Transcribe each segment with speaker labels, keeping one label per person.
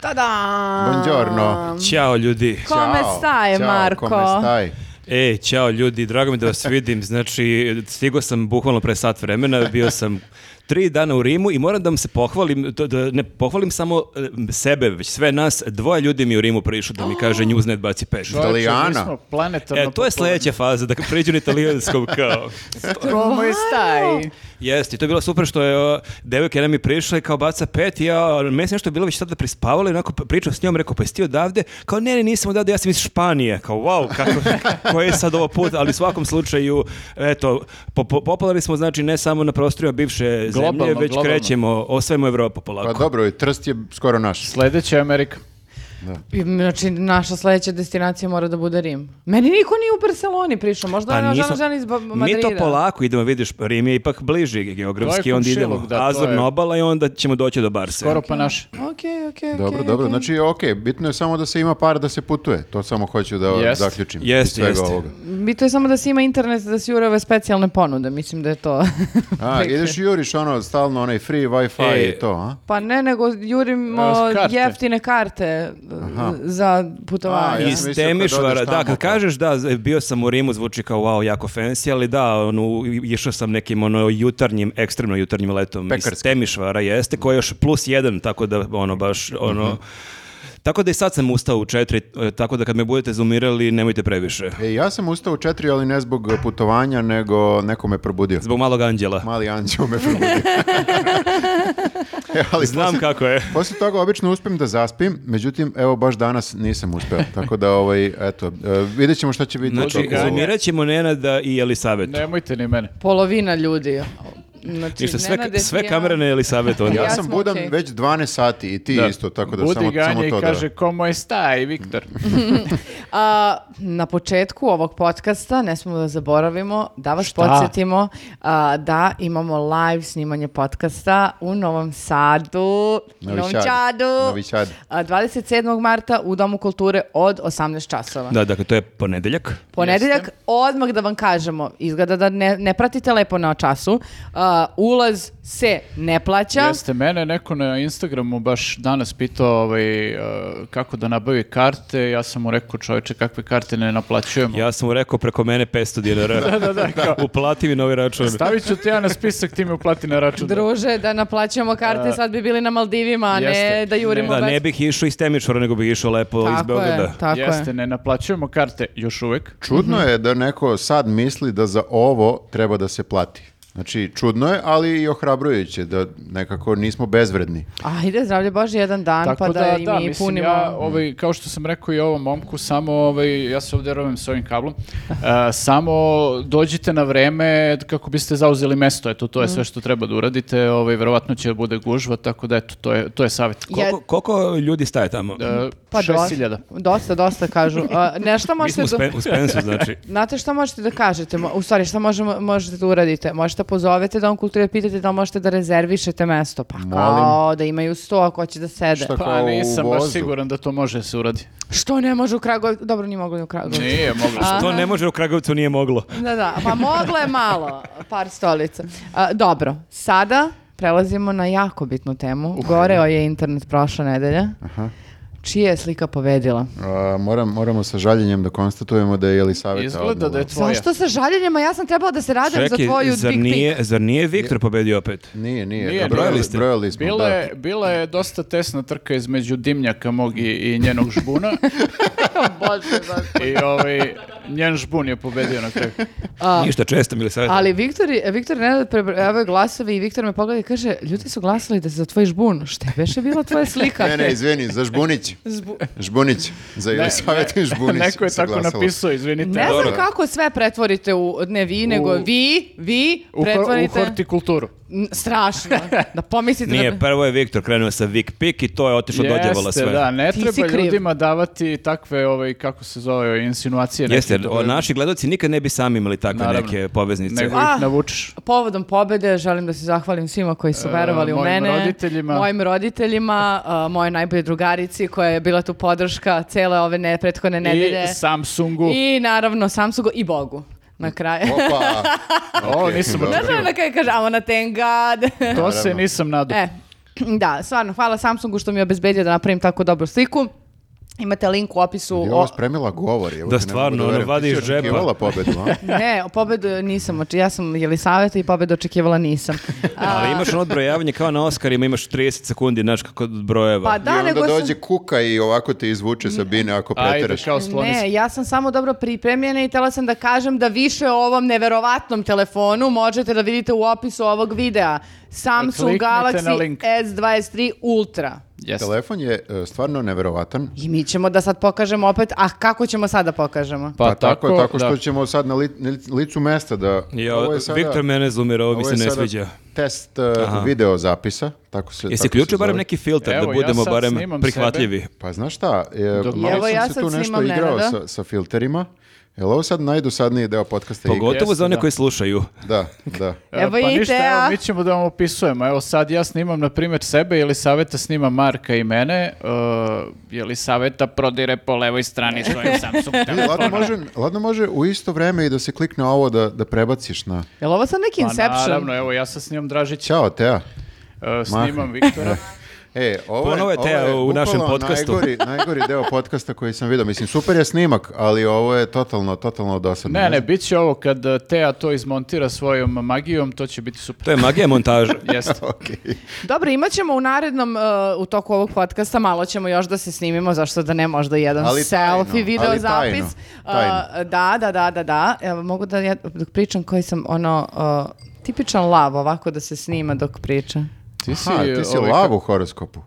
Speaker 1: Tada!
Speaker 2: Buongiorno.
Speaker 3: Ćao ljudi.
Speaker 1: Come
Speaker 2: Ciao,
Speaker 1: stai,
Speaker 2: ciao,
Speaker 1: Marko?
Speaker 2: Come stai?
Speaker 3: E, ćao ljudi, drago mi je da vas vidim. Znači, stigao sam bukvalno pre sat vremena, bio sam tri dana u Rimu i moram da vam se pohvalim, da- da ne pohvalim samo e, sebe, već sve nas, dvoje ljudi mi u Rimu prišlo da mi kaže Newsnet baci peš.
Speaker 2: Da. Italijana.
Speaker 4: mi smo planetarno
Speaker 3: E, to je
Speaker 4: popularni.
Speaker 3: sledeća faza, da pređu na italijanskom kao.
Speaker 4: Come stai?
Speaker 3: Jeste, i to je bilo super što je o, devojka jedna mi prišla i kao baca pet i ja, ono, meni se nešto bilo već tada prespavala i onako p- pričao s njom, rekao, pa jesi ti odavde? Kao, ne, ne, nisam odavde, ja sam iz Španije. Kao, wow, kako, koji je sad ovo put, ali u svakom slučaju, eto, po, po- popalali smo, znači, ne samo na prostorima bivše
Speaker 4: Globalno,
Speaker 3: zemlje, već
Speaker 4: globalno.
Speaker 3: krećemo, osvajamo Evropu
Speaker 2: Pa
Speaker 3: polako.
Speaker 2: dobro, Trst je skoro naš.
Speaker 4: Sledeća je Amerika.
Speaker 1: Znači, naša sledeća destinacija mora da bude Rim. Meni niko nije u Barceloni prišao, možda je ona Pa žena,
Speaker 3: nismo-
Speaker 1: žena iz Ba- Madrida.
Speaker 3: Pa mi to polako idemo, vidiš, Rim je ipak bliži geografski,
Speaker 4: To je
Speaker 3: onda
Speaker 4: komšiluk,
Speaker 3: idemo
Speaker 4: da, to je-
Speaker 3: Azorna obala i onda ćemo doći do Barse.
Speaker 4: Skoro pa naš.
Speaker 1: Okej, okej, okej,
Speaker 2: Dobro, dobro.
Speaker 1: okej.
Speaker 2: Znači, ok, bitno je samo da se ima par da se putuje. To samo hoću da
Speaker 4: Jest.
Speaker 2: zaključim. iz
Speaker 3: Jeste,
Speaker 2: svega
Speaker 3: jeste.
Speaker 2: ovoga.
Speaker 1: Bito je samo da se ima internet da se jure ove specijalne ponude, mislim da je to.
Speaker 2: A, ideš i juriš ono, stalno onaj free wifi
Speaker 3: E,
Speaker 2: i to, a?
Speaker 1: Pa ne, nego jurimo
Speaker 4: E, karte.
Speaker 1: jeftine karte za
Speaker 2: A,
Speaker 1: putovanje.
Speaker 2: ja sam mislio
Speaker 3: iz
Speaker 2: kad
Speaker 3: Temišvara,
Speaker 2: odeš
Speaker 3: da,
Speaker 2: tamo,
Speaker 3: kad
Speaker 2: pa.
Speaker 3: kažeš da, z- bio sam u Rimu, zvuči kao wow, jako fancy, ali da, ono, išao sam nekim ono jutarnjim, ekstremno jutarnjim letom iz
Speaker 2: Pekarski.
Speaker 3: Temišvara, jeste, koji je još plus jedan, tako da, ono, baš, ono,
Speaker 2: Mhm.
Speaker 3: Tako da i sad sam ustao u četiri, e, tako da kad me budete zoomirali, nemojte previše.
Speaker 2: E, ja sam ustao u četiri, ali ne zbog putovanja, nego neko me probudio.
Speaker 3: Zbog malog anđela.
Speaker 2: Mali anđeo me probudio. e, ali
Speaker 3: Znam
Speaker 2: posle-
Speaker 3: kako je.
Speaker 2: Posle toga obično uspem da zaspim, međutim, evo baš danas nisam uspeo. Tako da, ovaj, eto, e, vidjet ćemo šta će biti. u
Speaker 3: Znači,
Speaker 2: toku ovog.
Speaker 3: zoomirat ćemo Nenada i Elisavetu.
Speaker 4: Nemojte ni mene.
Speaker 1: Polovina ljudi. Znači,
Speaker 3: Ništa, sve,
Speaker 1: Nenade,
Speaker 3: sve
Speaker 1: ja-
Speaker 3: kamere na Elisavetu. onda.
Speaker 2: Ja,
Speaker 1: Ja
Speaker 2: sam
Speaker 1: smo
Speaker 2: budan
Speaker 1: okej.
Speaker 2: već 12 sati i ti isto, tako da
Speaker 4: Budi
Speaker 2: samo,
Speaker 4: Ganja
Speaker 2: samo to
Speaker 4: i
Speaker 2: da-
Speaker 4: kaže, como stai, Viktor?
Speaker 1: A, na početku ovog podcasta ne smemo da zaboravimo da vas podsjetimo a, da imamo live snimanje podcasta u Novom Sadu,
Speaker 2: Novi
Speaker 1: Novom
Speaker 2: Sad,
Speaker 1: Čadu,
Speaker 2: Novi Sad.
Speaker 1: a, 27. marta u Domu kulture od 18 časova.
Speaker 3: Da, dakle, to je ponedeljak.
Speaker 1: Ponedeljak, odmah da vam kažemo, izgleda da ne, ne pratite lepo na času, a, ulaz se ne plaća.
Speaker 4: Jeste, mene neko na Instagramu baš danas pitao ovaj, e, kako da nabavi karte. Ja sam mu rekao, čoveče, kakve karte ne naplaćujemo.
Speaker 3: Ja sam mu rekao preko mene 500 dinara. da, da, da. Uplati mi novi račun.
Speaker 4: Stavit ću ti ja na spisak, ti mi uplati na račun.
Speaker 1: Druže, da naplaćamo karte, sad bi bili na Maldivima, a ne
Speaker 4: jeste.
Speaker 1: da jurimo
Speaker 3: Da,
Speaker 1: bez-
Speaker 3: ne bih išao iz Temičvara, nego bih išao lepo iz
Speaker 1: Tako
Speaker 3: Beograda.
Speaker 1: je, tako je.
Speaker 4: Jeste, ne naplaćujemo karte još uvek.
Speaker 2: Čudno
Speaker 4: Mhm.
Speaker 2: je da neko sad misli da za ovo treba da se plati. Znači, čudno je, ali i ohrabrujuće da nekako nismo bezvredni.
Speaker 1: Ajde, zdravlje Bože, jedan dan, pa da, i mi
Speaker 4: mislim,
Speaker 1: punimo.
Speaker 4: ja, ovaj, kao što sam rekao i ovom momku, samo, ovaj, ja se ovdje rovem s ovim kablom, e, samo dođite na vreme kako biste zauzeli mesto, eto,
Speaker 1: Mm.
Speaker 4: to je sve što treba da uradite, ovaj, verovatno će da bude gužva, tako da, eto, to je, to je savjet.
Speaker 1: Ja-
Speaker 3: Koliko, koliko ljudi staje tamo?
Speaker 4: E,
Speaker 1: Pa
Speaker 4: šest
Speaker 1: dosta-
Speaker 4: hiljada.
Speaker 1: Dosta, dosta kažu. A, ne, šta
Speaker 3: Mi smo
Speaker 1: možete...
Speaker 3: u,
Speaker 1: da-
Speaker 3: Spen- u Spensu, znači.
Speaker 1: Znate šta možete da kažete? Mo- U stvari, šta možemo, možete da uradite? Možete da pozovete Dom kulture i pitate da li možete da rezervišete mesto. Pa kao da imaju sto ako će da sede.
Speaker 2: Šta-
Speaker 4: Pa
Speaker 2: Kao u
Speaker 4: nisam baš
Speaker 2: vozu.
Speaker 4: siguran da to može da se uradi.
Speaker 1: Što ne može u Kragovicu? Dobro, nije moglo ni u Kragovicu.
Speaker 4: Nije, moglo se.
Speaker 3: To ne može u Kragovicu, nije moglo.
Speaker 1: Da, da, pa moglo je malo, par stolica. A, dobro, sada prelazimo na jako bitnu temu. Goreo je internet prošle nedelje. Čija je slika povedila?
Speaker 2: A, moram, moramo sa žaljenjem da konstatujemo da je Elisaveta
Speaker 4: Izgleda da je tvoja.
Speaker 1: Zašto sa žaljenjima? Ja sam trebala da se radim za
Speaker 3: Čekaj,
Speaker 1: tvoju
Speaker 3: zar
Speaker 1: Big
Speaker 3: nije, zar nije Viktor pobedio opet?
Speaker 2: Nije, nije.
Speaker 4: Nije,
Speaker 2: Da, brojali,
Speaker 3: nije.
Speaker 2: ste. brojali smo,
Speaker 4: Bila
Speaker 2: da.
Speaker 4: je, bila je dosta tesna trka između dimnjaka mog i, i njenog žbuna i ovaj, njen žbun je pobedio na kraju.
Speaker 3: Ništa često, mi li
Speaker 1: Ali Viktor, je- Viktor Nenad prebrojavaju glasove i Viktor me pogleda i kaže, ljudi su glasali da se za tvoj žbun. Šta je veše bila tvoja slika?
Speaker 2: Ne, ne, izvini, za Žbunić. Žbunić. Za Elisavetu i Žbunić.
Speaker 4: Neko je
Speaker 2: se
Speaker 4: tako
Speaker 2: glasalo.
Speaker 4: napisao, izvinite.
Speaker 1: Ne znam
Speaker 3: Dobro.
Speaker 1: kako sve pretvorite u, ne vi, nego vi, vi
Speaker 4: U, hor- u
Speaker 1: pretvorite.
Speaker 4: hortikulturu.
Speaker 1: N- strašno. Da pomislite da...
Speaker 3: Nije, prvo je Viktor krenuo sa Vic Pick i to je otišlo dođevala sve.
Speaker 4: da, ne
Speaker 1: Ti si
Speaker 4: treba
Speaker 1: kriv.
Speaker 4: ljudima davati takve, ovaj, kako se zove, insinuacije. neke
Speaker 3: Jeste, jer
Speaker 4: da-
Speaker 3: o, naši gledoci nikad ne bi sami imali takve
Speaker 4: Naravno.
Speaker 3: neke poveznice.
Speaker 4: Nego
Speaker 1: Ah.
Speaker 4: ih navučeš.
Speaker 1: Povodom pobede želim da se zahvalim svima koji su verovali u
Speaker 4: mojim
Speaker 1: mene.
Speaker 4: roditeljima.
Speaker 1: Mojim roditeljima, a, mojoj najbolje drugarici koja je bila tu podrška cele ove ne, prethodne nedelje.
Speaker 4: I Samsungu.
Speaker 1: I naravno Samsugu i Bogu na kraju.
Speaker 2: Opa!
Speaker 4: O, nisam
Speaker 2: Dobro.
Speaker 1: Znaš ono
Speaker 4: otkrio.
Speaker 1: na kraju kaže, I'm on a thank God.
Speaker 4: To se nisam nadao.
Speaker 1: e, Da, stvarno, hvala Samsungu što mi je obezbedio da napravim tako dobru sliku. Imate link u opisu.
Speaker 2: Je
Speaker 1: o-
Speaker 2: ovo spremila govor. evo
Speaker 3: Da,
Speaker 2: te ne mogu
Speaker 3: stvarno, ono,
Speaker 2: verujem. Ti
Speaker 3: vadi
Speaker 2: si
Speaker 3: iz džepa.
Speaker 2: očekivala pobedu, a?
Speaker 1: Ne, o pobedu nisam, oči- ja sam Jelisaveta i pobedu očekivala nisam.
Speaker 3: Ali imaš ono odbrojavanje kao na Oscarima, imaš 30 sekundi, znaš kako odbrojeva.
Speaker 1: Pa da,
Speaker 2: I onda
Speaker 1: nego sam-
Speaker 2: dođe kuka i ovako te izvuče Sabine ako
Speaker 4: Mm. Ajde,
Speaker 2: preteraš.
Speaker 4: kao sloni se.
Speaker 1: Ne, ja sam samo dobro pripremljena i htjela sam da kažem da više o ovom neverovatnom telefonu možete da vidite u opisu ovog videa. Samsung
Speaker 4: Kliknite na
Speaker 1: Galaxy
Speaker 4: link.
Speaker 1: S23 Ultra.
Speaker 4: Jeste.
Speaker 2: Telefon je e, stvarno neverovatan.
Speaker 1: I mi ćemo da sad pokažemo opet, a kako ćemo sad da pokažemo?
Speaker 2: Pa, tako, tako što
Speaker 4: da.
Speaker 2: ćemo sad na, li- na licu mesta da...
Speaker 3: Ja,
Speaker 2: ovo je sada-
Speaker 3: Viktor Menez umire, ovo mi
Speaker 2: ovo
Speaker 3: se
Speaker 2: je
Speaker 3: ne
Speaker 2: sada
Speaker 3: sviđa.
Speaker 2: Test e, video zapisa, tako se tako
Speaker 3: Jesi
Speaker 2: se
Speaker 3: ključio barem
Speaker 2: zove.
Speaker 3: neki filter
Speaker 4: Evo,
Speaker 3: da
Speaker 4: ja
Speaker 3: budemo
Speaker 4: sad
Speaker 3: barem
Speaker 4: snimam
Speaker 3: prihvatljivi?
Speaker 2: Pa znaš šta, e,
Speaker 4: Dok-
Speaker 2: malo
Speaker 1: Evo,
Speaker 2: sam
Speaker 1: ja
Speaker 2: se
Speaker 1: sad
Speaker 2: tu nešto
Speaker 1: snimam
Speaker 2: igrao
Speaker 1: Nenada.
Speaker 2: sa, sa filterima. Je li ovo sad najdosadniji deo podcasta? igre?
Speaker 3: Pogotovo za
Speaker 4: Jeste,
Speaker 3: one
Speaker 4: da.
Speaker 3: koji slušaju.
Speaker 2: Da, da.
Speaker 4: E,
Speaker 1: Evo
Speaker 4: pa
Speaker 1: i
Speaker 4: ništa,
Speaker 1: Teja.
Speaker 4: evo, mi ćemo da vam opisujemo. Evo sad ja snimam, na primjer, sebe ili Saveta snima Marka i mene. je li Saveta prodire po levoj strani svojim Samsung
Speaker 2: Vidi, ladno,
Speaker 4: telefonom?
Speaker 2: može, ladno može u isto vreme i da se klikne ovo da, da prebaciš na...
Speaker 1: Jel ovo sad neki
Speaker 4: Pa
Speaker 1: Inception?
Speaker 4: naravno, evo ja sad snimam Dražića,
Speaker 2: Ćao, Teja.
Speaker 4: e, snimam Viktora.
Speaker 2: E, ovo
Speaker 3: Ponovo je
Speaker 2: ovo
Speaker 3: Teja u našem
Speaker 2: bukvalno
Speaker 3: podcastu.
Speaker 2: Najgori, najgori deo podcasta koji sam vidio. Mislim, super je snimak, ali ovo je totalno, totalno dosadno.
Speaker 4: Ne, ne,
Speaker 2: znam.
Speaker 4: bit će ovo kad e, Teja to izmontira svojom magijom, to će biti super.
Speaker 3: To je magija montaža.
Speaker 4: Jeste.
Speaker 2: Okej.
Speaker 1: Dobro, imat ćemo u narednom, uh, u toku ovog podcasta, malo ćemo još da se snimimo, zašto da ne, možda jedan
Speaker 2: Ali tajno,
Speaker 1: selfie, video
Speaker 2: ali tajno,
Speaker 1: zapis.
Speaker 2: tajno.
Speaker 1: Uh, da, da, da, da, da. Evo, mogu da ja dok pričam koji sam ono... uh, tipičan lav ovako da se snima dok priča.
Speaker 4: Ti si,
Speaker 2: Aha, ti si
Speaker 4: ovaj,
Speaker 2: lav u horoskopu.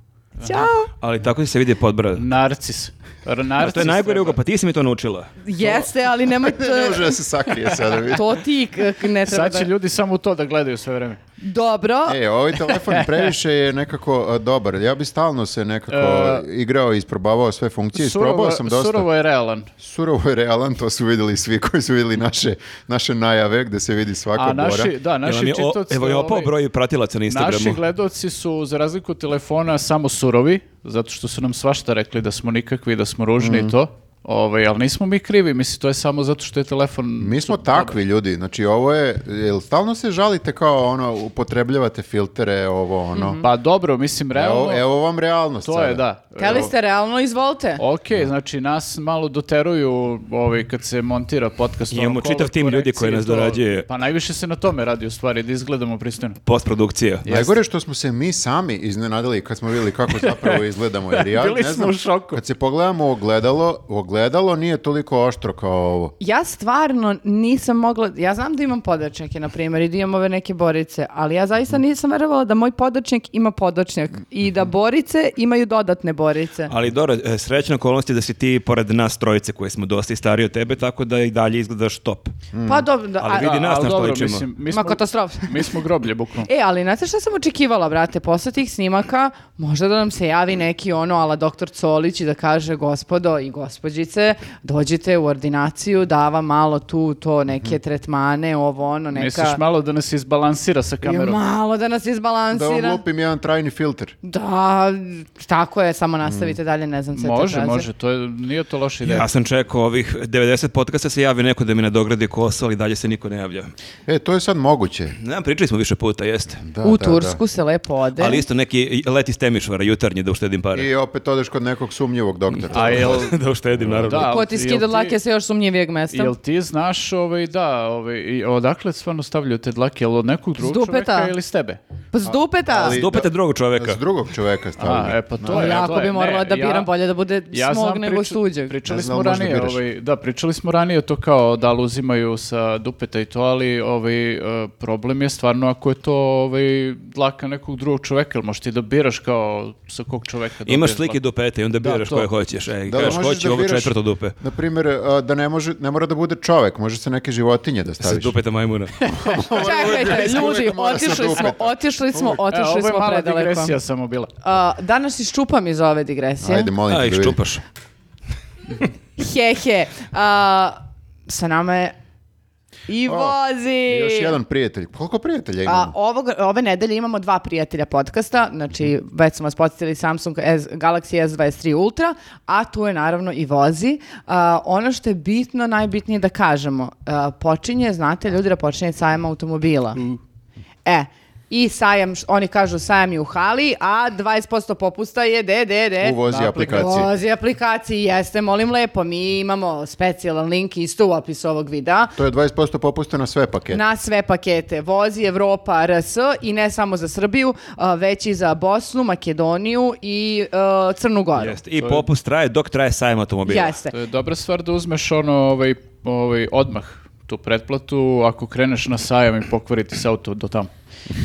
Speaker 1: Ćao!
Speaker 3: Ali tako se vidi podbrad.
Speaker 4: Narcis. R- narcis
Speaker 3: To je najgore
Speaker 4: treba.
Speaker 3: ugo, pa ti si mi to naučila.
Speaker 1: Jeste, ali nemoj
Speaker 2: Ne može
Speaker 1: to,
Speaker 2: da se sakrije sada. vidi.
Speaker 1: to ti k- ne treba
Speaker 4: Sad će
Speaker 1: da...
Speaker 4: ljudi samo u to da gledaju sve vreme.
Speaker 1: Dobro,
Speaker 2: E, ovaj telefon previše je nekako a, dobar. Ja bi stalno se nekako
Speaker 4: E,
Speaker 2: igrao i isprobavao sve funkcije. Isprobao sam dosta.
Speaker 4: surovo je realan.
Speaker 2: Surovo je realan, to su vidjeli svi koji su vidjeli naše, naše najave gde se vidi svaka
Speaker 4: A
Speaker 2: bora.
Speaker 4: naši, da, naši
Speaker 3: Jel vam je o-
Speaker 4: čitaoci,
Speaker 3: Evo je opao
Speaker 4: ovaj,
Speaker 3: broj pratilaca na
Speaker 4: Naši
Speaker 3: Instagramu.
Speaker 4: gledoci su, za razliku od telefona, samo surovi, zato što su nam svašta rekli da smo nikakvi, da smo
Speaker 2: Mhm.
Speaker 4: ružni i to. Ovaj, ali nismo mi krivi, mislim, to je samo zato što je telefon...
Speaker 2: Mi smo takvi ljudi, znači ovo je, jel stalno se žalite kao ono, upotrebljavate filtere, ovo ono.
Speaker 4: Pa dobro, mislim, realno,
Speaker 2: Evo, evo vam realnost
Speaker 4: to
Speaker 2: sada.
Speaker 4: je, da.
Speaker 1: Hteli ste realno, izvolite.
Speaker 4: Ok, znači nas malo doteruju ovaj, kad se montira podcast. ono,
Speaker 3: Imamo
Speaker 4: color
Speaker 3: čitav tim ljudi koji
Speaker 4: korekcije,
Speaker 3: nas
Speaker 4: to-
Speaker 3: dorađuje.
Speaker 4: Pa najviše se na tome radi u stvari, da izgledamo pristojno.
Speaker 3: Postprodukcija.
Speaker 2: Najgore je što smo se mi sami iznenadili kad smo vidjeli kako zapravo izgledamo. Jer ja,
Speaker 4: Bili
Speaker 2: ne
Speaker 4: smo
Speaker 2: znam,
Speaker 4: u šoku.
Speaker 2: Kad se pogledamo u ogledalo, u ogledalo nije toliko oštro kao ovo.
Speaker 1: Ja stvarno nisam mogla, ja znam da imam podočnjake, na primjer, i da imam ove neke borice, ali ja zaista nisam verovala da moj podočnjak ima podočnjak i da borice imaju dodatne borice.
Speaker 3: Ali dobro, e, srećna okolnost je da si ti pored nas trojice koji smo dosta i stariji od tebe, tako da i dalje izgledaš top.
Speaker 1: Pa dobro, da,
Speaker 3: Ali
Speaker 1: a-
Speaker 3: vidi
Speaker 4: A,
Speaker 3: nas
Speaker 4: ali
Speaker 3: na što
Speaker 4: dobro,
Speaker 3: ličimo.
Speaker 4: mislim, mi
Speaker 1: Ma
Speaker 4: smo,
Speaker 1: katastrofa.
Speaker 4: mi smo groblje, bukvalno.
Speaker 1: E, ali znate šta sam očekivala, brate, posle tih snimaka, možda da nam se javi neki ono, ala doktor Colić i da kaže, gospodo i gospođice, dođite u ordinaciju, dava malo tu to neke tretmane, ovo ono, neka...
Speaker 4: Misliš malo da nas izbalansira sa
Speaker 1: Jo,
Speaker 4: kamerom?
Speaker 1: malo da nas
Speaker 2: Da vam
Speaker 1: izbalansira.
Speaker 2: lupim jedan trajni filter.
Speaker 1: Da, tako je, samo nastavite dalje, ne znam sve te
Speaker 4: Može,
Speaker 1: fraze.
Speaker 4: može, to je, nije to loša ideja.
Speaker 3: Ja sam čekao ovih 90 podcasta se javi neko da mi nadogradi kosu, ali dalje se niko ne javlja.
Speaker 2: E, to je sad moguće.
Speaker 3: Ne znam, pričali smo više puta, jeste.
Speaker 2: Da,
Speaker 1: U
Speaker 2: da,
Speaker 1: Tursku se lepo ode.
Speaker 3: Ali isto neki let iz Temišvara jutarnji da uštedim
Speaker 2: da.
Speaker 3: pare.
Speaker 2: I opet odeš kod nekog sumnjivog doktora.
Speaker 4: A jel,
Speaker 3: da uštedim, naravno.
Speaker 4: da,
Speaker 1: Ko ti
Speaker 4: jel
Speaker 1: skida dlake sa još sumnjivijeg mesta?
Speaker 4: Jel ti znaš, ovaj, da, ovaj, i odakle stvarno stavljaju te dlake? Jel od nekog drugog
Speaker 1: dupeta?
Speaker 4: čoveka ili s tebe?
Speaker 1: Pa s dupeta!
Speaker 2: ali-
Speaker 3: Zdupete drugog čoveka.
Speaker 2: S drugog čoveka
Speaker 4: A,
Speaker 2: stavljaju.
Speaker 4: e, pa to je, to
Speaker 1: Jako
Speaker 4: je.
Speaker 1: bi morala
Speaker 4: Ne,
Speaker 1: da biram
Speaker 4: ja-
Speaker 1: bolje da bude
Speaker 4: Ja
Speaker 1: smog
Speaker 4: znam,
Speaker 1: nego
Speaker 4: priča-
Speaker 1: suđeg.
Speaker 4: Pričali
Speaker 2: Ne znam,
Speaker 4: smo
Speaker 2: možda
Speaker 4: ranije,
Speaker 2: biraš.
Speaker 4: ovaj, da, pričali smo ranije to kao da li uzimaju sa dupeta i to, ali ovaj, e, problem je stvarno ako je to ovaj, dlaka nekog drugog čoveka, ili možeš ti da biraš kao sa kog čoveka
Speaker 3: Imaš
Speaker 4: dobiješ
Speaker 3: slike
Speaker 4: dlake.
Speaker 3: dupete i onda biraš
Speaker 4: pa- to.
Speaker 3: koje hoćeš. E,
Speaker 2: Da,
Speaker 3: kažeš,
Speaker 2: možeš
Speaker 3: hoću
Speaker 2: da
Speaker 3: ovo
Speaker 2: biraš-
Speaker 3: četvrto dupe.
Speaker 2: Na primjer, a, da ne, može, ne mora da bude čovek, može se neke životinje da
Speaker 3: Sa
Speaker 2: staviš.
Speaker 3: dupeta majmuna.
Speaker 1: Čekajte, ljudi,
Speaker 2: Uvijek mora sa
Speaker 1: otišli smo,
Speaker 2: dupeta.
Speaker 1: otišli smo,
Speaker 4: E,
Speaker 1: otišli
Speaker 4: ovo je
Speaker 1: smo
Speaker 4: mala
Speaker 1: predaleko.
Speaker 4: digresija samo bila.
Speaker 1: A, danas iščupam iz ove digresije.
Speaker 2: Ajde, molim
Speaker 3: A,
Speaker 2: te
Speaker 3: ih
Speaker 2: da vidim.
Speaker 3: čupaš.
Speaker 1: He, he. A, sa nama je i
Speaker 2: O,
Speaker 1: vozi.
Speaker 2: I Još jedan prijatelj. Koliko prijatelja
Speaker 1: A,
Speaker 2: imamo?
Speaker 1: ovog, ove nedelje imamo dva prijatelja podcasta, znači već smo vas podsjetili Samsung S, Galaxy S23 Ultra, a tu je naravno i vozi. A, ono što je bitno, najbitnije da
Speaker 2: Mm.
Speaker 1: kažemo, a, počinje, znate ljudi da počinje sajma automobila. E, i sajam, š- oni kažu sajam je u hali, a 20% popusta je de, de, de.
Speaker 2: U vozi
Speaker 4: Na
Speaker 2: aplikaciji.
Speaker 1: Vozi aplikaciji, jeste, molim lepo. Mi imamo specijalan link isto u opisu ovog videa.
Speaker 2: To je 20% popusta na sve pakete.
Speaker 1: Na sve pakete. Vozi Evropa RS i ne samo za Srbiju, a, već i za Bosnu, Makedoniju i e, Crnu Goru.
Speaker 3: Jeste. I popust traje dok traje sajam automobila.
Speaker 1: Jeste.
Speaker 4: To je dobra stvar da uzmeš ono ovaj, ovaj, odmah tu pretplatu ako kreneš na sajam i pokvariti se auto do E, tamo.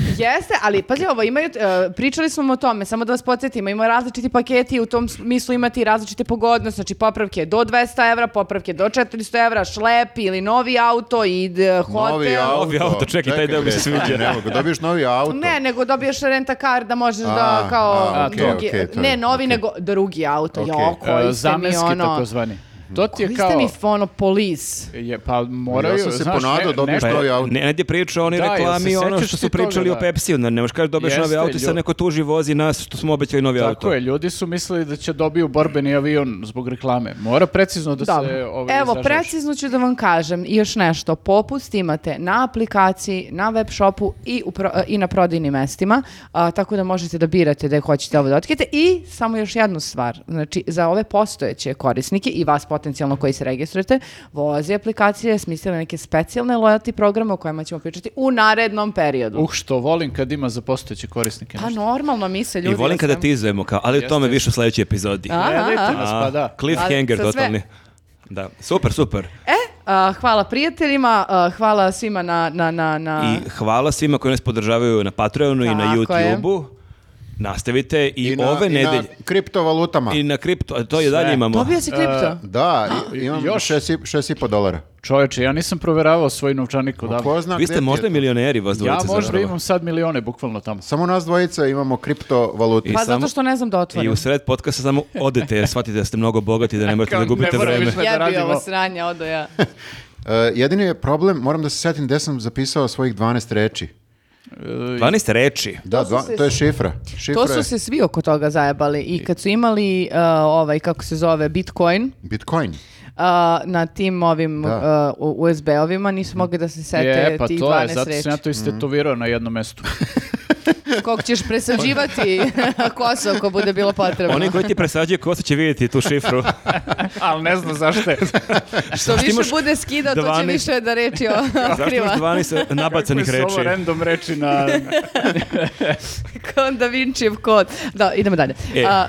Speaker 1: Jeste, ali pazi ovo, imaju, e, pričali smo o tome, samo da vas podsjetimo, ima različiti paketi, u tom smislu imati različite pogodnosti, znači popravke do 200 evra, popravke do 400 evra, šlep ili novi auto i d- hotel.
Speaker 3: Novi auto, čekaj, taj deo mi se
Speaker 2: bre,
Speaker 3: sviđa.
Speaker 2: Ne mogu, dobiješ novi auto.
Speaker 1: Ne, nego dobiješ renta kar da možeš da
Speaker 2: A,
Speaker 1: kao
Speaker 2: a, okej,
Speaker 1: drugi,
Speaker 2: okej, to je-
Speaker 1: ne novi
Speaker 2: okej.
Speaker 1: nego drugi auto,
Speaker 2: Okej.
Speaker 1: jo, koji
Speaker 4: E,
Speaker 1: ste mi
Speaker 4: zamenski
Speaker 1: ono,
Speaker 4: takozvani. To ti je
Speaker 1: koji
Speaker 4: kao...
Speaker 1: ste mi ono polis.
Speaker 4: Je, pa moraju,
Speaker 2: Ja sam se
Speaker 4: znaš,
Speaker 2: ponadao,
Speaker 4: ne-
Speaker 2: dobiješ
Speaker 4: nešto-
Speaker 3: Pa
Speaker 2: Novi
Speaker 3: je,
Speaker 2: auto.
Speaker 3: ne, negdje priča oni
Speaker 4: Da, jel se
Speaker 3: reklami ono
Speaker 4: sećaš
Speaker 3: što
Speaker 4: ti
Speaker 3: su pričali
Speaker 4: toga,
Speaker 3: o
Speaker 4: da?
Speaker 3: Pepsiju, ne, ne možeš kaži dobiješ novi
Speaker 4: Jeste,
Speaker 3: auto i sad
Speaker 4: ljudi.
Speaker 3: neko tuži vozi nas što smo obećali novi auto.
Speaker 4: Tako je, ljudi su mislili da će dobiju borbeni avion zbog reklame. Mora precizno da se
Speaker 1: Dobro.
Speaker 4: ovaj,
Speaker 1: Evo,
Speaker 4: izražavaš.
Speaker 1: precizno ću da vam kažem i još nešto. Popust imate na aplikaciji, na web shopu i, u pro- e, i na prodajnim mestima, a, tako da možete da birate da hoćete ovo da otkrijete. I samo još jednu stvar, znači za ove postojeće korisnike i vas potencijalno koji se registrujete, vozi aplikacije smislila neke specijalne loyalty programe o kojima ćemo pričati u narednom periodu.
Speaker 4: Uh, što volim kad ima za postojeće korisnike.
Speaker 1: pa
Speaker 4: nešto.
Speaker 1: normalno mi se ljudi...
Speaker 3: I volim kada tizujemo kao, ali o tome više u sljedećoj epizodi.
Speaker 1: A, a, a.
Speaker 4: Gledajte nas, pa da.
Speaker 3: Cliffhanger
Speaker 1: Ali sa sve-
Speaker 3: totalni. Da, super, super.
Speaker 1: E, a, hvala prijateljima, a, hvala svima na... na, na, na...
Speaker 3: I hvala svima koji nas podržavaju na Patreonu i na
Speaker 1: Tako je.
Speaker 3: YouTubeu. Nastavite i,
Speaker 2: na-
Speaker 3: ove
Speaker 2: i na
Speaker 3: nedelje.
Speaker 2: kriptovalutama.
Speaker 3: I na kripto, to i dalje imamo.
Speaker 1: Dobio si kripto?
Speaker 2: Da, i- imam
Speaker 4: Još?
Speaker 2: šest i- šest i po dolara.
Speaker 4: Čoveče, ja nisam proveravao svoj novčanik odavno.
Speaker 2: Ko zna
Speaker 3: Vi
Speaker 2: gde
Speaker 3: ste
Speaker 2: ti je
Speaker 3: možda
Speaker 2: to?
Speaker 3: milioneri vas
Speaker 4: Ja
Speaker 3: dvojica
Speaker 4: možda
Speaker 3: zapravo.
Speaker 4: imam sad milione, bukvalno tamo.
Speaker 2: Samo nas dvojica imamo kriptovalute.
Speaker 3: I
Speaker 1: Pa
Speaker 3: samo-
Speaker 1: zato što ne znam da
Speaker 3: I
Speaker 1: otvorim.
Speaker 3: u sred podcasta samo odete jer shvatite da ste mnogo bogati da ne morate
Speaker 4: Kao,
Speaker 3: da gubite
Speaker 4: ne moram
Speaker 3: vreme.
Speaker 4: više. da
Speaker 1: Jebi
Speaker 4: radimo.
Speaker 1: ovo sranje, odo ja.
Speaker 2: E, jedini je problem, moram da se setim gde sam zapisao svojih 12 reči.
Speaker 3: 12 reči.
Speaker 2: Da,
Speaker 1: su
Speaker 2: dva-
Speaker 1: se-
Speaker 2: to je šifra. Šifra
Speaker 1: To su
Speaker 2: je
Speaker 1: se svi oko toga zajebali i kad su imali uh, ovaj, kako se zove, Bitcoin
Speaker 2: Bitcoin.
Speaker 1: uh, na tim ovim
Speaker 2: Da.
Speaker 1: uh, u- USB-ovima nisu mogli da se sete
Speaker 4: je, pa
Speaker 1: tih
Speaker 4: to je,
Speaker 1: 12
Speaker 4: zato
Speaker 1: reči.
Speaker 4: sam ja to istetovirao na jednom mestu.
Speaker 1: Kog ćeš presađivati kosu ako bude bilo potrebno.
Speaker 3: Oni koji ti presađaju kosu će vidjeti tu šifru.
Speaker 4: Ali ne znam zašto je.
Speaker 1: Što
Speaker 3: Zašto imaš
Speaker 1: više bude skidao, to će
Speaker 3: 12
Speaker 1: više da reči o-
Speaker 3: Zašto imaš
Speaker 1: otkriva.
Speaker 3: 12 nabacanih
Speaker 4: Kako su ovo
Speaker 3: reči?
Speaker 4: random reči na...
Speaker 1: Kao Da Vincijev kod. Da, idemo dalje.
Speaker 3: E.
Speaker 1: A,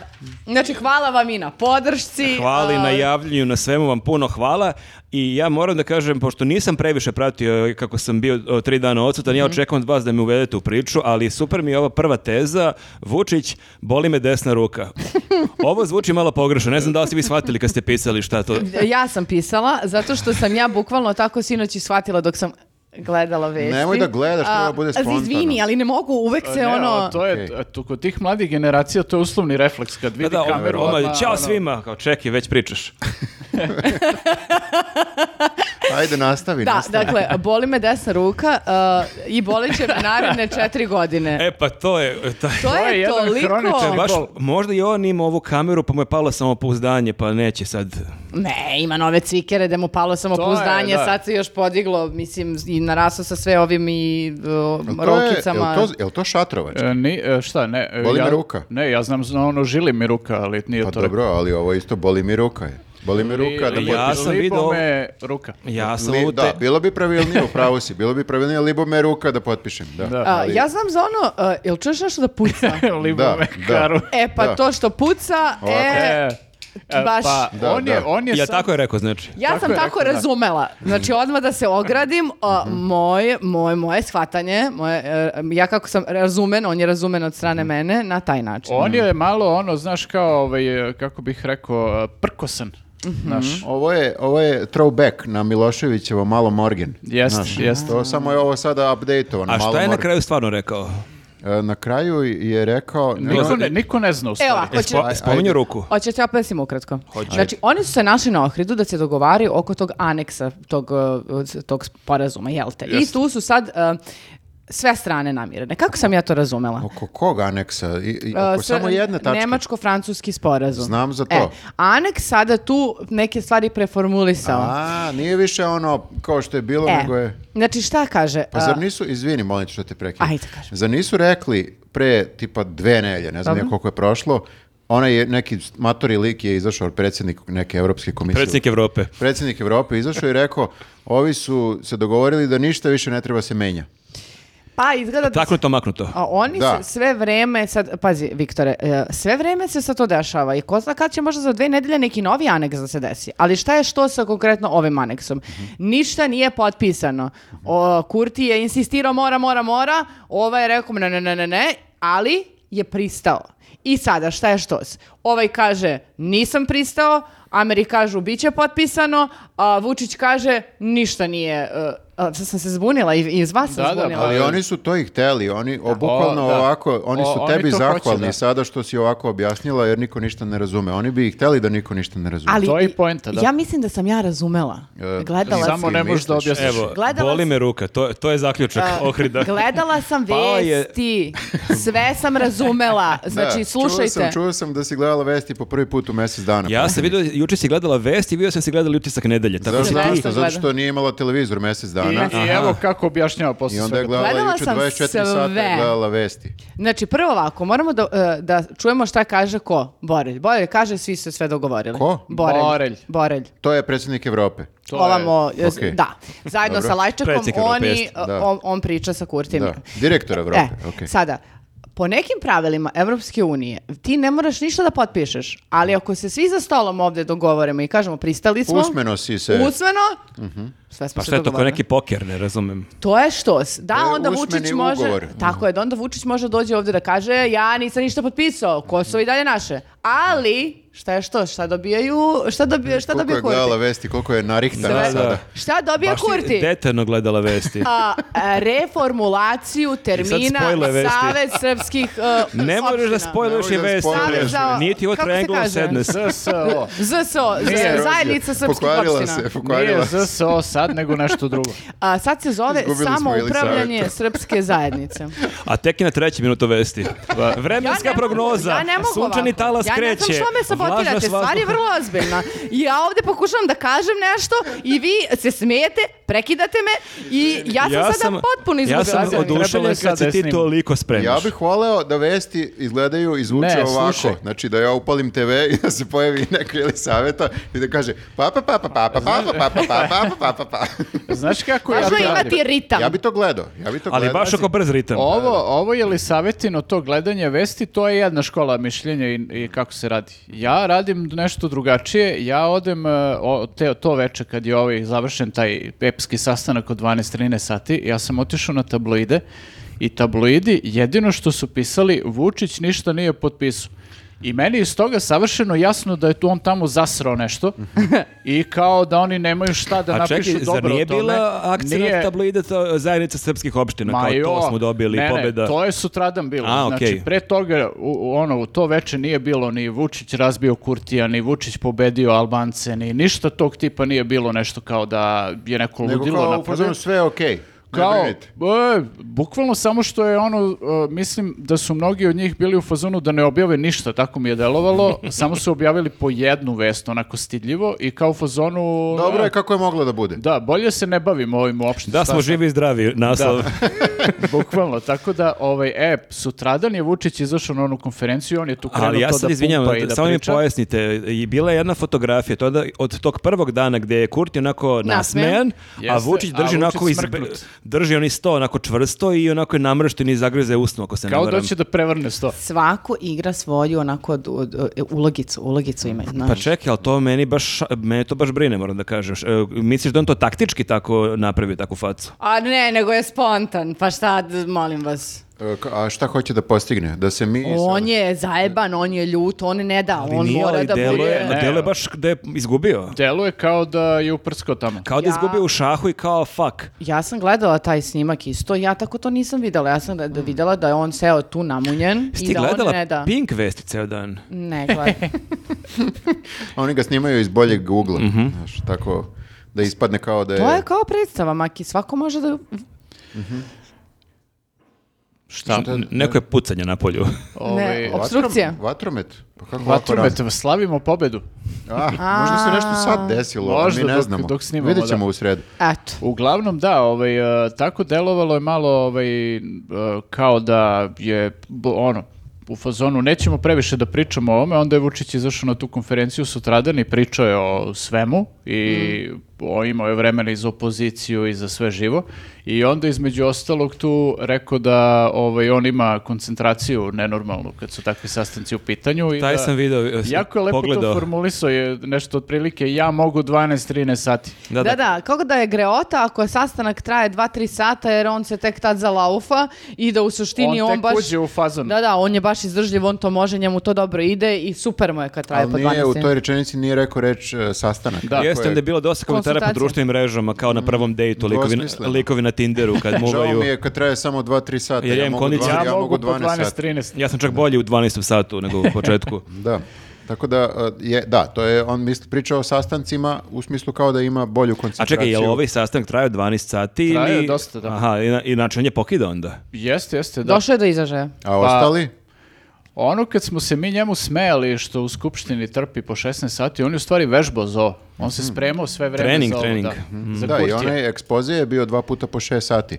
Speaker 1: znači, hvala vam i na podršci.
Speaker 3: Hvala i
Speaker 1: a,
Speaker 3: na javljanju, na svemu vam puno hvala. I ja moram da kažem, pošto nisam previše pratio e, kako sam bio o, tri dana odsutan,
Speaker 4: Mhm.
Speaker 3: ja očekujem od vas da mi uvedete u priču, ali super mi je ova prva teza, Vučić, boli me desna ruka. Ovo zvuči malo pogrešno, ne znam da li ste vi shvatili kad ste pisali šta to...
Speaker 1: Ja sam pisala, zato što sam ja bukvalno tako sinoć i shvatila dok sam gledala vesti.
Speaker 2: Nemoj da gledaš,
Speaker 1: A,
Speaker 2: treba bude spontano.
Speaker 1: Izvini, ali ne mogu, uvek se
Speaker 4: Ne,
Speaker 1: ono...
Speaker 4: to je,
Speaker 2: Okej.
Speaker 4: tu, kod tih mladih generacija to je uslovni refleks kad
Speaker 3: Da,
Speaker 4: vidi
Speaker 3: da, on-
Speaker 4: kameru.
Speaker 3: on-
Speaker 4: odmah,
Speaker 3: čao
Speaker 4: ono,
Speaker 3: svima, kao čekaj, već pričaš.
Speaker 2: Ajde, nastavi,
Speaker 1: Da,
Speaker 2: nastavi.
Speaker 1: dakle, boli me desna ruka uh, i bolit će me naredne četiri godine.
Speaker 3: E pa to je... To je...
Speaker 1: to,
Speaker 4: to je
Speaker 1: je
Speaker 4: jedan
Speaker 1: toliko...
Speaker 4: hroničan
Speaker 3: Baš,
Speaker 4: bol.
Speaker 3: možda i on ima ovu kameru, pa mu je palo samopouzdanje, pa neće sad...
Speaker 1: Ne, ima nove cvikere da mu palo samopouzdanje,
Speaker 4: To je, da.
Speaker 1: sad se još podiglo, mislim, i naraslo sa sve ovim i uh,
Speaker 2: To je-
Speaker 1: rokicama.
Speaker 2: jel to, jel to šatrovač? Pa
Speaker 4: E, ni, e, šta, ne. e,
Speaker 2: Boli
Speaker 4: ja,
Speaker 2: me ruka.
Speaker 4: Ne, ja znam, zna, ono, žili mi ruka, ali nije
Speaker 2: Pa
Speaker 4: to.
Speaker 2: dobro, ali ovo isto boli mi ruka. je. Boli mi ruka da
Speaker 3: ja
Speaker 2: potpišem.
Speaker 3: sam video-
Speaker 4: me ruka.
Speaker 3: Ja sam
Speaker 2: Li-
Speaker 3: ovu
Speaker 2: Da,
Speaker 3: te-
Speaker 2: bilo bi pravilnije, u pravu si, bilo bi pravilnije libo me ruka da potpišem. Da.
Speaker 4: Da.
Speaker 1: A,
Speaker 2: ali-
Speaker 1: ja znam za ono, uh, jel čuješ nešto da puca?
Speaker 4: Libo
Speaker 2: Da,
Speaker 4: me
Speaker 2: da.
Speaker 4: karu.
Speaker 1: E, pa
Speaker 2: Da.
Speaker 1: to što puca,
Speaker 2: Ovako.
Speaker 1: e,
Speaker 4: E, e,
Speaker 1: baš-
Speaker 4: Pa,
Speaker 2: Da,
Speaker 4: on
Speaker 2: da.
Speaker 4: je, on je
Speaker 3: Ja
Speaker 4: sam-
Speaker 3: tako je rekao, znači.
Speaker 1: Ja
Speaker 4: Tako
Speaker 1: sam
Speaker 4: je
Speaker 1: tako
Speaker 4: rekla, da. Mhm.
Speaker 1: razumela. Znači, odmah da se ogradim, a, moje, moje, moje shvatanje, moje, e, ja kako sam razumen, on je razumen od strane
Speaker 4: Mhm.
Speaker 1: mene, na taj način.
Speaker 4: On je
Speaker 2: Mm.
Speaker 4: malo ono, znaš, kao, ovaj, kako bih rekao, e, prkosan.
Speaker 1: Mhm.
Speaker 4: Znaš,
Speaker 2: Ovo je, ovo je throwback na Miloševićevo Malo Morgan.
Speaker 4: Jeste,
Speaker 2: Znaš,
Speaker 4: jeste.
Speaker 2: To samo je ovo sada updateovano.
Speaker 3: A
Speaker 2: Malo
Speaker 3: šta je na
Speaker 2: Morgan.
Speaker 3: kraju stvarno rekao?
Speaker 2: E, Na kraju je rekao...
Speaker 4: niko, ne, niko ne zna u stvari.
Speaker 1: Evo, ako će...
Speaker 3: Spo, spominju
Speaker 2: ajde.
Speaker 3: ruku.
Speaker 1: E, Hoćete opet sim ukratko. Znači, oni su se našli na Ohridu da se dogovaraju e, oko tog aneksa, tog, uh, tog sporazuma, jel te? I tu su sad... uh, sve strane namirene. Kako sam ja to razumela?
Speaker 2: Oko kog aneksa? I, i, oko
Speaker 1: Uh, sve-
Speaker 2: samo jedne tačke?
Speaker 1: Nemačko-francuski sporazum.
Speaker 2: Znam za to.
Speaker 1: E, Aneks sada tu neke stvari preformulisao.
Speaker 2: A, nije više ono kao što je bilo,
Speaker 1: E,
Speaker 2: nego je...
Speaker 1: Znači šta kaže?
Speaker 2: Pa zar nisu, izvini, molim te što te prekidam.
Speaker 1: Ajde, kaži.
Speaker 2: Zar nisu rekli pre tipa dve nelje, ne znam ja koliko je prošlo, onaj je neki matori lik je izašao, predsjednik neke Evropske komisije.
Speaker 3: Predsjednik Evrope.
Speaker 2: Predsjednik Evrope je izašao i rekao, ovi su se dogovorili da ništa više ne treba se menja.
Speaker 1: Pa izgleda da
Speaker 3: Taknuto, maknuto.
Speaker 1: A oni
Speaker 2: Da.
Speaker 1: se sve vreme, sad, pazi, Viktore, e, sve vreme se sad to dešava i ko zna kad će možda za dve nedelje neki novi aneks da se desi. Ali šta je što sa konkretno ovim aneksom? Ništa nije potpisano. O, Kurti je insistirao mora, mora, mora, ovaj je rekao ne, ne, ne, ne, ne, ali je pristao. I sada šta je što? Ovaj kaže nisam pristao, Ameri kažu bit će potpisano, a Vučić kaže ništa nije. e, a, sad sam se zbunila i, i iz vas
Speaker 4: Da,
Speaker 1: sam
Speaker 4: da,
Speaker 1: zbunila.
Speaker 2: Ali
Speaker 4: Pa-
Speaker 2: oni su to i hteli, oni o, bukvalno
Speaker 4: O, da.
Speaker 2: ovako, oni
Speaker 4: O,
Speaker 2: su
Speaker 4: oni
Speaker 2: tebi
Speaker 4: to hoće,
Speaker 2: zahvalni
Speaker 4: da.
Speaker 2: sada što si ovako objasnila jer niko ništa ne razume. Oni bi i hteli da niko ništa ne razume.
Speaker 1: Ali,
Speaker 4: To je i poenta, da.
Speaker 1: Ja mislim da sam ja razumela.
Speaker 2: E,
Speaker 1: Gledala sam.
Speaker 4: Samo ne možeš da
Speaker 2: Misliš?
Speaker 4: objasniš.
Speaker 3: Evo,
Speaker 1: Znači, Gledala
Speaker 3: boli
Speaker 1: sam-
Speaker 3: me ruka, to, to je zaključak Ohrida.
Speaker 1: Gledala sam
Speaker 3: Pao je-
Speaker 1: vesti. Sve sam razumela. Znači,
Speaker 2: Da,
Speaker 1: slušajte.
Speaker 2: Čuo sam, čuo sam da si gledala vesti po prvi put u mjesec dana.
Speaker 3: Ja sam vidio, juče si gledala vest i vidio sam da si gledali utisak nedelje. Tako
Speaker 2: Zašto?
Speaker 3: da
Speaker 1: Zašto
Speaker 2: Zašto?
Speaker 1: gleda?
Speaker 2: Zato što nije imala televizor mjesec
Speaker 4: I,
Speaker 2: dana.
Speaker 4: i evo kako objašnjava
Speaker 2: I
Speaker 4: posle
Speaker 2: onda je
Speaker 4: svega.
Speaker 2: gledala,
Speaker 1: Gledala
Speaker 2: juče
Speaker 1: sam
Speaker 2: 24 sata
Speaker 1: sve.
Speaker 2: je gledala vesti.
Speaker 1: Znači, prvo ovako, moramo da, e, da čujemo šta kaže ko? Borelj. Borelj kaže, svi su sve dogovorili.
Speaker 2: Ko?
Speaker 1: Borelj.
Speaker 4: Borelj.
Speaker 1: Borelj.
Speaker 2: To je predsjednik Evrope.
Speaker 4: To je-
Speaker 1: Ovamo, e,
Speaker 2: Okej.
Speaker 1: da. Zajedno
Speaker 2: Dobro.
Speaker 1: sa Lajčekom,
Speaker 3: Predsjednik Evrope,
Speaker 1: oni,
Speaker 3: jeste.
Speaker 1: e,
Speaker 2: Da.
Speaker 1: on, on priča sa Kurtim.
Speaker 2: Da. Direktor Evrope.
Speaker 1: E,
Speaker 2: okej.
Speaker 1: sada, po nekim pravilima Evropske unije, ti ne moraš ništa da potpišeš, ali ako se svi za stolom ovdje dogovorimo i kažemo pristali smo...
Speaker 2: Usmeno si se- Mhm.
Speaker 1: Usmeno, sve smo
Speaker 3: Pa
Speaker 1: se
Speaker 3: šta je to, kao
Speaker 1: dogovorili.
Speaker 3: neki poker, ne razumem.
Speaker 1: To je štos. Da,
Speaker 2: To je
Speaker 1: onda
Speaker 2: usmeni
Speaker 1: Vučić može...
Speaker 2: ugovor. Mhm.
Speaker 1: Tako je, da onda Vučić može dođe ovdje da kaže ja nisam ništa potpisao, Kosovo i
Speaker 2: Mhm.
Speaker 1: dalje naše. Ali, šta je što? Šta dobijaju... Šta dobije, šta
Speaker 2: Koliko
Speaker 1: dobije
Speaker 2: je gledala
Speaker 1: Kurti?
Speaker 2: vesti, koliko je narihtana
Speaker 1: Sve.
Speaker 2: sada.
Speaker 1: Šta dobija
Speaker 3: Baš si
Speaker 1: Kurti?
Speaker 3: detaljno gledala vesti.
Speaker 1: A, a, reformulaciju termina
Speaker 3: spojile vesti.
Speaker 1: Savez srpskih uh,
Speaker 3: Ne možeš da
Speaker 1: opština.
Speaker 3: spojluješ
Speaker 2: Nemoj
Speaker 3: i
Speaker 2: da
Speaker 3: vesti.
Speaker 2: spojluješ.
Speaker 3: bre.
Speaker 1: Saveza-
Speaker 3: Nije ti ovo
Speaker 1: kako se
Speaker 3: Triangle of
Speaker 1: kaže?
Speaker 3: Sadness.
Speaker 4: ZSO.
Speaker 1: ZSO,
Speaker 4: Nije,
Speaker 1: zajednica srpskih
Speaker 2: Pokvarila
Speaker 1: opština.
Speaker 2: se,
Speaker 4: Nije
Speaker 2: pokvarila se.
Speaker 4: ZSO sad, nego nešto drugo.
Speaker 1: A sad se zove
Speaker 2: Izgubili smo
Speaker 1: samo
Speaker 2: Elisavetu.
Speaker 1: upravljanje srpske zajednice.
Speaker 3: A tek je na treći minuto vesti. Vremenska
Speaker 1: Ja ne mogu-
Speaker 3: prognoza.
Speaker 1: ja ne mogu
Speaker 3: Sunčani
Speaker 1: ovako.
Speaker 3: talas kreće.
Speaker 1: Ja ne znam što me sabotirate,
Speaker 3: vlažnost
Speaker 1: stvar je
Speaker 3: vazduha.
Speaker 1: vrlo ozbiljna. Ja ovdje pokušavam da kažem nešto i vi se smijete, prekidate me i ja sam sada potpuno izgubila.
Speaker 3: Ja sam
Speaker 1: zemlju.
Speaker 4: odu- Trebalo
Speaker 3: oduševljen
Speaker 4: je
Speaker 3: kad
Speaker 4: sad
Speaker 3: se
Speaker 4: da
Speaker 3: ti
Speaker 4: snimam.
Speaker 3: toliko spremiš.
Speaker 2: Ja bih voleo da vesti izgledaju i zvuče
Speaker 4: Ne,
Speaker 2: ovako.
Speaker 4: slušaj.
Speaker 2: Znači da ja upalim TV i da se pojavi neko ili saveta i da kaže pa, papa, papa, papa, papa, papa, papa, papa, papa.
Speaker 4: Znaš kako ja
Speaker 1: Važno
Speaker 4: to
Speaker 1: je imati
Speaker 4: radim?
Speaker 1: ritam.
Speaker 2: pa, Ja bi to gledao. Ja bi to gledao.
Speaker 3: Ali
Speaker 2: Znači,
Speaker 3: baš oko brz ritam.
Speaker 4: Ovo, ovo je li savjetino to gledanje vesti, to je jedna škola mišljenja i, i kako se radi. Ja radim nešto drugačije, ja odem e, o, te, to veče kad je ovaj završen taj epski sastanak od 12-13 sati, ja sam otišao na tabloide i tabloidi jedino što su pisali Vučić ništa nije potpisao. I meni je iz toga savršeno jasno da je tu on tamo zasrao nešto i kao da oni nemaju šta da
Speaker 3: Mhm. A
Speaker 4: napišu
Speaker 3: čekaj,
Speaker 4: dobro
Speaker 3: zar nije
Speaker 4: o tome.
Speaker 3: bila akcija
Speaker 4: Nije-
Speaker 3: na tabloide to, zajednica srpskih opština?
Speaker 4: Ma
Speaker 3: kao to
Speaker 4: jo,
Speaker 3: smo dobili,
Speaker 4: ne,
Speaker 3: pobjeda.
Speaker 4: Ne, to je sutradan bilo.
Speaker 3: A,
Speaker 4: znači,
Speaker 3: okej.
Speaker 4: pre toga, u, u- ono, u to veče nije bilo ni Vučić razbio Kurtija, ni Vučić pobedio Albance, ni ništa tog tipa nije bilo nešto kao da je neko
Speaker 2: Nego
Speaker 4: ludilo
Speaker 2: kao u
Speaker 4: napravljeno.
Speaker 2: fazonu sve je okej. Ne
Speaker 4: Kao,
Speaker 2: brinite.
Speaker 4: e, bukvalno samo što je ono, e, mislim da su mnogi od njih bili u fazonu da ne objave ništa, tako mi je delovalo, samo su objavili po jednu vest, onako stidljivo, i kao u fazonu...
Speaker 2: Dobro je
Speaker 4: e,
Speaker 2: kako je moglo da bude.
Speaker 4: Da, bolje se ne bavimo ovim uopšte.
Speaker 3: Da
Speaker 4: šta
Speaker 3: smo
Speaker 4: sad.
Speaker 3: živi i zdravi, naslov.
Speaker 4: Bukvalno, tako da, ovaj, e, sutradan je Vučić izašao na onu konferenciju, on je tu krenuo
Speaker 3: Ali ja
Speaker 4: to
Speaker 3: sad
Speaker 4: da
Speaker 3: izvinjam,
Speaker 4: pumpa i da
Speaker 3: samo mi
Speaker 4: priča.
Speaker 3: pojasnite, i bila je jedna fotografija to da, od tog prvog dana gdje je Kurti onako nasmejan, a
Speaker 4: Jeste,
Speaker 3: Vučić
Speaker 4: a
Speaker 3: drži
Speaker 4: Vučić
Speaker 3: onako iz,
Speaker 4: smrknut.
Speaker 3: drži oni sto onako čvrsto i onako je namršten i zagrize usnu ako se ne
Speaker 4: Kao da
Speaker 3: varam.
Speaker 4: će da prevrne sto.
Speaker 1: Svako igra svoju onako od- od- od- ulogicu, ulogicu imaju.
Speaker 3: Pa
Speaker 1: znaš.
Speaker 3: čekaj, ali to meni baš, mene to baš brine, moram da kažem. E, Misliš da on to taktički tako napravi, takvu facu?
Speaker 1: A ne, nego je spontan. Pa šta, d- molim vas.
Speaker 2: E, ka- A šta hoće da postigne? Da se mi...
Speaker 1: On je zajeban, on je ljut, on ne da,
Speaker 3: Ali
Speaker 1: on
Speaker 3: nije,
Speaker 1: mora
Speaker 3: ali
Speaker 1: da
Speaker 3: delo je,
Speaker 1: bude...
Speaker 4: Ne.
Speaker 3: delo je baš da je izgubio.
Speaker 4: Deluje kao da je uprskao tamo.
Speaker 3: Kao da je
Speaker 1: Ja-
Speaker 3: izgubio u šahu i kao fuck.
Speaker 1: Ja sam gledala taj snimak isto, ja tako to nisam videla. Ja sam da, da videla da je on seo tu namunjen
Speaker 3: Jesi
Speaker 1: i
Speaker 3: ti
Speaker 1: da
Speaker 3: gledala
Speaker 1: on ne da.
Speaker 3: Pink vesti ceo dan?
Speaker 1: Ne, gledam.
Speaker 2: Oni ga snimaju iz boljeg ugla.
Speaker 4: Mhm.
Speaker 2: Znaš, tako da ispadne kao da je...
Speaker 1: to je kao predstava, Maki, svako može da...
Speaker 4: Šta?
Speaker 3: N- Neko je pucanje na polju.
Speaker 4: Ovaj,
Speaker 1: op- Obstrukcija.
Speaker 2: Vatrom- Vatromet. Pa kako
Speaker 4: Vatromet,
Speaker 2: ovako
Speaker 4: slavimo pobedu.
Speaker 2: rano? Ah, možda se nešto sad desilo, ali
Speaker 4: Možda
Speaker 2: mi ne
Speaker 4: dok-
Speaker 2: znamo.
Speaker 4: dok snimamo,
Speaker 2: Vidjet ćemo
Speaker 4: da.
Speaker 2: u sredu.
Speaker 1: Eto.
Speaker 4: Uglavnom da, ovaj, e, tako delovalo je malo ovaj, e, kao da je b- ono, u fazonu nećemo previše da pričamo o ovome, onda je Vučić izašao na tu konferenciju sutradan i pričao je o svemu i
Speaker 3: Mm.
Speaker 4: o, imao je vremena i za opoziciju i za sve živo i onda između ostalog tu rekao da ovaj, on ima koncentraciju nenormalnu kad su takvi sastanci u pitanju. I
Speaker 3: Taj
Speaker 4: da,
Speaker 3: sam video, e, s-
Speaker 4: Jako je lepo
Speaker 3: pogledao.
Speaker 4: to formulisao je nešto otprilike ja mogu 12-13 sati.
Speaker 3: Da,
Speaker 1: Da,
Speaker 3: da.
Speaker 1: da, kako da je greota ako je sastanak traje 2-3 sata jer on se tek tad zalaufa i da u suštini on,
Speaker 4: on tek
Speaker 1: baš...
Speaker 4: uđe u fazon.
Speaker 1: Da, da, on je baš izdržljiv, on to može, njemu to dobro ide i super mu je kad traje
Speaker 2: Ali
Speaker 1: po 12
Speaker 2: nije, u
Speaker 1: minuta.
Speaker 2: toj rečenici nije rekao reč e, sastanak.
Speaker 4: Da.
Speaker 2: Rekao
Speaker 3: Jeste
Speaker 2: je, Mm.
Speaker 3: onda je bilo dosta komentara po
Speaker 1: Konsultacija.
Speaker 3: društvenim mrežama, kao na prvom dejtu, likovi, na-
Speaker 2: Dvosmisleno.
Speaker 3: likovi na Tinderu kad
Speaker 2: Žao
Speaker 3: muvaju.
Speaker 2: mi je kad traje samo 2-3 sata.
Speaker 3: Jer
Speaker 2: Ja,
Speaker 3: jem
Speaker 2: mogu,
Speaker 3: kondicija.
Speaker 2: dva-
Speaker 4: Ja,
Speaker 2: ja
Speaker 4: mogu po
Speaker 2: 12 sati.
Speaker 4: 12-13.
Speaker 3: Ja sam čak bolji u 12. satu nego u početku.
Speaker 2: Da. Tako da, e, je, da, to je, on misli, pričao o sastancima u smislu kao da ima bolju
Speaker 3: A
Speaker 2: koncentraciju.
Speaker 3: čekaj, je li ovaj sastanak trajao 12 sati?
Speaker 4: Trajao je
Speaker 3: ili-
Speaker 4: dosta, da.
Speaker 3: Aha, ina- inače on je pokidao onda.
Speaker 4: Jeste, jeste, da.
Speaker 1: Došao je do izražaja.
Speaker 2: A ostali?
Speaker 4: Ono kad smo se mi njemu smejali što u skupštini trpi po 16 sati, on je u stvari vežbao za ovo. On se spremao sve vreme
Speaker 3: Trening,
Speaker 4: za ovo.
Speaker 3: trening.
Speaker 4: Mhm.
Speaker 3: Mhm.
Speaker 4: Da, za
Speaker 2: Da, i
Speaker 4: kutije.
Speaker 2: onaj ekspoze je bio dva puta po 6 sati.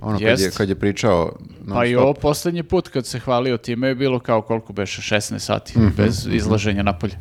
Speaker 2: Ono kad je,
Speaker 4: Jest.
Speaker 2: kad je pričao non
Speaker 4: Pa i
Speaker 2: stop.
Speaker 4: ovo posljednji put kad se hvalio time je bilo kao koliko beše 16 sati bez izlaženja napolje.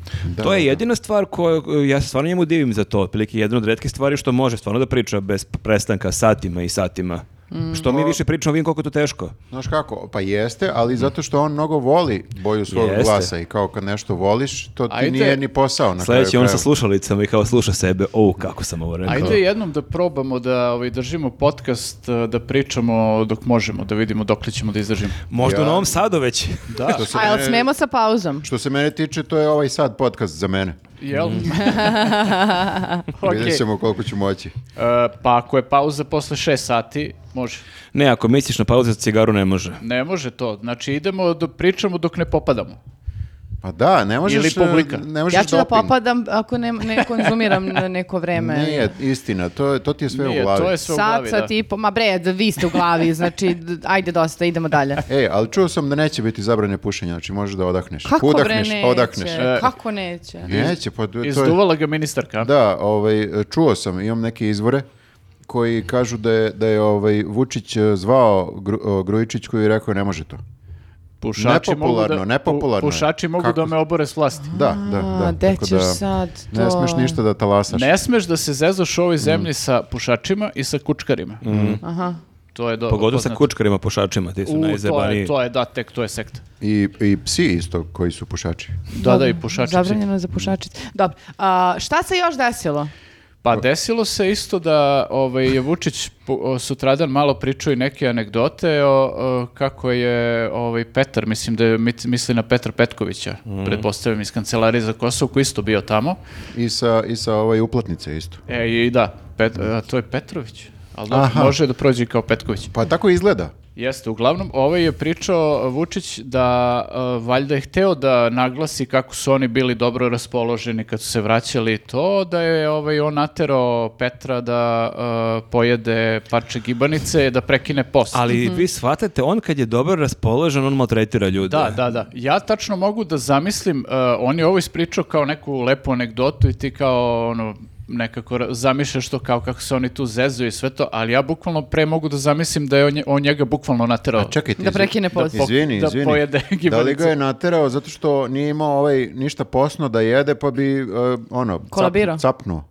Speaker 3: to je jedina stvar koju ja se stvarno njemu divim za to, otprilike jedna od retkih stvari što može stvarno da priča bez prestanka satima i satima.
Speaker 1: Mm.
Speaker 3: Što mi više pričamo, vidim koliko je to teško.
Speaker 2: Znaš kako, pa jeste, ali zato što on mnogo voli boju svog
Speaker 3: Jeste.
Speaker 2: glasa i kao kad nešto voliš, to ti
Speaker 4: Ajde.
Speaker 2: nije ni posao na
Speaker 3: Sljedeći
Speaker 2: kraju
Speaker 3: on sa
Speaker 2: krajeva.
Speaker 3: slušalicama i kao sluša sebe, o, kako sam ovo rekao.
Speaker 4: Ajde jednom da probamo da ovaj, držimo podcast, eh, da pričamo dok možemo, da vidimo dok li ćemo da izdržimo.
Speaker 3: Možda u
Speaker 2: Ja-
Speaker 3: Novom Sadu već.
Speaker 4: Da,
Speaker 2: Što se
Speaker 1: A jel
Speaker 2: mene-
Speaker 1: smemo sa pauzom?
Speaker 2: Što se mene tiče, to je ovaj sad podcast za mene.
Speaker 4: jel? Eh,
Speaker 2: Okay. Vidjet
Speaker 4: Okej.
Speaker 2: ćemo koliko ću moći.
Speaker 4: E, pa ako je pauza posle 6 sati, može.
Speaker 3: Ne, ako misliš na pauzu za cigaru, ne može.
Speaker 4: Ne može to. Znači idemo do pričamo dok ne popadamo.
Speaker 2: Pa da, ne možeš...
Speaker 4: Ili publika.
Speaker 2: Ne možeš
Speaker 1: Ja ću da
Speaker 2: doping.
Speaker 1: popadam ako ne, ne konzumiram na neko vreme.
Speaker 2: Nije, istina, to, je- to ti je sve
Speaker 4: Nije,
Speaker 2: u glavi.
Speaker 4: to je sve u
Speaker 1: Sad,
Speaker 4: glavi, da.
Speaker 1: sad i po... Ma bre, da vi ste u glavi, znači, d- ajde dosta, idemo dalje.
Speaker 2: Ej, E, ali čuo sam da neće biti zabrane pušenja, znači možeš da odahneš.
Speaker 1: Kako
Speaker 2: Udahneš,
Speaker 1: bre neće?
Speaker 2: odahneš.
Speaker 4: E.
Speaker 1: Kako neće?
Speaker 2: Neće, pa to je...
Speaker 4: Izduvala ga ministarka.
Speaker 2: Da, ovaj, čuo sam, imam neke izvore koji kažu da je, da je ovaj, Vučić eh, zvao Gru, eh, o, Grujičićku i rekao ne može to.
Speaker 4: Pušači
Speaker 2: Nepopularno,
Speaker 4: mogu da,
Speaker 2: nepopularno je.
Speaker 4: Pušači mogu
Speaker 2: Kako?
Speaker 4: da me obore s vlasti.
Speaker 2: Da, da, da.
Speaker 1: A, gde
Speaker 2: tako
Speaker 1: ćeš
Speaker 2: da
Speaker 1: sad to?
Speaker 2: Ne smeš ništa da talasaš.
Speaker 4: Ne smeš da se zezaš
Speaker 2: Mm.
Speaker 4: u ovoj zemlji sa pušačima i sa kučkarima.
Speaker 1: Aha.
Speaker 4: To je dobro.
Speaker 3: Mhm. Pogotovo sa
Speaker 4: poznato.
Speaker 3: kučkarima, pušačima, ti su
Speaker 4: U, to
Speaker 3: najzajebaniji.
Speaker 4: je, to je, da, tek to je sekta.
Speaker 2: I, I psi isto koji su pušači.
Speaker 4: Da, da, i pušači.
Speaker 1: Zabranjeno je za pušačice. Dobro. A, šta se još desilo?
Speaker 4: Pa desilo se isto da ovaj, je Vučić po- o, sutradan malo pričao i neke anegdote o, o, kako je ovaj, Petar, mislim da je mit- misli na Petra Petkovića, pretpostavljam iz Kancelarije za Kosovo, koji je isto bio tamo.
Speaker 2: I sa, i sa ovaj uplatnice isto.
Speaker 4: E, i da, Pet- a, to je Petrović. Ali dobro,
Speaker 2: Aha.
Speaker 4: može da prođe i kao Petković.
Speaker 2: Pa tako izgleda.
Speaker 4: Jeste, uglavnom, ovaj je pričao Vučić da e, valjda je hteo da naglasi kako su oni bili dobro raspoloženi kad su se vraćali i to, da je ovaj, on naterao Petra da e, pojede parče gibanice, da prekine post.
Speaker 3: Ali vi shvatate, on kad je dobro raspoložen, on maltretira ljude.
Speaker 4: Da, da, da. Ja tačno mogu da zamislim, e, on je ovo ispričao kao neku lepu anegdotu i ti kao ono, nekako ra- zamišljaš to kao kako se oni tu zezuju i sve to, ali ja bukvalno pre mogu da zamislim da je on, nje- on njega bukvalno naterao.
Speaker 2: Čekaj ti.
Speaker 1: Pa, Da
Speaker 2: izvi-
Speaker 1: prekine post.
Speaker 2: Da, izvini,
Speaker 4: Da
Speaker 2: izvini.
Speaker 4: pojede
Speaker 2: Da li ga
Speaker 4: gibanice?
Speaker 2: je naterao zato što nije imao ovaj ništa posno da jede pa bi eh, ono cap-
Speaker 1: Kolabirao.
Speaker 2: capnuo.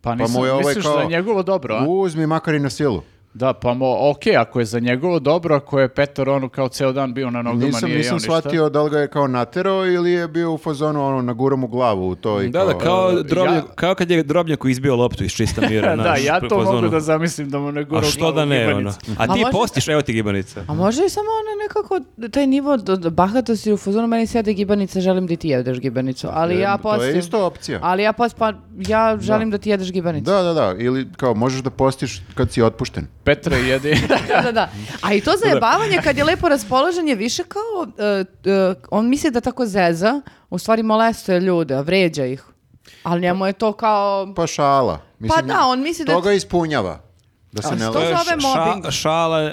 Speaker 4: Pa
Speaker 2: Pa
Speaker 4: nisam,
Speaker 2: mu je ovaj
Speaker 4: misliš
Speaker 2: kao
Speaker 4: da je njegovo dobro, a?
Speaker 2: Uzmi makar i na silu.
Speaker 4: Da, pa mo, ok, ako je za njegovo dobro, ako je Petar ono kao ceo dan bio na nogama,
Speaker 2: Nisam,
Speaker 4: nije jeo
Speaker 2: nisam shvatio da li ga je kao naterao ili je bio u fazonu ono, na gurom glavu u to i
Speaker 3: Da, da, kao, drobnjak,
Speaker 4: ja-
Speaker 3: kao kad je Drobnjaku izbio loptu iz čista mira.
Speaker 4: ništa. Da,
Speaker 3: znaš,
Speaker 4: ja
Speaker 3: po-
Speaker 4: to
Speaker 3: po
Speaker 4: mogu
Speaker 3: zonu.
Speaker 4: da zamislim da mu ne
Speaker 3: A
Speaker 4: gura
Speaker 3: što da ne, ono? A ti
Speaker 1: može-
Speaker 3: postiš, evo ti gibanica.
Speaker 1: A može i samo ono nekako, taj nivo d- d- bahatosti u fazonu, meni sjede gibanica, želim da i ti jedeš gibanicu, ali ja
Speaker 2: E, to je
Speaker 1: postim.
Speaker 2: isto opcija.
Speaker 1: Ali ja post, pa ja želim da, ti jedeš gibanicu.
Speaker 2: Da, da, da, ili kao možeš da postiš kad si otpušten.
Speaker 4: Petre jedi.
Speaker 1: Da, da, da. A i to zajebavanje kad je lepo raspoložen je više kao, e, e, on misli da tako zeza, u stvari molestuje ljude, vređa ih. Ali njemu je to kao,
Speaker 2: Pa šala.
Speaker 1: da, on misli da-
Speaker 2: To ga ispunjava. Da se ne
Speaker 1: što
Speaker 2: laže.
Speaker 1: zove
Speaker 3: ša-
Speaker 1: mobbing?
Speaker 3: šala,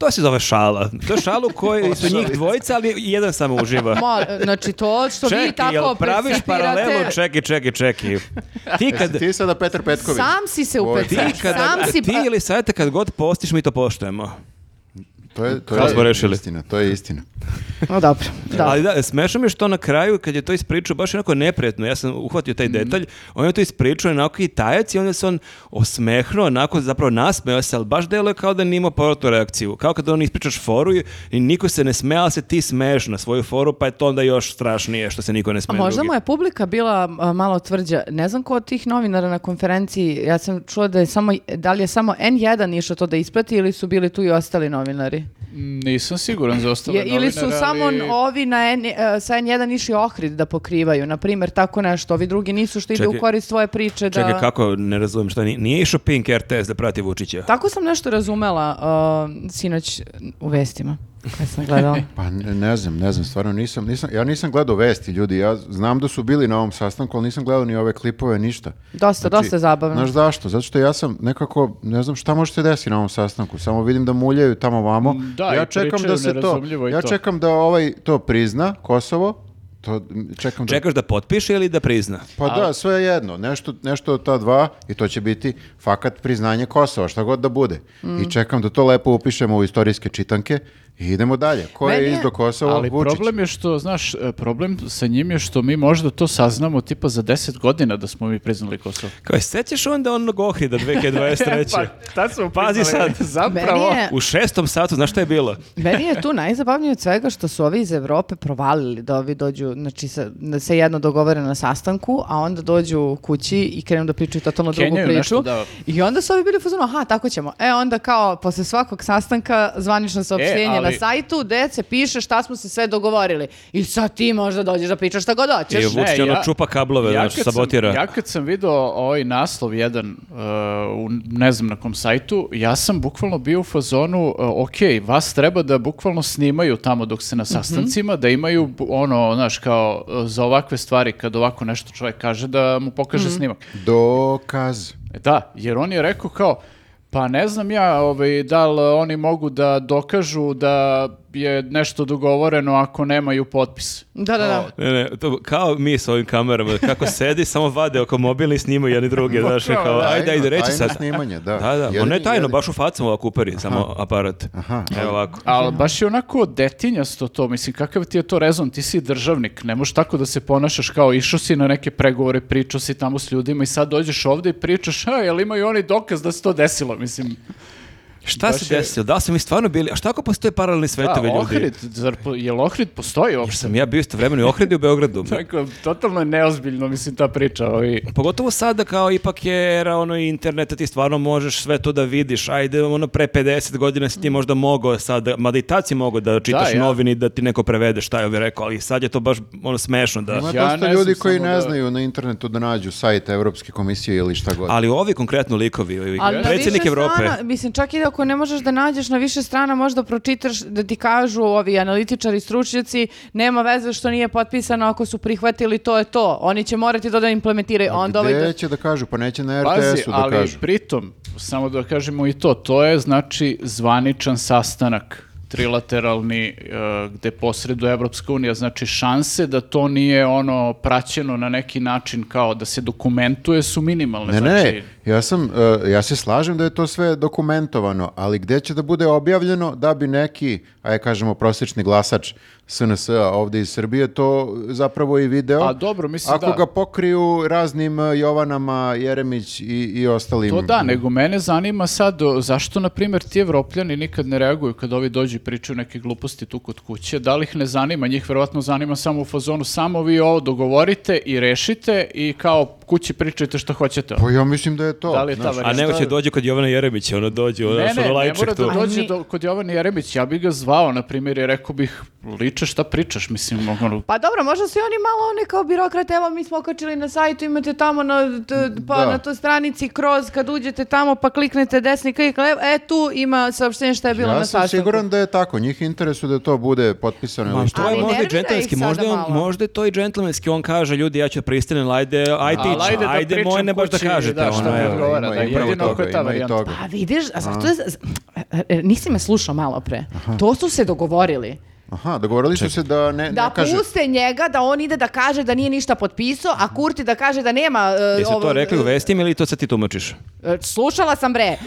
Speaker 3: To se zove šala. To je šalu koji su njih dvojica, ali jedan samo
Speaker 2: Pa.
Speaker 3: uživa.
Speaker 1: Mo- znači to što vi
Speaker 3: Čeki,
Speaker 1: tako
Speaker 3: jel praviš paralelu?
Speaker 1: percipirate-
Speaker 3: Čeki, čeki, čeki. Ti kad...
Speaker 2: Ti sada Petar Petković.
Speaker 1: Sam si se
Speaker 2: Ovo je-
Speaker 1: upecao.
Speaker 3: Ti, kada,
Speaker 1: Sam si- pa-
Speaker 3: ti ili sajte kad god postiš, mi to poštujemo.
Speaker 2: To je, to
Speaker 3: Kako
Speaker 2: je
Speaker 3: smo rešili?
Speaker 2: istina, to je istina.
Speaker 1: No dobro, da.
Speaker 3: Ali da, smešno mi je što na kraju, kad je to ispričao, baš je onako neprijetno. Ja sam uhvatio
Speaker 1: Mhm.
Speaker 3: taj detalj, on je to ispričao onako i tajac i onda se on osmehnuo, onako zapravo nasmeo se, ali baš deluje kao da nije imao povratnu reakciju. Kao kad on ispričaš foru i, i niko se ne smeja, ali se ti smeješ na svoju foru, pa je to onda još strašnije što se niko ne
Speaker 1: A
Speaker 3: smeje
Speaker 1: možda
Speaker 3: drugi.
Speaker 1: mu je publika bila a, malo tvrđa. Ne znam ko od tih novinara na konferenciji, ja sam čula da je samo, da li je samo N1 išao to da isprati ili su bili tu i ostali novinari?
Speaker 4: Nisam siguran za ostale
Speaker 1: Je, ili su
Speaker 4: novinare,
Speaker 1: samo
Speaker 4: ali-
Speaker 1: ovi na N, e, sa N1 išli Ohrid da pokrivaju, na primjer tako nešto, ovi drugi nisu što ide
Speaker 3: Čekaj.
Speaker 1: u korist tvoje priče da...
Speaker 3: Čekaj, kako, ne razumijem šta, nije, nije išao Pink RTS da prati Vučića?
Speaker 1: Tako sam nešto razumela uh, sinoć u vestima kad sam gledala.
Speaker 2: Pa ne, ne znam, ne znam, stvarno nisam, nisam, ja nisam gledao vesti ljudi, ja znam da su bili na ovom sastanku, ali nisam gledao ni ove klipove, ništa. Znači,
Speaker 1: Dosta,
Speaker 3: Znači,
Speaker 1: dosta zabavno.
Speaker 2: Znaš zašto? Zato što ja sam nekako, ne znam šta može se desiti na ovom sastanku, samo vidim da muljaju tamo vamo.
Speaker 4: Mm, Da,
Speaker 2: ja
Speaker 4: i pričaju nerazumljivo i
Speaker 2: ja
Speaker 4: to.
Speaker 2: čekam da ovaj to prizna, Kosovo, to m, čekam da...
Speaker 3: Čekaš da potpiše ili da prizna?
Speaker 2: Pa da, sve je jedno, nešto, nešto od ta dva i to će biti fakat priznanje Kosova, šta god da bude.
Speaker 3: Mm.
Speaker 2: I čekam da to lepo upišemo u istorijske čitanke i idemo dalje. Ko
Speaker 1: Meni
Speaker 2: je
Speaker 1: je-
Speaker 2: izdo Kosova?
Speaker 4: Ali
Speaker 2: Vučić.
Speaker 4: problem je što, znaš, e, problem sa njim je što mi možda to saznamo tipa za 10 godina da smo mi priznali Kosovo. E,
Speaker 3: Kao, e, sećaš onda onog Ohrida 2023?
Speaker 4: Pa, tad smo
Speaker 3: Pazi sad.
Speaker 1: Meni je-
Speaker 3: U šestom satu, znaš šta je bilo?
Speaker 1: Meni je tu najzabavnije od svega što su ovi iz Evrope provalili da ovi dođu, znači sa- da se jedno dogovore na sastanku, a onda dođu kući i krenu da pričaju totalno drugu
Speaker 4: Kenjaju
Speaker 1: priču.
Speaker 4: nešto, da.
Speaker 1: I onda su ovi bili u fazonu, aha, tako ćemo. E, onda kao, posle svakog sastanka, zvanično saopštenje
Speaker 4: E, ali-
Speaker 1: na sajtu, gde se piše šta smo se sve dogovorili. I sad ti možda dođeš da pričaš šta god hoćeš.
Speaker 3: I Vučić
Speaker 4: Ne,
Speaker 3: ono
Speaker 4: ja-
Speaker 3: čupa kablove, znači,
Speaker 4: kad
Speaker 3: sabotira.
Speaker 4: Sam, ja kad sam video ovaj naslov jedan uh, u ne znam na kom sajtu, ja sam bukvalno bio u fazonu, uh, ok, vas treba da bukvalno snimaju tamo dok ste na
Speaker 3: Mhm.
Speaker 4: sastancima, da imaju bu- ono, znaš, kao uh, za ovakve stvari, kad ovako nešto čovjek kaže, da mu pokaže
Speaker 3: Mhm.
Speaker 4: snimak.
Speaker 2: Dokaz.
Speaker 4: E, Da, jer on je rekao kao, pa ne znam ja ovaj, da li oni mogu da dokažu da je nešto dogovoreno ako nemaju potpis.
Speaker 1: Da, da, da.
Speaker 3: Ne, ne, to, kao mi s ovim kamerama, kako sedi, samo vade oko mobilni i snimaju jedni drugi, znaš, kao, ajde, ajde, reći
Speaker 2: Tajno
Speaker 3: sad.
Speaker 2: snimanje, da.
Speaker 3: Da, da,
Speaker 2: Jedini-
Speaker 3: ono je tajno,
Speaker 2: jedini-
Speaker 3: baš u facu ovako uperi, samo aparat.
Speaker 2: Aha.
Speaker 3: Evo ovako.
Speaker 4: Ali baš je onako detinjasto to, mislim, kakav ti je to rezon, ti si državnik, ne možeš tako da se ponašaš kao išao si na neke pregovore, pričao si tamo s ljudima i sad dođeš ovdje i pričaš, a, jel imaju oni dokaz da se to desilo, mislim.
Speaker 3: Šta
Speaker 4: baš
Speaker 3: se
Speaker 4: je-
Speaker 3: desilo? Da li smo mi stvarno bili? A šta ako postoje paralelni svetovi
Speaker 4: Da,
Speaker 3: ljudi?
Speaker 4: Ohrid, zar, po- jel Ohrid postoji
Speaker 3: Jer
Speaker 4: uopšte?
Speaker 3: sam ja bio istovremeno i u Ohridu i u Beogradu.
Speaker 4: Tako, totalno je neozbiljno, mislim, ta priča. Ovi.
Speaker 3: Pogotovo sada kao ipak je era ono interneta, ti stvarno možeš sve to da vidiš. Ajde, ono pre 50 godina si ti možda mogao sada, mada i tad si mogao da čitaš
Speaker 4: Mm. ja.
Speaker 3: novini da ti neko prevede šta je ovi rekao, ali sad je to baš ono smešno da...
Speaker 2: Ima
Speaker 4: Ja
Speaker 2: dosta
Speaker 4: ne
Speaker 2: ljudi
Speaker 4: znam
Speaker 2: koji
Speaker 4: samo
Speaker 2: ne
Speaker 4: da-
Speaker 2: znaju na internetu da nađu sajt Evropske komisije ili šta god.
Speaker 3: Ali ovi konkretno likovi, ovi,
Speaker 1: Ali na
Speaker 3: predsjednik
Speaker 1: više
Speaker 3: Evrope.
Speaker 1: strana, mislim, čak i ako ne možeš da nađeš na više strana, možda pročitaš da ti kažu ovi analitičari, stručnjaci, nema veze što nije potpisano, ako su prihvatili, to je to. Oni će morati to da implementiraju.
Speaker 2: A
Speaker 1: Onda
Speaker 2: Gde
Speaker 1: ovaj... do-
Speaker 2: će da kažu? Pa neće na
Speaker 4: Pazi,
Speaker 2: RTS-u da
Speaker 4: ali
Speaker 2: kažu.
Speaker 4: pritom, samo da kažemo i to, to je znači zvaničan sastanak trilateralni uh, gde posreduje Evropska unija, znači šanse da to nije ono praćeno na neki način kao da se dokumentuje su minimalne.
Speaker 2: Ne,
Speaker 4: znači,
Speaker 2: ne, ja sam, uh, ja se slažem da je to sve dokumentovano, ali gde će da bude objavljeno da bi neki, aj kažemo, prosječni glasač SNS-a ovdje iz Srbije to zapravo i video.
Speaker 4: A dobro, mislim
Speaker 2: Ako
Speaker 4: da.
Speaker 2: ga pokriju raznim e, Jovanama, Jeremić i, i ostalim.
Speaker 4: To da, nego mene zanima sad o, zašto, na primjer, ti evropljani nikad ne reaguju kad ovi dođu i pričaju neke gluposti tu kod kuće, da li ih ne zanima, njih verovatno zanima samo u fazonu, samo vi ovo dogovorite i rešite i kao kući pričajte što hoćete.
Speaker 2: Pa ja mislim da je to.
Speaker 4: Da li je ta
Speaker 2: znaš.
Speaker 4: varijanta?
Speaker 3: A nego će
Speaker 2: Šta-
Speaker 3: dođe kod Jovana Jeremića, ono dođe, ono,
Speaker 4: Ne,
Speaker 3: ono
Speaker 4: ne, ne
Speaker 3: lajček
Speaker 4: mora da
Speaker 3: tu.
Speaker 4: dođe
Speaker 1: Ali-
Speaker 4: do, kod Jovana Jeremića, ja bih ga zvao, na primjer, i rekao bih, liče šta pričaš, mislim, ono,
Speaker 1: Pa dobro, možda su i oni malo one kao birokrate, evo mi smo okačili na sajtu, imate tamo na, t- pa,
Speaker 2: Da.
Speaker 1: na toj stranici kroz, kad uđete tamo pa kliknete desni klik, levo, e tu ima saopštenje šta je bilo na
Speaker 2: Ja sam
Speaker 1: sastanku.
Speaker 2: siguran da je tako, njih interesuje da to bude potpisano ili
Speaker 3: Ma,
Speaker 2: šta.
Speaker 3: to je
Speaker 1: Ali
Speaker 3: možda i
Speaker 1: nervira ih
Speaker 3: džentlmenski,
Speaker 1: sada
Speaker 3: možda, je on,
Speaker 1: malo.
Speaker 3: možda je to i džentlmenski, on kaže, ljudi, ja ću pristanem, ajde, ajde,
Speaker 4: Ali ajde
Speaker 3: ajde,
Speaker 4: da
Speaker 3: ajde
Speaker 4: pričam
Speaker 3: moje ne baš da
Speaker 4: kući,
Speaker 3: kažete.
Speaker 4: da, šta
Speaker 3: ono,
Speaker 4: mi
Speaker 3: evo.
Speaker 4: odgovara. odgovara, da, jedino
Speaker 2: upravo
Speaker 4: ako je ta
Speaker 2: toga, ima i
Speaker 4: varijanta.
Speaker 2: toga.
Speaker 1: Pa vidiš, a zato je- e, nisi me slušao malo pre. To su se dogovorili.
Speaker 2: Aha, dogovorili su se da ne,
Speaker 1: Da
Speaker 2: ne kaže.
Speaker 1: puste njega, da on ide da kaže da nije ništa potpisao, a Kurti da kaže da nema... e,
Speaker 3: Jesi to
Speaker 1: ovog-
Speaker 3: rekli u vestima ili to sad ti tumačiš?
Speaker 1: E, Slušala sam bre, e,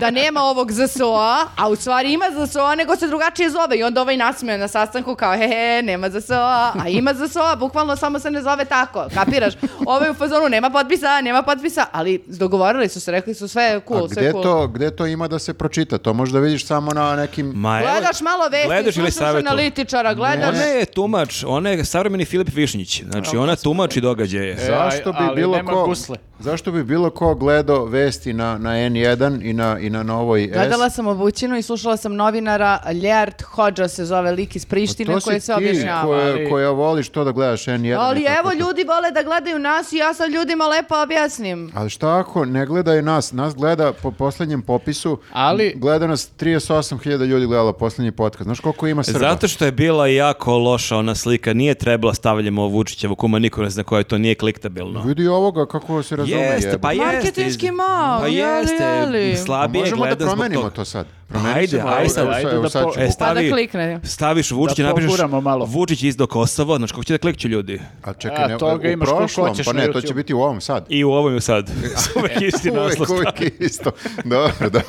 Speaker 1: da nema ovog ZSO-a, a u stvari ima ZSO-a nego se drugačije zove i onda ovaj nasmeo na sastanku kao he he, nema ZSO-a, a ima ZSO-a, bukvalno samo se ne zove tako, kapiraš? Ovaj u fazonu nema potpisa, nema potpisa, ali dogovorili su se, rekli su sve je cool,
Speaker 2: A
Speaker 1: sve je
Speaker 2: gde
Speaker 1: cool.
Speaker 2: to, gde to ima da se pročita? To možda vidiš samo na nekim...
Speaker 3: Ma, evo-
Speaker 1: Gledaš malo vesti,
Speaker 3: Gledaš ili
Speaker 1: slušaš
Speaker 3: savjetu?
Speaker 1: analitičara, gledaš...
Speaker 3: Ona je tumač, ona je savremeni Filip Višnjić. Znači, ona tumači događaje.
Speaker 4: E,
Speaker 2: Zašto
Speaker 4: aj,
Speaker 2: bi
Speaker 4: ali
Speaker 2: bilo
Speaker 4: nema
Speaker 2: ko...
Speaker 4: gusle.
Speaker 2: Zašto bi bilo ko gledao vesti na, na N1 i na, i na Novoj S?
Speaker 1: Gledala sam obućinu i slušala sam novinara Ljert Hođa se zove lik iz Prištine
Speaker 2: Pa To si
Speaker 1: koji se
Speaker 2: ti
Speaker 1: objašnjava.
Speaker 2: koja-
Speaker 4: ali-
Speaker 2: koja voliš to da gledaš N1. i
Speaker 1: Ali
Speaker 2: tako
Speaker 1: evo
Speaker 2: to.
Speaker 1: ljudi vole da gledaju nas i ja sad ljudima lepo objasnim.
Speaker 2: Ali šta ako ne gledaju nas? Nas gleda po posljednjem popisu.
Speaker 4: Ali-
Speaker 2: Gleda nas 38.000 ljudi gledalo posljednji podcast. Znaš koliko ima Srba?
Speaker 3: Zato što je bila jako loša ona slika, nije trebala stavljamo Vučićevu kuma, niko ne zna koja je to, nije kliktabilno.
Speaker 2: Vidi ovoga kako se razume.
Speaker 3: Jeste,
Speaker 2: jebote.
Speaker 3: pa jeste.
Speaker 1: Marketinški mag,
Speaker 3: Pa
Speaker 1: jeli,
Speaker 3: jeste,
Speaker 1: jeli.
Speaker 2: A Pa
Speaker 3: slabije
Speaker 2: možemo da
Speaker 3: gleda zbog
Speaker 2: promenimo
Speaker 3: toga.
Speaker 2: to sad.
Speaker 3: Ajde,
Speaker 2: ćemo,
Speaker 3: aj
Speaker 2: evo,
Speaker 3: sad.
Speaker 2: evo,
Speaker 4: pa, Ajde
Speaker 2: evo,
Speaker 4: da
Speaker 2: sad
Speaker 4: po-
Speaker 2: ćemo.
Speaker 3: E,
Speaker 1: Pa da
Speaker 3: stavi,
Speaker 1: klikne.
Speaker 3: staviš Vučić, i napišeš
Speaker 4: poguramo malo.
Speaker 3: Vučić izdo Kosovo, znači kako će da klikću ljudi?
Speaker 2: A čekaj,
Speaker 4: A,
Speaker 2: ne,
Speaker 4: toga
Speaker 2: u
Speaker 4: imaš koliko
Speaker 2: prošlom,
Speaker 4: hoćeš
Speaker 2: pa
Speaker 4: na
Speaker 2: ne, to
Speaker 4: YouTube.
Speaker 2: će biti u ovom sad.
Speaker 3: I u ovom je sad. Uvijek isti naslov.
Speaker 2: Uvijek, uvijek isto. Dobro, da.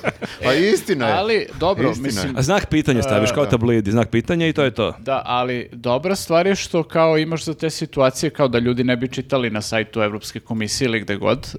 Speaker 2: Pa istina je.
Speaker 4: E, Ali, dobro,
Speaker 2: Istina je.
Speaker 4: mislim,
Speaker 3: A znak pitanja staviš, kao tablidi, znak pitanja i to je to.
Speaker 4: Da, ali dobra stvar je što kao imaš za te situacije kao da ljudi ne bi čitali na sajtu Evropske komisije ili gde god.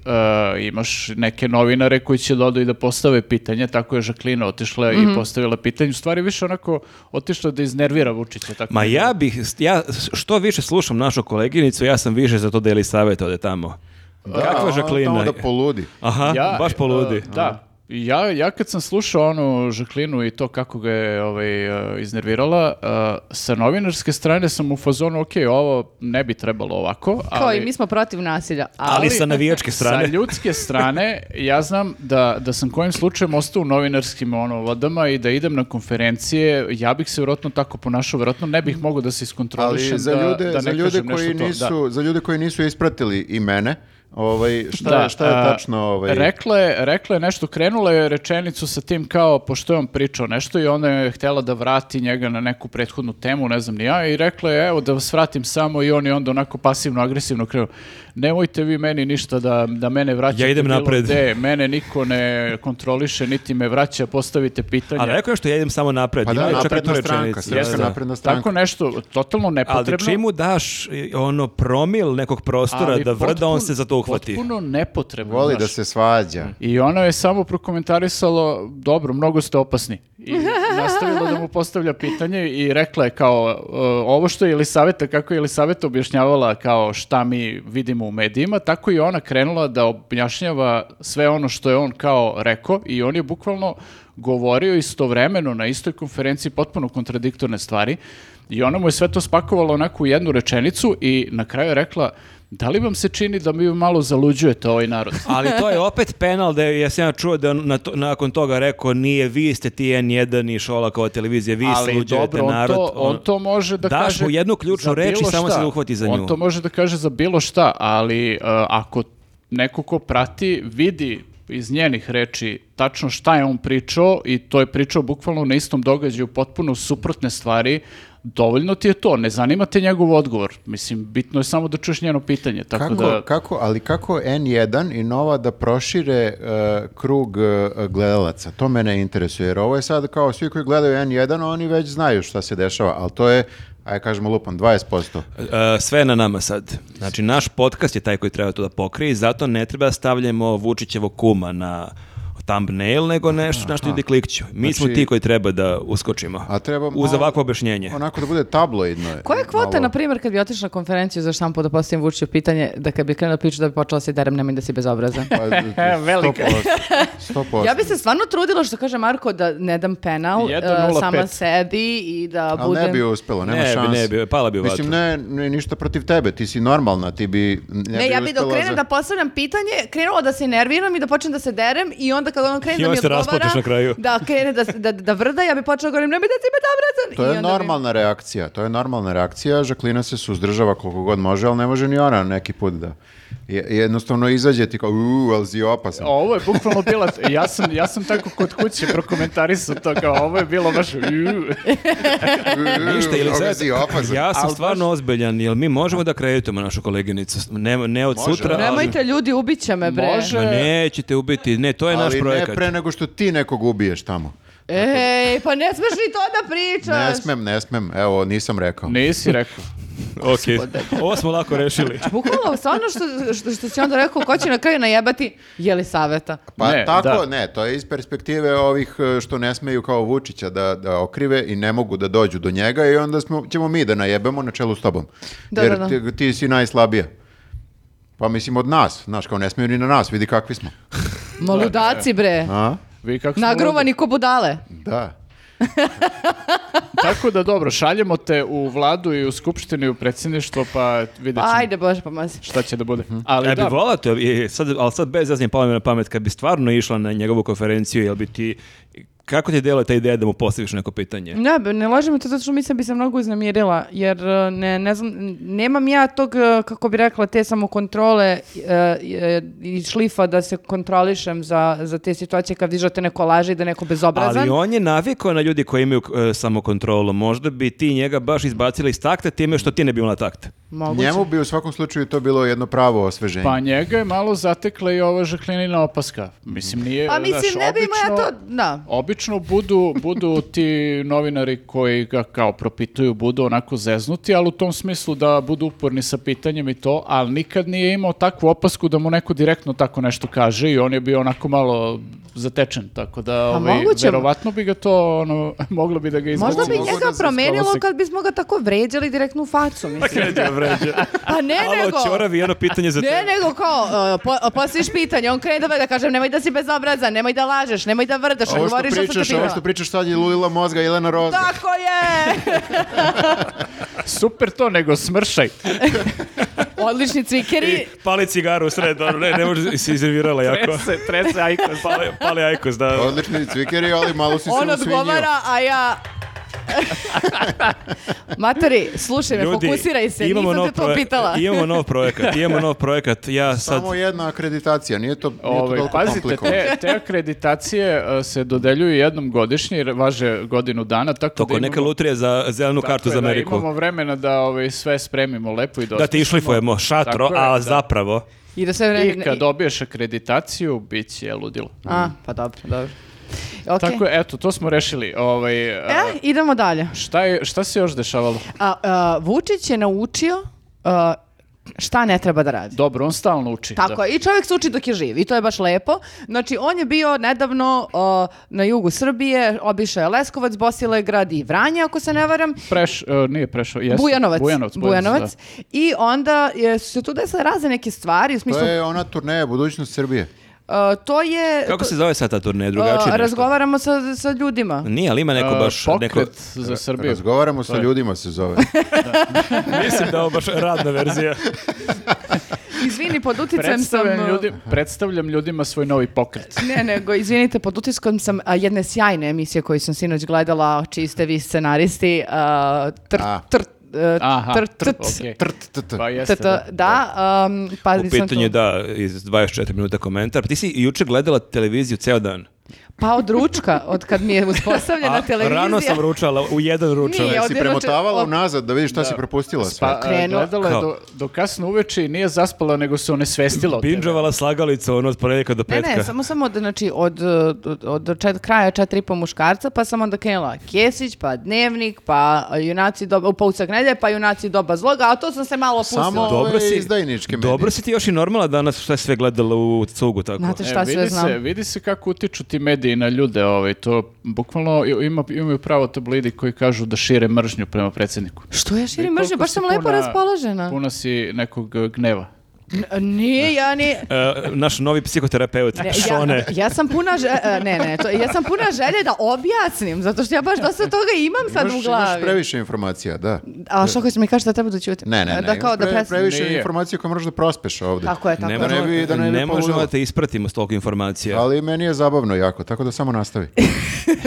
Speaker 4: e, imaš neke novinare koji će dodu i da postave pitanje, tako je Žaklina otišla i postavila pitanje. U stvari više onako otišla da iznervira Vučića. Tako
Speaker 3: Ma ja bih, ja što više slušam našu koleginicu, ja sam više za to da je Elisaveta ode tamo.
Speaker 2: Da,
Speaker 3: Kakva
Speaker 2: ono tamo
Speaker 3: Žaklina?
Speaker 2: da poludi.
Speaker 3: Aha,
Speaker 4: Ja,
Speaker 3: baš poludi.
Speaker 4: e, da. Ja, ja kad sam slušao onu Žaklinu i to kako ga je ovaj, e, iznervirala, e, sa novinarske strane sam u fazonu, ok, ovo ne bi trebalo ovako.
Speaker 1: Kao
Speaker 4: ali-
Speaker 1: i mi smo protiv nasilja.
Speaker 3: ali,
Speaker 1: Ali,
Speaker 3: sa navijačke strane.
Speaker 4: Sa ljudske strane, ja znam da, da sam kojim slučajem ostao u novinarskim ono, vodama i da idem na konferencije, ja bih se vjerojatno tako ponašao, vjerojatno ne bih mogao da se iskontrolišem,
Speaker 2: Ali za
Speaker 4: da,
Speaker 2: ljude,
Speaker 4: da ne
Speaker 2: za ljude
Speaker 4: kažem
Speaker 2: koji
Speaker 4: nešto to. Da.
Speaker 2: nisu, za ljude koji nisu ispratili i mene, ovaj šta
Speaker 4: Da,
Speaker 2: je, šta je
Speaker 4: a,
Speaker 2: tačno ovaj
Speaker 4: Rekla je, rekla je nešto, krenula je rečenicu sa tim kao, pošto je on pričao nešto i onda je htjela da vrati njega na neku prethodnu temu, ne znam ni ja, i rekla je, evo da vas vratim samo i on je onda onako pasivno, agresivno krenuo. Nemojte vi meni ništa da, da mene vraćate.
Speaker 3: Ja idem
Speaker 4: bilo
Speaker 3: napred."
Speaker 4: gde, mene niko ne kontroliše, niti me vraća, postavite pitanje.
Speaker 3: Ali rekao je što ja idem samo napred.
Speaker 2: pa
Speaker 3: Ima
Speaker 2: da
Speaker 3: čak i tu
Speaker 2: napredna stranka,
Speaker 3: rečenicu.
Speaker 2: srpska
Speaker 3: Da.
Speaker 2: napredna stranka.
Speaker 4: Tako nešto, totalno nepotrebno.
Speaker 3: Ali čim mu daš i, ono promil nekog prostora
Speaker 4: ali
Speaker 3: da vrda, on
Speaker 4: potpun-
Speaker 3: se za to uhvati.
Speaker 4: Potpuno nepotrebno.
Speaker 2: Voli da
Speaker 4: znaš.
Speaker 2: se svađa.
Speaker 4: I ono je samo prokomentarisalo, dobro, mnogo ste opasni. I nastavilo da mu postavlja pitanje i rekla je kao, e, ovo što je Elisaveta, kako je Elisaveta objašnjavala kao šta mi vidimo u medijima, tako i ona krenula da objašnjava sve ono što je on kao rekao i on je bukvalno govorio istovremeno na istoj konferenciji potpuno kontradiktorne stvari i ona mu je sve to spakovala onako u jednu rečenicu i na kraju je rekla, da li vam se čini da mi malo zaluđujete ovaj narod?
Speaker 3: Ali to je opet penal da je, ja sam ja čuo da je on na to- nakon toga rekao nije vi ste ti N1 i Šolakova televizija, vi
Speaker 4: ali
Speaker 3: sluđujete
Speaker 4: dobro, on,
Speaker 3: narod.
Speaker 4: to, on
Speaker 3: ono.
Speaker 4: to može da
Speaker 3: Daš
Speaker 4: kaže...
Speaker 3: mu jednu ključnu
Speaker 4: za
Speaker 3: reč i
Speaker 4: bilo
Speaker 3: samo
Speaker 4: šta.
Speaker 3: se uhvati za nju.
Speaker 4: On to može da kaže za bilo šta, ali uh, ako neko ko prati vidi iz njenih reči tačno šta je on pričao i to je pričao bukvalno na istom događaju potpuno suprotne stvari, dovoljno ti je to, ne zanima te njegov odgovor. Mislim, bitno je samo da čuješ njeno pitanje. Tako
Speaker 2: Kako,
Speaker 4: da,
Speaker 2: kako, ali kako N1 i Nova da prošire e, krug e, gledalaca? To mene interesuje, jer ovo je sad kao svi koji gledaju N1, oni već znaju šta se dešava, ali to je, aj kažemo lupam, 20%.
Speaker 3: E, sve je na nama sad. Znači, naš podcast je taj koji treba to da pokrije i zato ne treba da stavljamo Vučićevo kuma na thumbnail, nego nešto na što ljudi klikću. Mi smo ti koji treba da uskočimo.
Speaker 2: Znači, A treba
Speaker 3: Uz
Speaker 2: malo- Ono,
Speaker 3: ovakvo objašnjenje.
Speaker 2: Onako da bude tabloidno. je.
Speaker 1: koja je kvota,
Speaker 2: Malo-
Speaker 1: na primjer, kad bi otišla na konferenciju za štampu da postavim Vučiću pitanje, da kad bi krenula priča da bi počela se derem, nemoj da si bezobrazan.
Speaker 2: Pa, e,
Speaker 4: Velika.
Speaker 2: 100%. 100%.
Speaker 1: Ja bi se stvarno trudila što kaže Marko da ne dam penal
Speaker 4: Jedan,
Speaker 1: e,
Speaker 4: nula,
Speaker 1: sama
Speaker 4: pet.
Speaker 1: sebi i da
Speaker 2: Ali
Speaker 1: budem...
Speaker 2: ne bi uspelo, nema
Speaker 3: Ne bi,
Speaker 2: šanse.
Speaker 3: ne bi, pala bi u
Speaker 2: Mislim,
Speaker 3: vatru.
Speaker 2: ne, ne, ništa protiv tebe, ti si normalna, ti bi... Ne,
Speaker 1: Ne,
Speaker 2: bi
Speaker 1: ja bi dok
Speaker 2: uspela
Speaker 1: krenem
Speaker 2: za-
Speaker 1: da postavljam pitanje, krenula da se nerviram i da počnem da se derem i onda kad ono krene
Speaker 3: I
Speaker 1: da
Speaker 3: onda
Speaker 1: mi
Speaker 3: se
Speaker 1: odgovara,
Speaker 3: rasplačeš na kraju.
Speaker 1: da krene da, da, da vrda, ja bi počela da govorim, nemoj da si me dobrazan.
Speaker 2: To
Speaker 1: I
Speaker 2: je
Speaker 1: onda bi-
Speaker 2: normalna reakcija, to je normalna reakcija, Žaklina se suzdržava koliko god može, ali ne može ni ona neki put da... Je- Jednostavno izađe ti kao, uuu, ali zi opasno.
Speaker 4: Ovo je bukvalno bila, ja sam, ja sam tako kod kuće prokomentarisao to kao ovo je bilo baš "Ju."
Speaker 2: Uuu,
Speaker 3: Ništa, ili
Speaker 2: ali ono, zi opasno.
Speaker 3: Ja sam
Speaker 4: Ali baš-
Speaker 3: stvarno ozbiljan, jel mi možemo da kreditujemo našu koleginicu? Ne, ne od
Speaker 2: Može.
Speaker 3: sutra, ali-
Speaker 1: Nemojte ljudi, ubit će me bre.
Speaker 4: Može.
Speaker 3: Ma nećete ubiti, ne, to je naš
Speaker 2: Ali ne
Speaker 3: projekat.
Speaker 2: pre nego što ti nekog ubiješ tamo.
Speaker 1: Ej, pa ne smeš ni to da pričaš.
Speaker 2: Ne smem, ne smem, evo, nisam rekao.
Speaker 4: Nisi rekao.
Speaker 3: Ok, ovo smo lako rešili.
Speaker 1: Bukvalno, stvarno što, što, što si onda rekao, ko će na kraju najebati, jeli saveta.
Speaker 2: Pa
Speaker 4: Ne,
Speaker 2: tako,
Speaker 4: da.
Speaker 2: ne, to je iz perspektive ovih e, što ne smeju kao Vučića da, da okrive i ne mogu da dođu do njega i onda smo, ćemo mi da najebemo na čelu s tobom.
Speaker 1: Da,
Speaker 2: Jer
Speaker 1: da, da.
Speaker 2: Ti, ti si najslabija. Pa mislim od nas, znaš, kao ne smeju ni na nas, vidi kakvi smo.
Speaker 1: Ma ludaci bre.
Speaker 2: A?
Speaker 4: Vi kako smo
Speaker 1: Nagruvani ko budale.
Speaker 2: Da.
Speaker 4: uradili. Tako da dobro, šaljemo te u vladu i u skupštinu i u predsjedništvo pa vidjet ćemo
Speaker 1: Ajde Bože, pomozi.
Speaker 4: šta će da bude. Ali
Speaker 3: Ja bi
Speaker 4: da,
Speaker 3: volao to, i sad, ali sad bez jaznje palo mi na pamet, kad bi stvarno išla na njegovu konferenciju, jel bi ti, kako ti djeluje ta ideja da mu postaviš neko pitanje?
Speaker 1: Ne, b- ne laži me to zato što mislim bi se mnogo uznemirila, jer e, ne, ne znam, n- nemam ja tog, e, kako bi rekla, te samokontrole e, e, i šlifa da se kontrolišem za, za te situacije kad dižete neko laže i da je neko bezobrazan.
Speaker 3: Ali on je navikao na ljudi koji imaju e, samokontrolu. Možda bi ti njega baš izbacili iz takta time što ti ne bi imala takta.
Speaker 1: Moguće.
Speaker 2: Njemu bi u svakom slučaju to bilo jedno pravo osveženje.
Speaker 4: pa njega je malo zatekla i ova žaklinina opaska. Mislim nije,
Speaker 1: Pa mislim,
Speaker 4: znaš,
Speaker 1: ne bi imao ja
Speaker 4: obično-
Speaker 1: to, da.
Speaker 4: Obično budu, budu ti novinari koji ga kao propituju, budu onako zeznuti, ali u tom smislu da budu uporni sa pitanjem i to, ali nikad nije imao takvu opasku da mu neko direktno tako nešto kaže i on je bio onako malo zatečen, tako da ovaj,
Speaker 1: Pa moguće-
Speaker 4: verovatno bi ga to, ono, moglo bi da ga izbaci.
Speaker 1: Možda bi
Speaker 2: mogu da
Speaker 1: njega
Speaker 2: se
Speaker 1: promenilo
Speaker 4: spavasi.
Speaker 1: kad bismo ga tako vređali direktno u facu, mislim. Pa ne, nego...
Speaker 3: Alo, Ćoravi, jedno pitanje za
Speaker 1: Ne,
Speaker 3: tebe.
Speaker 1: nego kao, uh, po, postaviš pitanje, on krene da me da kažem nemoj da si bezobrazan, nemoj da lažeš, nemoj da vrdaš,
Speaker 2: Ovo što
Speaker 1: govoriš što sam
Speaker 2: pričaš,
Speaker 1: ti
Speaker 2: ovo
Speaker 1: bila.
Speaker 2: što pričaš sad je lulila mozga Jelena Roza.
Speaker 1: Tako je!
Speaker 4: Super to, nego smršaj.
Speaker 1: Odlični cvikeri.
Speaker 3: I
Speaker 4: E,
Speaker 3: pali cigaru u sred, ono, ne, ne može, se iznervirala jako.
Speaker 4: Trese, trese, pa- ajko.
Speaker 3: Pali, pali ajkos, da.
Speaker 2: Odlični cvikeri, ali malo si se
Speaker 1: On
Speaker 2: usvinjio.
Speaker 1: odgovara, a ja... Matari, slušaj me, fokusiraj se,
Speaker 3: imamo
Speaker 1: nisam
Speaker 4: ono
Speaker 3: nov
Speaker 1: te to
Speaker 3: proje-
Speaker 1: pitala.
Speaker 3: Imamo nov projekat, imamo nov projekat. Ja sad...
Speaker 2: Samo jedna akreditacija, nije to, nije to
Speaker 4: Ovaj,
Speaker 2: toliko
Speaker 4: pazite,
Speaker 2: komplikovano.
Speaker 4: te, te akreditacije uh, se dodeljuju jednom godišnje, jer važe godinu dana, tako
Speaker 3: To
Speaker 4: da
Speaker 3: kao
Speaker 4: imamo...
Speaker 3: neka lutrija za zelenu
Speaker 4: Tako
Speaker 3: kartu
Speaker 4: je,
Speaker 3: za
Speaker 4: da,
Speaker 3: Ameriku.
Speaker 4: imamo vremena da ovaj, sve spremimo lepo i
Speaker 3: Da ti išlifujemo šatro,
Speaker 4: Tako je,
Speaker 3: a
Speaker 4: da.
Speaker 3: zapravo...
Speaker 1: I da sve
Speaker 4: I
Speaker 1: vreme...
Speaker 4: kad dobiješ akreditaciju, bit će ludilo.
Speaker 1: A, pa dobro, dobro. Ok.
Speaker 4: Tako je, eto, to smo rešili. Ovaj, a,
Speaker 1: E, idemo dalje.
Speaker 4: šta, je, šta se još dešavalo?
Speaker 1: A, a, Vučić je naučio a, šta ne treba da radi.
Speaker 4: Dobro, on stalno uči.
Speaker 1: Tako
Speaker 4: da.
Speaker 1: je, i čovjek se uči dok je živ i to je baš lepo. Znači, on je bio nedavno o, na jugu Srbije, obišao je Leskovac, Bosilegrad i Vranje, ako se ne varam,
Speaker 4: Preš, e, nije prešao, jeste.
Speaker 1: Bujanovac.
Speaker 4: Bujanovac,
Speaker 1: Bujanovac. I onda je, su se tu desile razne neke stvari, u smislu,
Speaker 2: To je ona turneja Budućnost Srbije.
Speaker 1: a, to je...
Speaker 3: Kako
Speaker 1: to-
Speaker 3: se zove sad ta turneja?
Speaker 1: a,
Speaker 3: Drugačije nešto?
Speaker 1: razgovaramo sa, sa ljudima.
Speaker 3: Nije, ali ima
Speaker 4: Da.
Speaker 3: neko
Speaker 4: E,
Speaker 3: baš...
Speaker 4: pokret
Speaker 3: Neko,
Speaker 4: za Srbiju.
Speaker 2: Razgovaramo sa
Speaker 4: je.
Speaker 2: ljudima se zove.
Speaker 3: mislim da je ovo baš radna verzija.
Speaker 1: Izvini, pod uticajem sam... e.
Speaker 4: Predstavljam,
Speaker 1: a,
Speaker 4: ljudi, predstavljam ljudima svoj novi pokret.
Speaker 1: Ne, nego, izvinite, pod utiskom sam a, jedne sjajne emisije koju sam sinoć gledala, čiji ste vi scenaristi, a, tr,
Speaker 2: A.
Speaker 1: tr, e,
Speaker 4: Aha,
Speaker 1: tr,
Speaker 4: tr,
Speaker 1: trt,
Speaker 4: okej.
Speaker 2: Trt, trt,
Speaker 4: Pa jeste,
Speaker 1: trt, da, um, pa
Speaker 3: U
Speaker 1: sam
Speaker 3: pitanju,
Speaker 1: tu.
Speaker 3: da, iz 24 minuta komentar. Ti si juče gledala televiziju ceo dan.
Speaker 1: Pa od ručka, od kad mi je uspostavljena televizija.
Speaker 3: rano sam ručala, u jedan ručak.
Speaker 1: Nije,
Speaker 2: Si
Speaker 1: Ovdje
Speaker 2: premotavala
Speaker 1: noće-
Speaker 2: unazad da vidiš šta si propustila sve.
Speaker 4: Pa, e,
Speaker 1: Krenuo.
Speaker 4: gledala je
Speaker 3: Kao?
Speaker 4: do, do kasno uveče i nije zaspala, nego se onesvestila od tebe.
Speaker 3: Binđovala slagalicu ono od ponedjeljka do
Speaker 1: Ne,
Speaker 3: petka.
Speaker 1: ne, samo samo od, znači, od, od, od čet- kraja četiri i po muškarca, pa sam onda krenula Kesić, pa Dnevnik, pa Junaci doba, pa Ucak nedjelje, pa Junaci doba zloga, a to sam se malo opustila.
Speaker 2: Samo ove
Speaker 3: Dobro si,
Speaker 2: izdajničke medije.
Speaker 3: dobro si ti još i normala danas šta je sve gledala u cugu tako.
Speaker 1: Znate
Speaker 4: E,
Speaker 1: šta sve
Speaker 4: vidi
Speaker 1: znam.
Speaker 4: Se, vidi se kako utiču ti mediji na ljude, ovaj, to bukvalno i- ima, imaju pravo tablidi koji kažu da šire mržnju prema predsjedniku.
Speaker 1: Što ja širim
Speaker 4: I koliko
Speaker 1: mržnju, baš
Speaker 4: si
Speaker 1: sam lepo
Speaker 4: puna-
Speaker 1: raspoložena.
Speaker 4: Puna si nekog e, gneva.
Speaker 1: N- Nije, ja ni...
Speaker 3: E, naš novi psihoterapeut,
Speaker 1: Ne,
Speaker 3: Šone.
Speaker 1: ja, ja sam puna želje, ne, ne, to, ja sam puna želje da objasnim, zato što ja baš dosta toga imam sad
Speaker 2: Imaš,
Speaker 1: u glavi.
Speaker 2: imaš previše informacija, da.
Speaker 1: A što hoćeš mi kaži da treba da ćutim?
Speaker 2: Ne, ne, ne.
Speaker 1: Da kao da
Speaker 2: pre-
Speaker 1: pres-
Speaker 2: previše
Speaker 4: Nije.
Speaker 2: informacija koje moraš da prospeš ovde.
Speaker 1: Tako je, tako
Speaker 3: Ne,
Speaker 1: je.
Speaker 2: Da ne bi- da ne bi
Speaker 3: ne možemo
Speaker 2: poludeo.
Speaker 3: da te ispratimo s toliko informacija.
Speaker 2: Ali meni je zabavno jako, tako da samo nastavi.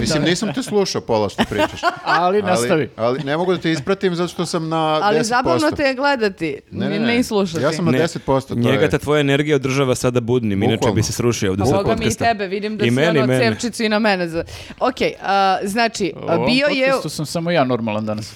Speaker 2: Mislim, nisam te slušao pola što pričaš.
Speaker 4: Ali nastavi.
Speaker 2: Ali, ali ne mogu da te ispratim zato što sam na 10%.
Speaker 1: Ali zabavno te je gledati,
Speaker 2: Ne, ne,
Speaker 1: ni-
Speaker 2: ne.
Speaker 1: ne i slušati.
Speaker 2: Ja sam na
Speaker 3: Ne,
Speaker 2: 10%. 100%. to
Speaker 3: Njega
Speaker 2: je.
Speaker 3: ta tvoja energija održava sada budnim, inače
Speaker 2: Bukvalno.
Speaker 3: bi se srušio ovdje
Speaker 1: A
Speaker 3: sa
Speaker 1: Boga mi i
Speaker 3: podcasta.
Speaker 1: tebe, vidim da
Speaker 3: I
Speaker 1: si
Speaker 3: meni,
Speaker 1: ono
Speaker 3: mene.
Speaker 1: cepčicu i na mene. za- Ok, a, znači,
Speaker 4: U
Speaker 1: a,
Speaker 4: ovom
Speaker 1: bio je...
Speaker 4: podcastu sam samo ja normalan danas.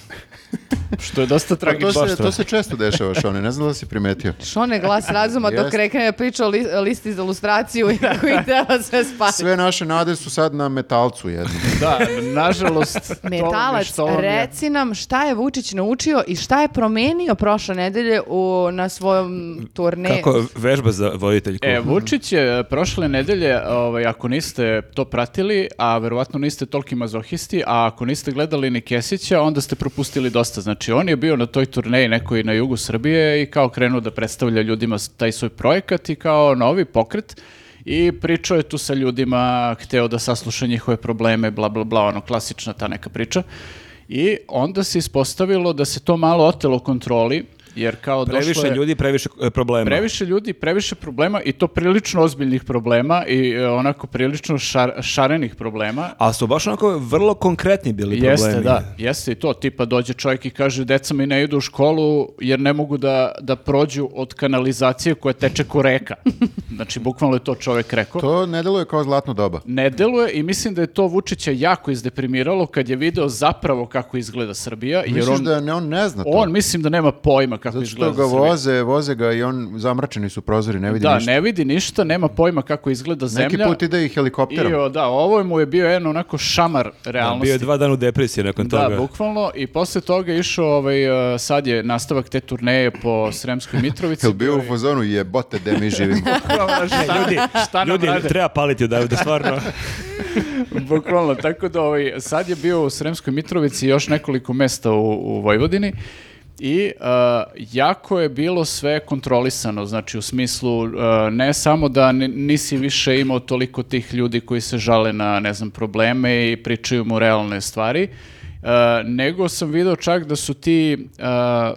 Speaker 4: Što je dosta
Speaker 2: Pa to,
Speaker 4: tragično.
Speaker 2: se, to se često dešava, Šone, ne znam da li si primetio.
Speaker 1: Šone glas razuma dok
Speaker 2: Jeste.
Speaker 1: rekne je pričao li, listi za ilustraciju i kako ih treba sve spati.
Speaker 2: Sve naše nade su sad na metalcu jednom.
Speaker 4: Da, nažalost. to mi je
Speaker 1: Metalac,
Speaker 4: što vam je.
Speaker 1: reci nam šta je Vučić naučio i šta je promenio prošle nedelje u, na svojom turneju.
Speaker 3: Kako vežba za voditeljku.
Speaker 4: E, Vučić je prošle nedelje, ovaj, ako niste to pratili, a verovatno niste toliki mazohisti, a ako niste gledali ni Kesića, onda ste propustili dosta. Znači, on je bio na toj turneji nekoj na jugu Srbije i kao krenuo da predstavlja ljudima taj svoj projekat i kao novi pokret i pričao je tu sa ljudima, hteo da sasluša njihove probleme, bla, bla, bla, ono, klasična ta neka priča. I onda se ispostavilo da se to malo otelo kontroli, jer kao došlo
Speaker 3: previše
Speaker 4: je...
Speaker 3: ljudi, previše e, problema.
Speaker 4: Previše ljudi, previše problema i to prilično ozbiljnih problema i e, onako prilično šar- šarenih problema.
Speaker 3: Ali su baš onako vrlo konkretni bili
Speaker 4: Jeste,
Speaker 3: problemi.
Speaker 4: da. Jeste i to. Tipa dođe čovjek i kaže, deca mi ne idu u školu jer ne mogu da, da prođu od kanalizacije koja teče ko reka. Znači, bukvalno je to čovjek rekao.
Speaker 2: To ne deluje kao zlatno doba.
Speaker 4: Ne deluje i mislim da je to Vučića jako izdeprimiralo kad je video zapravo kako izgleda Srbija. Jer
Speaker 2: Misliš
Speaker 4: on,
Speaker 2: da ne, on ne zna to?
Speaker 4: on mislim da nema pojma kako
Speaker 2: Zato
Speaker 4: izgleda
Speaker 2: što ga
Speaker 4: Srbija.
Speaker 2: voze, voze ga i on zamračeni su prozori, ne vidi
Speaker 4: Da,
Speaker 2: ništa.
Speaker 4: ne vidi ništa, nema pojma kako izgleda zemlja.
Speaker 2: Neki put ide i helikopterom.
Speaker 4: I o, da, ovo mu je bio jedan onako šamar
Speaker 3: Da,
Speaker 4: realnosti.
Speaker 3: bio je dva dana u depresiji nakon
Speaker 4: Da,
Speaker 3: toga.
Speaker 4: bukvalno. I posle toga je išao, ovaj, e, sad je nastavak te turneje po Sremskoj Mitrovici.
Speaker 2: Jel bio u fazonu jebote gde mi živimo?
Speaker 4: Bukvalno, šta, ljudi, šta nam
Speaker 3: Ljudi,
Speaker 4: rade?
Speaker 3: treba paliti odavde, stvarno.
Speaker 4: Bukvalno, tako da ovaj, sad je bio u Sremskoj Mitrovici i još nekoliko mesta u, u Vojvodini i uh, jako je bilo sve kontrolisano, znači u smislu uh, ne samo da ni- nisi više imao toliko tih ljudi koji se žale na, ne znam, probleme i pričaju mu realne stvari, uh, nego sam video čak da su ti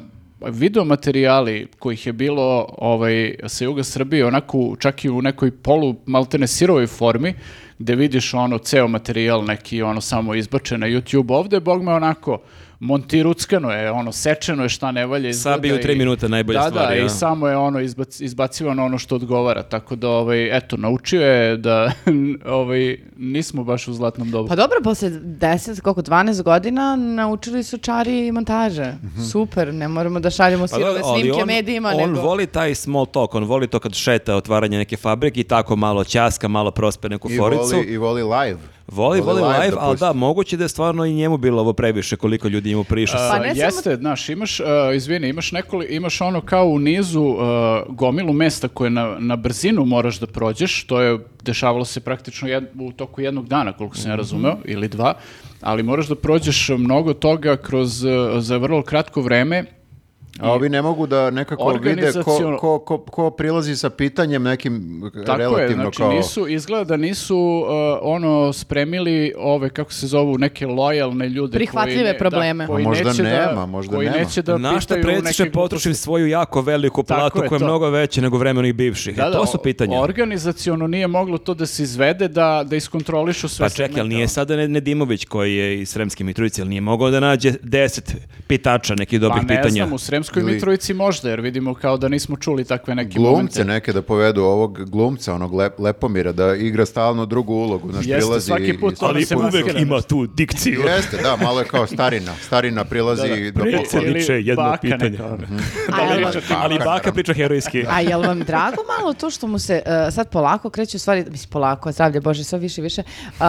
Speaker 4: uh, video materijali kojih je bilo ovaj, sa juga Srbije onako čak i u nekoj polu maltene sirovoj formi gde vidiš ono ceo materijal neki ono samo izbačen na YouTube ovde bog me onako montiruckano je ono sečeno je šta ne valja izgleda
Speaker 3: Sabi u
Speaker 4: i-
Speaker 3: tri minuta najbolje
Speaker 4: da,
Speaker 3: stvari.
Speaker 4: da,
Speaker 3: ono.
Speaker 4: i samo je ono izbac, izbacivano ono što odgovara tako da ovaj, eto naučio je da ovaj, nismo baš u zlatnom dobu
Speaker 1: Pa dobro, posle 10, koliko, 12 godina naučili su čari i montaže. Super, ne moramo da šaljemo
Speaker 3: Pa da,
Speaker 1: sirove
Speaker 3: ali
Speaker 1: snimke
Speaker 3: on,
Speaker 1: medijima.
Speaker 3: on
Speaker 1: nego...
Speaker 3: voli taj small talk, on voli to kad šeta otvaranje neke fabrike i tako malo ćaska, malo prospe neku
Speaker 2: I
Speaker 3: foricu.
Speaker 2: voli, I voli live.
Speaker 3: Voli, voli, live, ali
Speaker 2: pusti.
Speaker 3: da, moguće da je stvarno i njemu bilo ovo previše koliko ljudi njemu prišlo.
Speaker 1: Pa
Speaker 4: Pa
Speaker 1: ne samo-
Speaker 4: jeste, znaš, imaš, uh, izvini, imaš nekoli, imaš ono kao u nizu uh, gomilu mesta koje na, na brzinu moraš da prođeš, to je dešavalo se praktično jed, u toku jednog dana, koliko sam ja
Speaker 2: Mhm.
Speaker 4: razumeo, ili dva, ali moraš da prođeš mnogo toga kroz, uh, za vrlo kratko vreme,
Speaker 2: A ovi ne mogu da nekako vide ko,
Speaker 4: Organizaciono-
Speaker 2: ko, ko, ko prilazi sa pitanjem nekim
Speaker 4: Tako je,
Speaker 2: relativno
Speaker 4: znači
Speaker 2: kao...
Speaker 4: nisu, izgleda da nisu uh, ono spremili ove, kako se zovu, neke lojalne ljude. koji
Speaker 1: Prihvatljive
Speaker 4: ne-
Speaker 1: probleme.
Speaker 4: Da, koji
Speaker 2: A možda
Speaker 4: neće da,
Speaker 2: nema, možda
Speaker 4: koji
Speaker 2: nema.
Speaker 4: neće da
Speaker 3: Na šta
Speaker 4: pitaju
Speaker 3: predsječe
Speaker 4: neke gluposti.
Speaker 3: potrošim svoju jako veliku
Speaker 4: Tako
Speaker 3: platu
Speaker 4: je
Speaker 3: koja je
Speaker 4: to.
Speaker 3: mnogo veća nego vremenih bivših. E, to su pitanja.
Speaker 4: Organizaciono nije moglo to da se izvede, da, da iskontrolišu sve.
Speaker 3: Pa čekaj, jel
Speaker 4: segmente.
Speaker 3: nije sada Ned- Nedimović koji je iz Sremske Mitrovice, jel nije mogao da nađe deset pitača nekih
Speaker 4: Pa
Speaker 3: dobrih
Speaker 4: ne
Speaker 3: pitanja?
Speaker 4: znam, u Sremskoj
Speaker 2: Ili-
Speaker 4: Mitrovici možda, jer vidimo kao da nismo čuli takve neke
Speaker 2: glumce
Speaker 4: momente.
Speaker 2: neke da povedu ovog glumca, onog Lep- Lepomira, da igra stalno drugu ulogu. Znaš,
Speaker 4: Jeste,
Speaker 2: prilazi
Speaker 4: svaki
Speaker 2: i-
Speaker 4: put
Speaker 2: i-
Speaker 4: ono Ali se uvek maskira. ima
Speaker 3: tu dikciju.
Speaker 2: Jeste, da, malo je kao starina. Starina prilazi
Speaker 4: Da, da.
Speaker 2: i do
Speaker 4: Pri-
Speaker 2: poklona.
Speaker 3: Ili Srediče, jedno
Speaker 4: baka
Speaker 3: pitanje.
Speaker 4: neka, ono.
Speaker 1: A jel-
Speaker 2: Priča ti
Speaker 3: Ali
Speaker 2: makar,
Speaker 3: baka
Speaker 2: naravno.
Speaker 3: priča herojski.
Speaker 1: A jel vam drago malo to što mu se uh, sad polako kreću stvari, mislim polako, zdravlje Bože, sve više i više, uh,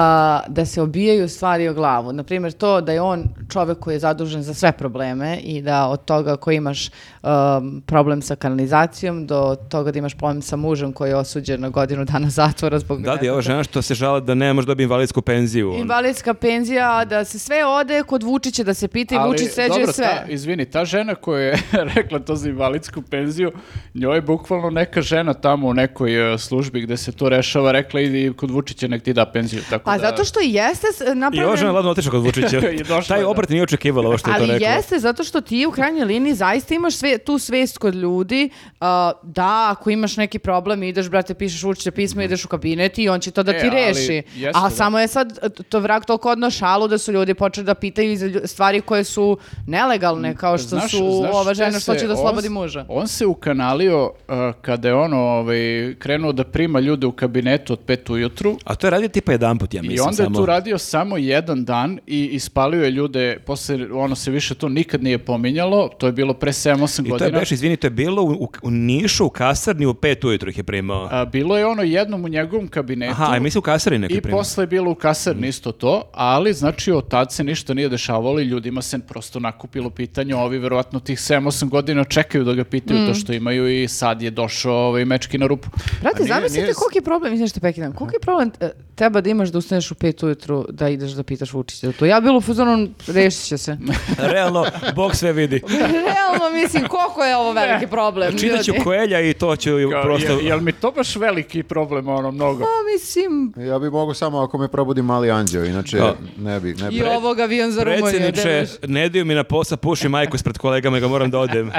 Speaker 1: da se obijaju stvari o glavu. Naprimjer to da je on čovek koji je zadužen za sve probleme i da od toga koji imaš um, problem sa kanalizacijom do toga da imaš problem sa mužem koji je osuđen na godinu dana zatvora zbog...
Speaker 3: Da, da je ova žena što se žala da ne može dobiti invalidsku penziju. ono.
Speaker 1: Invalidska penzija, a da se sve ode kod Vučića da se pita i
Speaker 4: Ali,
Speaker 1: Vučić sređuje
Speaker 4: dobro,
Speaker 1: sve.
Speaker 4: Ta, izvini, ta žena koja je rekla to za invalidsku penziju, njoj je bukvalno neka žena tamo u nekoj e, službi gde se to rešava, rekla idi kod Vučića nek ti da penziju. Tako
Speaker 1: Pa
Speaker 4: da,
Speaker 1: zato što i jeste s-
Speaker 3: I
Speaker 1: napravljen...
Speaker 3: ova žena je ladno otišla kod Vučića.
Speaker 4: I došla je,
Speaker 3: Taj
Speaker 4: da.
Speaker 3: obrat nije očekivala ovo što je to
Speaker 1: Ali
Speaker 3: rekao.
Speaker 1: jeste, zato što ti u krajnjoj liniji zaista imaš sve, tu svest kod ljudi a, da ako imaš neki problem ideš, brate, pišeš učite pismo, ideš u kabinet i on će to da
Speaker 4: Mhm. E,
Speaker 1: ti
Speaker 4: ali
Speaker 1: reši.
Speaker 4: jeste,
Speaker 1: A
Speaker 4: da.
Speaker 1: samo je sad e, to vrag toliko odno šalu da su ljudi počeli da pitaju za lju- stvari koje su nelegalne, kao što
Speaker 4: Mm, Znaš-
Speaker 1: su
Speaker 4: znaš
Speaker 1: ova žena
Speaker 4: šta
Speaker 1: što će
Speaker 4: se-
Speaker 1: da
Speaker 4: on
Speaker 1: slobodi
Speaker 4: s-
Speaker 1: muža.
Speaker 4: On se ukanalio uh, kada je ono ovaj, krenuo da prima ljude u kabinetu od pet ujutru
Speaker 3: A to je radio tipa jedan put, ja mislim.
Speaker 4: I onda je
Speaker 3: samo.
Speaker 4: tu radio samo jedan dan i ispalio je ljude, posle ono se više to nikad nije pominjalo, to je bilo pre 7-8
Speaker 3: I to je
Speaker 4: godina.
Speaker 3: baš, izvini, to je bilo u, u, u Nišu, u kasarni, u pet ujutru ih je primao.
Speaker 4: A, bilo je ono jednom u njegovom kabinetu
Speaker 3: Aha, a mislim u kasarni neko je
Speaker 4: i
Speaker 3: primao.
Speaker 4: posle je bilo u kasarni isto to, ali znači od tad se ništa nije dešavalo i ljudima se prosto nakupilo pitanje, ovi verovatno tih 7-8 godina čekaju da ga pitaju to što imaju i sad je došao ovaj mečki na rupu.
Speaker 2: A
Speaker 1: Brate,
Speaker 2: nije-
Speaker 1: zamislite
Speaker 2: nije-
Speaker 1: koliki je problem, izvini što pekinam, koliki je problem e, teba da imaš da ustaneš u pet ujutru da ideš da pitaš Vučića za to. Ja bilo u fuzonu, rešit će se.
Speaker 3: Realno, Bog sve vidi.
Speaker 1: Realno, mislim, koliko je ovo veliki problem,
Speaker 3: Čitaću
Speaker 1: ljudi?
Speaker 3: Koelja i to ću
Speaker 4: Kao,
Speaker 3: prosto...
Speaker 4: Jel, jel mi to baš veliki problem ono mnogo?
Speaker 1: Pa, mislim,
Speaker 2: Ja bi mogu samo ako me probudi mali anđeo, inače
Speaker 3: Da.
Speaker 2: ne bi, ne bi.
Speaker 1: i ovog avion za Rumuniju.
Speaker 3: Predsjedniče,
Speaker 1: da vidiš.
Speaker 3: ne daju mi na posla, puši majku ispred kolegama, ja ga moram da odem.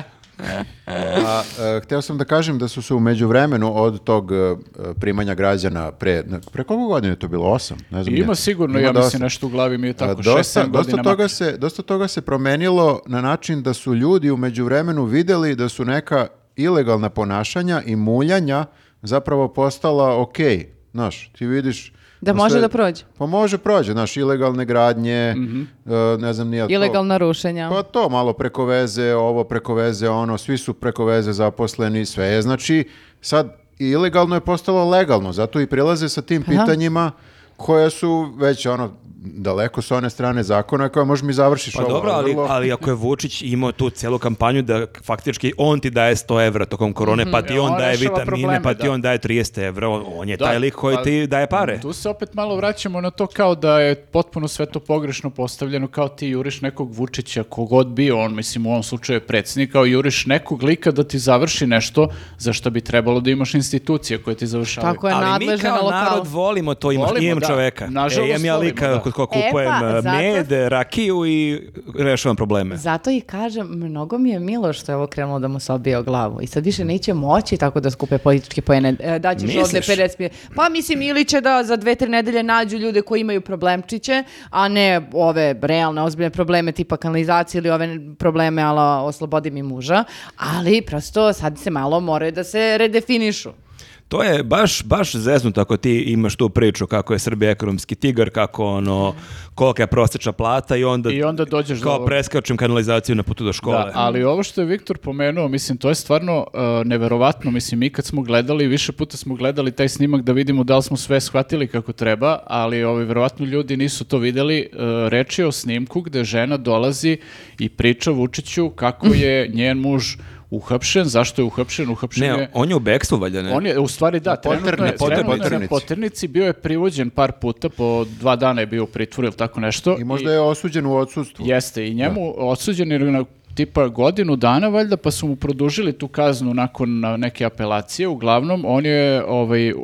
Speaker 2: A, e, hteo sam da kažem da su se u međuvremenu od tog e, e, primanja građana pre, ne, pre koliko godina je to bilo? Osam? Ne znam
Speaker 4: I
Speaker 2: gdje.
Speaker 4: ima sigurno, ja
Speaker 2: dosta.
Speaker 4: mislim, nešto u glavi mi je
Speaker 2: A,
Speaker 4: tako, 6-7
Speaker 2: Dosta, dosta,
Speaker 4: godina
Speaker 2: toga se, dosta toga se promenilo na način da su ljudi u međuvremenu videli da su neka ilegalna ponašanja i muljanja zapravo postala okej. Znaš, ti vidiš...
Speaker 1: Da može da prođe.
Speaker 2: Pa može prođe, znaš, ilegalne gradnje,
Speaker 4: Mhm.
Speaker 2: e, ne znam, nije to...
Speaker 1: Ilegalna rušenja.
Speaker 2: Pa to, malo preko veze, ovo preko veze, ono, svi su preko veze zaposleni, sve je. Znači, sad i ilegalno je postalo legalno, zato i prilaze sa tim pitanjima koja su već, ono, daleko sa one strane zakona koja može mi završiš
Speaker 3: Pa
Speaker 2: ovo.
Speaker 3: dobro, ali,
Speaker 2: vrlo-
Speaker 3: ali ako je Vučić imao tu celu kampanju da faktički on ti daje 100 evra tokom korone, pa ti
Speaker 4: Mhm. Ja,
Speaker 3: on
Speaker 4: on
Speaker 3: daje
Speaker 4: rešava
Speaker 3: vitamine,
Speaker 4: probleme,
Speaker 3: pa ti
Speaker 4: da.
Speaker 3: on daje 30 evra, on, on je
Speaker 4: Da,
Speaker 3: taj lik koji
Speaker 4: pa-
Speaker 3: ti daje pare.
Speaker 4: Tu se opet malo vraćamo na to kao da je potpuno sve to pogrešno postavljeno, kao ti juriš nekog Vučića, kogod bio on, mislim u ovom slučaju je predsjednik, kao juriš nekog lika da ti završi nešto za što bi trebalo da imaš institucije koje ti završavaju.
Speaker 1: Tako je
Speaker 3: Ali mi
Speaker 1: nadležna Pa na
Speaker 3: kao
Speaker 1: lokalu.
Speaker 3: narod volimo to, imaš,
Speaker 4: Volimo,
Speaker 3: imam
Speaker 4: da.
Speaker 3: čoveka.
Speaker 4: Nažalost,
Speaker 3: E, imam ja
Speaker 4: volimo,
Speaker 3: lika
Speaker 4: da.
Speaker 3: kod koga kupujem
Speaker 1: E, pa,
Speaker 3: eh,
Speaker 1: zato-
Speaker 3: med, rakiju i rešavam probleme.
Speaker 1: Zato i kažem, mnogo mi je milo što je ovo krenulo da mu se obio glavu. I sad više neće moći tako da skupe političke pojene. E, da ćeš
Speaker 3: Misliš?
Speaker 1: ovde 50 mil- Pa mislim, ili će da za dve, tri nedelje nađu ljude koji imaju problemčiće, a ne ove realne, ozbiljne probleme tipa kanalizacije ili ove probleme ala oslobodi mi muža. Ali prosto sad se malo moraju da se redefinišu.
Speaker 3: To je baš, baš zeznuto ako ti imaš tu priču kako je Srbija ekonomski tigar, kako ono, kolika je prosječna plata i onda,
Speaker 4: I onda dođeš do
Speaker 3: kao
Speaker 4: ovog.
Speaker 3: preskačem kanalizaciju na putu do škole.
Speaker 4: Da, ali ovo što je Viktor pomenuo, mislim, to je stvarno uh, neverovatno. Mislim, mi kad smo gledali, više puta smo gledali taj snimak da vidimo da li smo sve shvatili kako treba, ali ovi, verovatno ljudi nisu to videli. Uh, reč je o snimku gde žena dolazi i priča Vučiću kako je njen muž uhapšen, zašto je uhapšen, uhapšen
Speaker 3: Ne,
Speaker 4: je...
Speaker 3: on je u bekstvu valjda, ne?
Speaker 4: On je, u stvari da, trenutno
Speaker 2: Potrne-
Speaker 4: je, trenutno je
Speaker 2: Potrnici.
Speaker 4: na poternici, bio je privođen par puta, po dva dana je bio u pritvoru ili tako nešto.
Speaker 2: I možda je osuđen u odsudstvu.
Speaker 4: Jeste, i njemu osuđen je na tipa godinu dana valjda, pa su mu produžili tu kaznu nakon a, neke apelacije. Uglavnom, on je ovaj, e,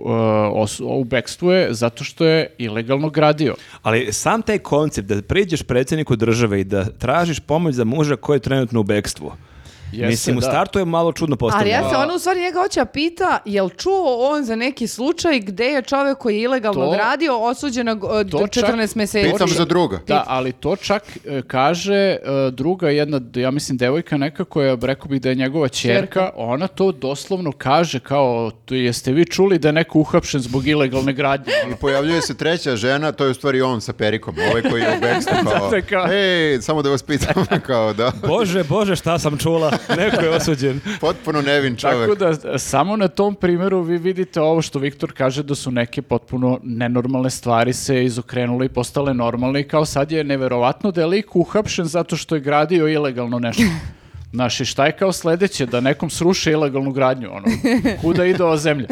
Speaker 4: os- u bekstvu je zato što je ilegalno gradio.
Speaker 3: Ali sam taj koncept da priđeš predsjedniku države i da tražiš pomoć za muža koji je trenutno u bekstvu.
Speaker 4: Jeste,
Speaker 3: Mislim, u
Speaker 4: da.
Speaker 3: startu je malo čudno
Speaker 1: Ali
Speaker 3: postavljeno.
Speaker 1: ja se ona u stvari njega hoće da pita jel čuo on za neki slučaj gde je čovek koji je ilegalno
Speaker 4: To-
Speaker 1: gradio osuđen na go- od
Speaker 4: to čak-
Speaker 1: 14 meseci.
Speaker 2: Pitam za druga.
Speaker 4: Da, ali to čak e, kaže e, druga jedna, ja mislim, devojka neka koja, rekao bih da je njegova čerka, ona to doslovno kaže kao, "Tu- jeste vi čuli da je neko uhapšen zbog ilegalne gradnje? Ono,
Speaker 2: I pojavljuje se treća žena, to je u stvari on sa perikom, ovaj koji je u bekstvu kao,
Speaker 4: Zato je kao-
Speaker 2: ej, samo da vas pitam, kao da,
Speaker 3: Bože, bože, šta sam čula? Neko je osuđen.
Speaker 2: potpuno nevin čovek.
Speaker 4: Tako da e, samo na tom primjeru vi vidite ovo što Viktor kaže da su neke potpuno nenormalne stvari se izokrenule i postale normalne i kao sad je neverovatno da je lik uhapšen zato što je gradio ilegalno nešto. Znaš, i šta je kao sledeće? Da nekom sruše ilegalnu gradnju, ono, kuda ide ova zemlja?